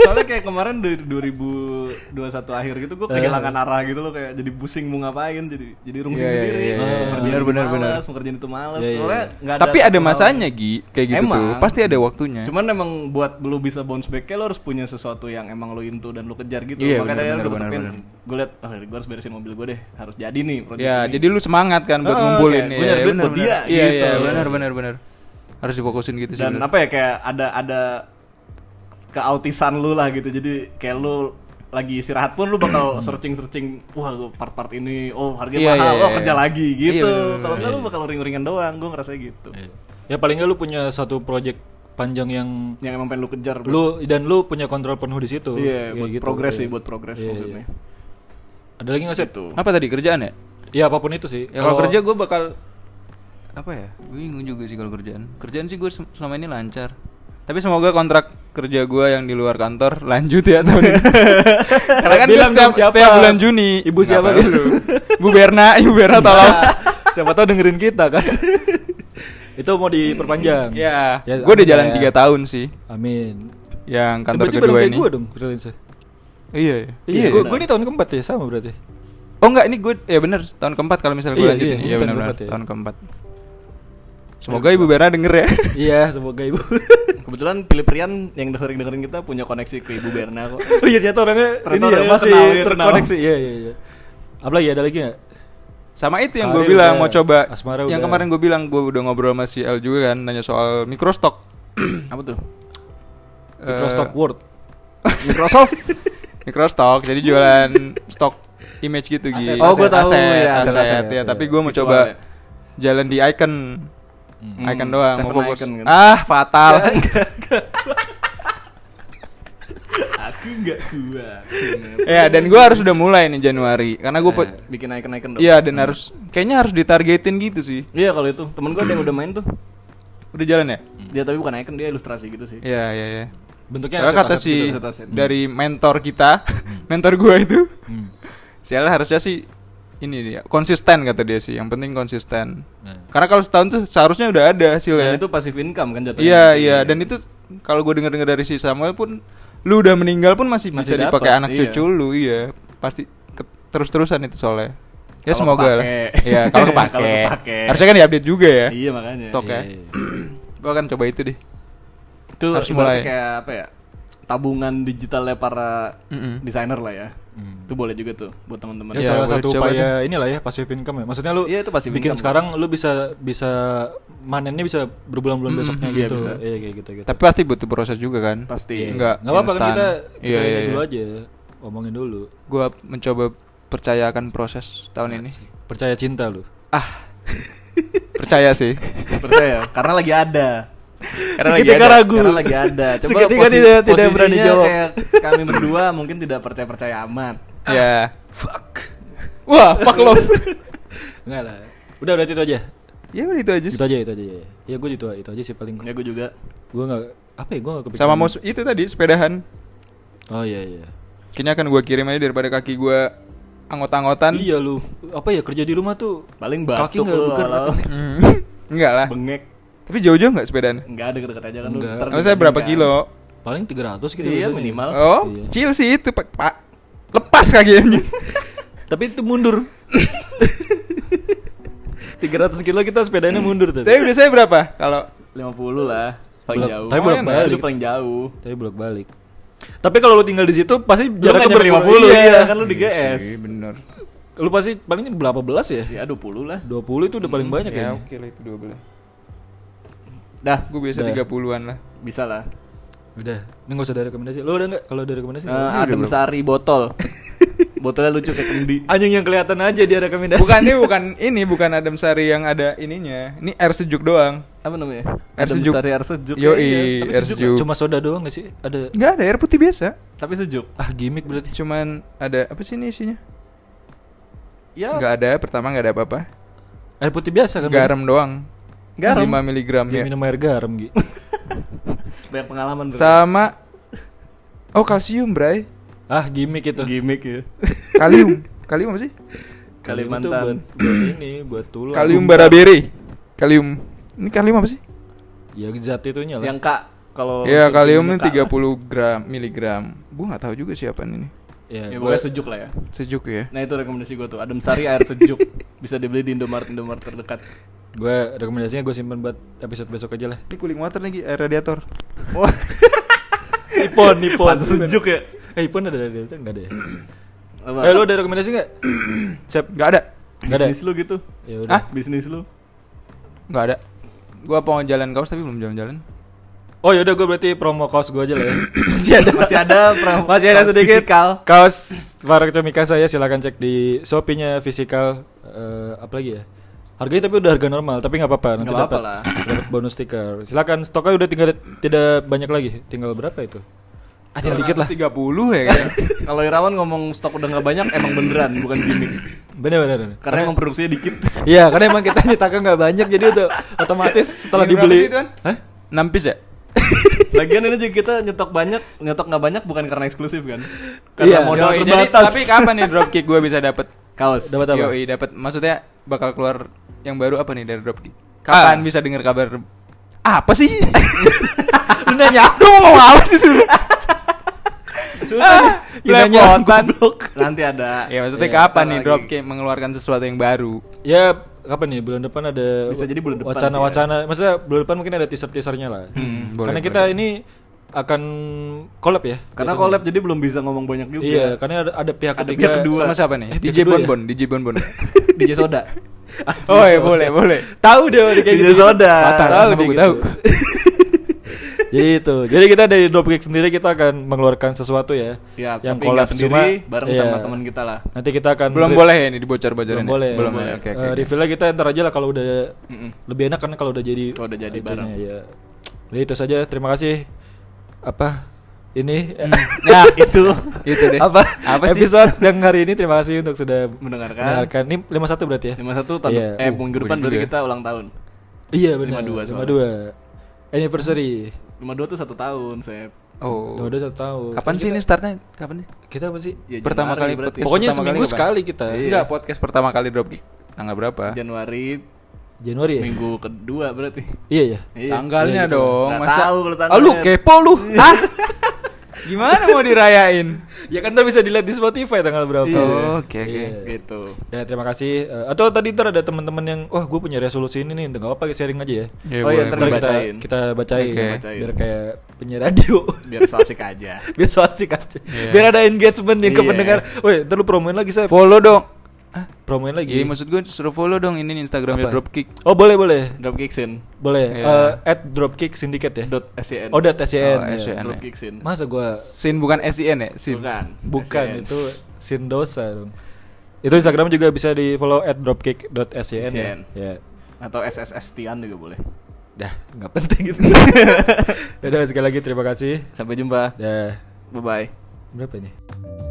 A: soalnya kayak kemarin di 2021 akhir gitu gue kehilangan arah gitu loh kayak jadi pusing mau ngapain jadi jadi rungsing
C: Eh. Iya, iya,
A: sendiri.
C: iya, iya, iya.
A: Mau kerjain
C: Benar,
A: itu
C: benar,
A: males,
C: benar.
A: Mau kerjain itu males.
B: Iya, iya.
A: Soalnya nggak ada
C: Tapi ada
A: satu hal
C: masanya,
A: yang-
C: Gi. Kayak gitu
A: Emang.
C: tuh. Pasti ada waktunya.
A: Cuman emang buat lu bisa bounce back lo harus punya sesuatu yang emang lu into dan lu kejar gitu. Makanya
C: Iya, benar,
A: tadi
C: benar,
A: gue
C: benar,
A: tetepin
C: benar.
A: gue liat, oh, gue harus beresin mobil gue deh. Harus jadi nih project
C: ya,
A: ini.
C: jadi lu semangat kan buat
A: Oh,
C: ngumpulin
A: kayak
C: ya.
A: gua nyari duit
C: bener,
A: buat dia,
C: bener. Iya,
A: gitu.
C: iya, benar, benar, benar. Harus difokusin gitu sih.
A: dan
C: bener.
A: apa ya kayak ada ada keautisan lu lah gitu jadi kayak lu lagi istirahat pun lu bakal searching searching wah gua part-part ini oh harganya
C: Iya,
A: mahal
C: iya,
A: oh
C: iya.
A: kerja lagi gitu
C: Iya, bener, bener,
A: kalau enggak lu bakal ring-ringan doang gue ngerasa gitu
C: Iya.
B: ya paling nggak lu punya satu project panjang yang
A: yang emang pengen lu kejar buat-
B: lu dan lu punya kontrol penuh di situ.
A: iya
B: Kayak
A: buat
B: gitu.
A: progres sih
B: Iya.
A: buat progres
B: Iya,
A: maksudnya
B: iya. Ada lagi nggak sih?
A: gitu
C: Apa tadi kerjaan ya?
B: Ya apapun itu sih.
C: Ya kalau kerja gue bakal apa ya? Gue bingung juga sih kalau kerjaan. Kerjaan sih gue selama ini lancar. Tapi semoga kontrak kerja gue yang di luar kantor lanjut ya tahun ini. Karena kan
B: Bilang
C: bilang setiap,
B: dong siapa.
C: setiap bulan Juni.
B: Ibu siapa
C: Nggak
B: gitu.
C: tahu. Bu Berna, Ibu Berna tolong.
B: Iya. siapa tahu dengerin kita kan. itu mau diperpanjang.
C: ya,
B: Ya,
C: gue udah
B: amin
C: jalan
B: lah ya.
C: 3 tahun sih
B: Amin. Eh,
C: yang kantor
B: berarti bareng
C: kedua
B: kayak
C: ini.
B: gua dong, freelance.
C: Iya,
B: Iya,
C: Gua-
B: gua
C: gua
B: gue
C: ini
B: ini tahun keempat ya sama berarti.
C: Oh enggak, ini gue ya bener tahun keempat kalau misalnya gue
B: Iya,
C: lanjutin.
B: iya,
C: Iya,
B: tahun
C: bener benar
B: keempat ya.
C: tahun keempat. Semoga Ibu Berna denger ya.
B: iya, semoga ibu.
A: kebetulan Philip Rian yang dengerin dengerin kita punya koneksi ke Ibu Berna kok
B: oh iya ternyata orangnya
A: Ternyata
B: ini ya
A: orangnya
B: masih
A: tenang, dia tenang.
B: terkoneksi. Iya, iya, iya. Apa lagi ada lagi nggak?
C: Sama itu yang gue
B: Karir
C: bilang
B: udah,
C: mau coba.
B: asmara udah.
C: yang kemarin gue bilang gue udah ngobrol sama si L juga kan nanya soal microstock. Eh,
A: apa tuh
B: Microstock Word.
C: Microsoft. microstock. Jadi jualan stok image gitu
A: Aset,
C: gitu.
A: Oh, gua tahu,
C: Aset,
A: ya,
C: aset,
B: aset, aset,
C: ya,
B: ya.
C: tapi gue mau
A: Visual,
C: coba
A: ya.
C: jalan di icon. Icon
A: Hmm,
C: doang,
A: Seven
C: mau fokus.
A: Icon Iya. kan.
C: Ah, fatal.
A: aku nggak kuat
C: ya, dan gue harus udah mulai nih Januari karena gue
A: Nah, bikin icon icon dong
C: Iya, dan harus kayaknya harus ditargetin gitu sih.
A: iya kalau itu temen gue ada yang udah main tuh
C: Udah jalan ya?
A: dia tapi bukan icon dia ilustrasi gitu sih
C: Iya, iya, iya.
B: Bentuknya
C: Soalnya
B: aset-
C: kata
B: aset
C: si
B: gitu.
A: aset-aset.
C: dari mentor kita, mentor gua itu,
B: Hmm.
C: sialah harusnya sih ini dia konsisten kata dia sih. Yang penting konsisten.
B: Nah.
C: Karena kalau setahun tuh seharusnya udah ada hasilnya.
A: Dan itu passive income kan jatuhnya.
C: Iya, iya. Dan itu kalau gue denger-denger dari si Samuel pun lu udah meninggal pun masih,
A: Masih
C: bisa
A: dapat,
C: dipakai anak
A: iya.
C: cucu lu, iya. Pasti ke- terus-terusan itu soalnya. Ya
A: Kalau
C: semoga lah.
A: kepake.
C: Iya, kalau
A: Kalau
C: kepake.
A: kepake.
C: Harusnya kan diupdate juga ya.
A: Iya makanya.
C: Stok ya.
B: Iya.
C: Gua akan coba itu deh.
A: Itu
C: Harus
A: ibaratnya
C: mulai.
A: kayak apa ya? Tabungan digitalnya para
C: Mm-mm.
A: desainer lah ya.
B: Hmm.
A: Itu boleh juga tuh buat teman-teman.
B: Ya,
C: Iya,
B: salah
C: boleh
B: satu
C: dicoba
B: upaya inilah ya passive income ya. Maksudnya lu
A: Iya, itu passive
B: bikin
A: income.
B: sekarang lu bisa bisa manennya bisa berbulan-bulan
C: Mm-mm,
B: besoknya
A: iya,
B: gitu.
A: bisa.
B: Iya kayak gitu gitu.
C: Hmm, Tapi pasti butuh proses juga kan?
A: Pasti.
C: Enggak.
B: Enggak apa-apa kan
C: instan.
B: kita kita
C: Iya,
B: ini
C: iya,
B: dulu
C: iya.
B: aja. Omongin dulu.
C: Gua mencoba percayakan proses tahun ini.
B: Percaya cinta lu.
C: Ah. percaya sih.
A: Percaya karena lagi ada.
C: Karena lagi
B: Seketika
C: ada.
B: ragu.
A: Karena lagi ada. Coba
B: Seketika
A: posi-
B: tidak- tidak berani
A: posisinya
B: jawab.
A: kayak kami berdua mungkin tidak percaya-percaya amat.
C: ya. Fuck. Wah, fuck love.
B: Enggak lah. Udah udah itu aja.
C: ya udah itu aja. sih.
B: Itu aja itu aja. ya. Ya gue itu itu aja sih paling.
A: Ya gue juga.
B: Gue enggak apa ya gue enggak kepikiran.
C: Sama mau se- itu tadi sepedahan.
B: Oh iya iya.
C: Kayaknya akan gua kirim aja daripada kaki gua angot-angotan.
B: Iya lu. Apa ya kerja di rumah tuh
A: Paling
B: Kaki
A: batuk
B: nggak
A: lu
B: bukan,
A: kalau
C: Hmm. Enggak lah.
A: bengek.
C: Tapi jauh-jauh enggak sepedaan?
A: Enggak ada dekat aja kan lu.
B: Enggak.
A: ntar
C: Maksudnya berapa
A: kan.
C: kilo?
B: paling 300 gitu
A: Iya
B: biasanya.
A: minimal.
C: Oh,
B: Iya.
C: chill sih itu, Pak. Pak. Lepas kakinya.
B: Tapi itu mundur. 300 kilo kita sepedanya mundur
C: Tapi
B: tapi.
C: biasanya berapa? Kalau
A: 50 lah paling
B: Bolak-
A: jauh.
B: tapi
A: Oh,
B: bolak-balik.
A: iya, Itu paling jauh.
B: Tapi bolak balik. Tapi kalau lu tinggal di situ pasti
A: Lu kan
B: jaraknya
A: nyampe 50
B: berpuluh- iya.
A: iya, kan lu di GS.
C: Iya sih, bener.
B: Lu pasti palingnya berapa belas ya?
A: Ya 20 lah.
B: 20 itu udah paling banyak
C: ya.
B: kayaknya.
C: oke lah itu 12.
A: Dah,
C: Gue biasa
B: Udah.
C: 30-an lah.
A: bisa lah.
B: Udah, ini gak usah ada rekomendasi. Lu ada nggak kalau ada rekomendasi?
A: Eh, Adem Sari botol. Botolnya lucu kayak kendi.
B: Eh, Anjing yang kelihatan aja dia rekomendasi.
C: Bukan ini bukan ini bukan Adam Sari yang ada ininya. Ini air sejuk doang.
A: Apa namanya?
C: Air
A: Adem
C: sejuk.
A: Sari air sejuk.
C: Yoi,
A: Iya, iya. Tapi
C: air
A: sejuk.
C: sejuk.
B: Cuma soda doang gak sih? Ada
C: Enggak ada air putih biasa.
A: Tapi sejuk.
B: ah gimmick berarti.
C: Cuman ada apa sih ini isinya?
A: Ya,
C: Enggak ada, pertama enggak ada apa-apa.
B: Air putih biasa kan?
C: Garam doang.
A: Garam?
C: 5 miligram
B: Dia
C: ya.
B: minum air garam gitu.
A: banyak pengalaman bro.
C: Sama Oh, kalsium, Bray.
B: ah gimmick itu.
A: gimmick ya.
C: Kalium. Kalium apa sih?
B: Kalium tuh
A: Kalimantan.
B: buat, buat ini buat tulang.
C: Kalium baraberi. Kalium. Ini kalium apa sih?
B: Ya zat itunya lah.
A: Yang Kak kalau
C: ya,
A: sejuk
C: kalium ini
A: juga Kak.
C: 30 gram miligram. Gua nggak tahu juga sih apaan ini.
B: ya,
A: Ya,
B: gua-
A: pokoknya sejuk lah ya.
C: Sejuk ya.
A: Nah itu rekomendasi gue tuh Adem Sari air sejuk bisa dibeli di Indomaret Indomaret terdekat.
B: Gue rekomendasinya gue simpen buat episode besok aja lah.
C: Ini cooling water lagi, air radiator.
A: Wah,
B: Ipon, Ipon.
A: Pantes sejuk ya.
B: Eh, Ipon ada dari enggak ada ya?
A: Apa?
B: Eh, lu ada rekomendasi enggak? Cep,
C: Nggak ada.
B: enggak ada.
A: bisnis lu gitu.
B: Ya udah.
C: Hah?
A: Bisnis lu.
C: Nggak ada. Gua mau jalan kaos tapi belum jalan-jalan.
B: Oh, ya udah gue berarti promo kaos gue aja lah ya.
A: Masih ada masih ada pra-
B: Masih ada
A: trans-
B: sedikit
A: fisikal.
B: kaos Varekto Mika saya silakan cek di Shopee-nya Physical eh, apa lagi ya? Harganya tapi udah harga normal, tapi nggak apa-apa nanti
A: Nggak apa-apa
B: dapat
A: lah.
B: dapat bonus stiker. Silakan stoknya udah tinggal tidak banyak lagi. Tinggal berapa itu? Ah, tinggal dikit lah.
C: 30 ya kayaknya.
A: Kalau Irawan ngomong stok udah nggak banyak emang beneran bukan gimmick.
B: Bener bener. bener.
A: Karena emang produksinya dikit.
B: Iya, karena emang kita nyetaknya nggak banyak jadi udah otomatis setelah
C: Ini berapa
B: dibeli.
C: sih itu, An?
B: Hah?
C: 6 piece ya?
A: Lagian ini juga kita nyetok banyak, nyetok nggak banyak bukan karena eksklusif kan? Karena
B: Iya,
A: modal
C: Yoi, jadi-
A: terbatas.
C: tapi kapan nih dropkick gue bisa dapet?
A: kaos.
B: Dapat apa?
C: Yoi, dapet. Maksudnya bakal keluar yang baru apa nih dari dropkick?
B: Ah.
C: Kapan bisa dengar kabar? Apa sih?
B: Lu nanya apa? Lu ngomong apa sih suruh? Susah nih. Lu nanya apa?
C: Belepotan.
A: Ah, Nanti ada.
C: ya maksudnya
B: Iya,
C: kapan
A: ntar
C: nih
A: lagi.
C: dropkick mengeluarkan sesuatu yang baru?
B: Ya kapan nih bulan depan ada
A: Bisa jadi bulan depan ya.
B: wacana-wacana. Maksudnya bulan depan mungkin ada teaser-teasernya lah.
C: Hmm, boleh,
B: karena kita
C: boleh.
B: ini akan collab ya.
A: Karena
B: jatuhnya.
A: collab jadi belum bisa ngomong banyak juga.
B: Iya, karena ada, ada pihak
A: Ada
B: ketiga.
A: pihak kedua.
C: Sama siapa nih?
B: Eh,
C: DJ
B: kedua ya? Ah,
C: Bonbon, DJ Bonbon.
A: DJ Soda.
C: oh ya boleh, boleh.
B: Tahu deh kayak
A: DJ
B: gitu.
A: Soda.
C: Patah,
B: Tahu
C: kenapa
B: deh
C: gua
B: gitu.
C: tahu.
B: Jadi itu. Gitu. Jadi kita dari Dropkick sendiri kita akan mengeluarkan sesuatu ya.
A: Ya,
B: yang
A: tapi nggak
B: collab
A: sendiri
B: cuma-
A: bareng
B: iya.
A: sama teman kita lah.
B: Nanti kita akan
C: Belum
B: re-
C: boleh ya ini
B: Belum
C: dibocor-bocorin. ya?
B: boleh.
C: Belum
B: Belum
C: ya. Oke,
B: Eh,
C: oke. oke.
B: reveal-nya kita ntar aja lah kalau udah
A: Mm-mm.
B: lebih enak kan kalau udah jadi
A: Kalau udah jadi
B: itunya,
A: bareng.
B: ya. Jadi itu saja terima kasih apa ini Ya.
A: Nah, itu
C: Itu Gitu deh.
B: apa,
C: Hmm. Apa sih?
B: episode yang hari ini terima kasih untuk sudah
A: Mendengarkan.
B: mendengarkan. Ini 51 berarti ya?
A: 51 tahun
B: Iya.
A: eh
B: Uh,
A: minggu depan
C: bener
A: berarti
C: juga.
A: kita ulang tahun.
B: Iya benar.
A: 52 soalnya.
B: 52. Anniversary.
A: 52 tuh satu tahun, Sep.
C: Oh.
B: 52 satu tahun.
C: Kapan
B: Terus
C: sih
B: kita-
C: ini startnya? Kapan sih?
B: Kita apa sih?
A: Ya,
C: pertama
A: Januari
C: kali
A: berarti.
C: podcast
B: Pokoknya
C: pertama
B: seminggu
C: kapan?
B: sekali kita.
C: Iya.
B: Enggak,
C: Enggak, podcast pertama kali dropkick tanggal berapa?
A: Januari
B: Januari ya?
A: minggu kedua berarti.
B: Iya ya.
A: Iya.
C: Tanggalnya
B: Iya, gitu.
C: dong,
A: Nggak
C: masa
A: tahu kalau
C: Ah, lu
A: tanggalnya.
C: kepo lu. Ah. Gimana mau dirayain?
B: Ya kan ntar bisa dilihat di Spotify tanggal berapa.
A: Iya.
B: Oh,
C: Oke, oke.
A: Gitu.
B: Ya terima kasih. Eh, atau tadi ntar ada teman-teman yang wah gue punya resolusi ini nih, nggak apa sharing aja ya.
A: Oh, iya, Ntar
B: Ntar kita
A: dibacain.
B: kita bacain,
C: Oke.
B: biar kayak penyiar radio.
A: Biar so asik aja.
B: biar so asik aja.
C: Iya.
B: Biar ada engagement nih ke
A: Iya.
B: pendengar. Woi, ntar lu promoin lagi saya.
C: Follow dong.
B: Promoin lagi.
C: Iya, maksud gue suruh follow dong ini nih Instagramnya
B: Apa?
C: Dropkick.
B: Oh boleh boleh
A: Dropkicksin.
B: boleh.
C: Iya.
B: Eh, at dropkick syndicate ya.
A: Dot SCN.
B: Oh dot SCN.
C: Oh,
B: ya.
C: SCN.
A: Dropkicksin.
B: Masa gua
C: Sin bukan SIN ya? Sin.
A: Bukan.
B: bukan
A: SCN.
B: itu sindosa dong. Itu Instagram juga bisa di follow at dropkick.scn ya.
A: SCN.
B: Ya.
A: Atau SSSTian juga boleh.
B: Dah, nggak penting itu. Udah sekali lagi terima kasih. Ya.
A: Sampai jumpa.
B: Dah,
A: Bye bye.
B: berapa ini?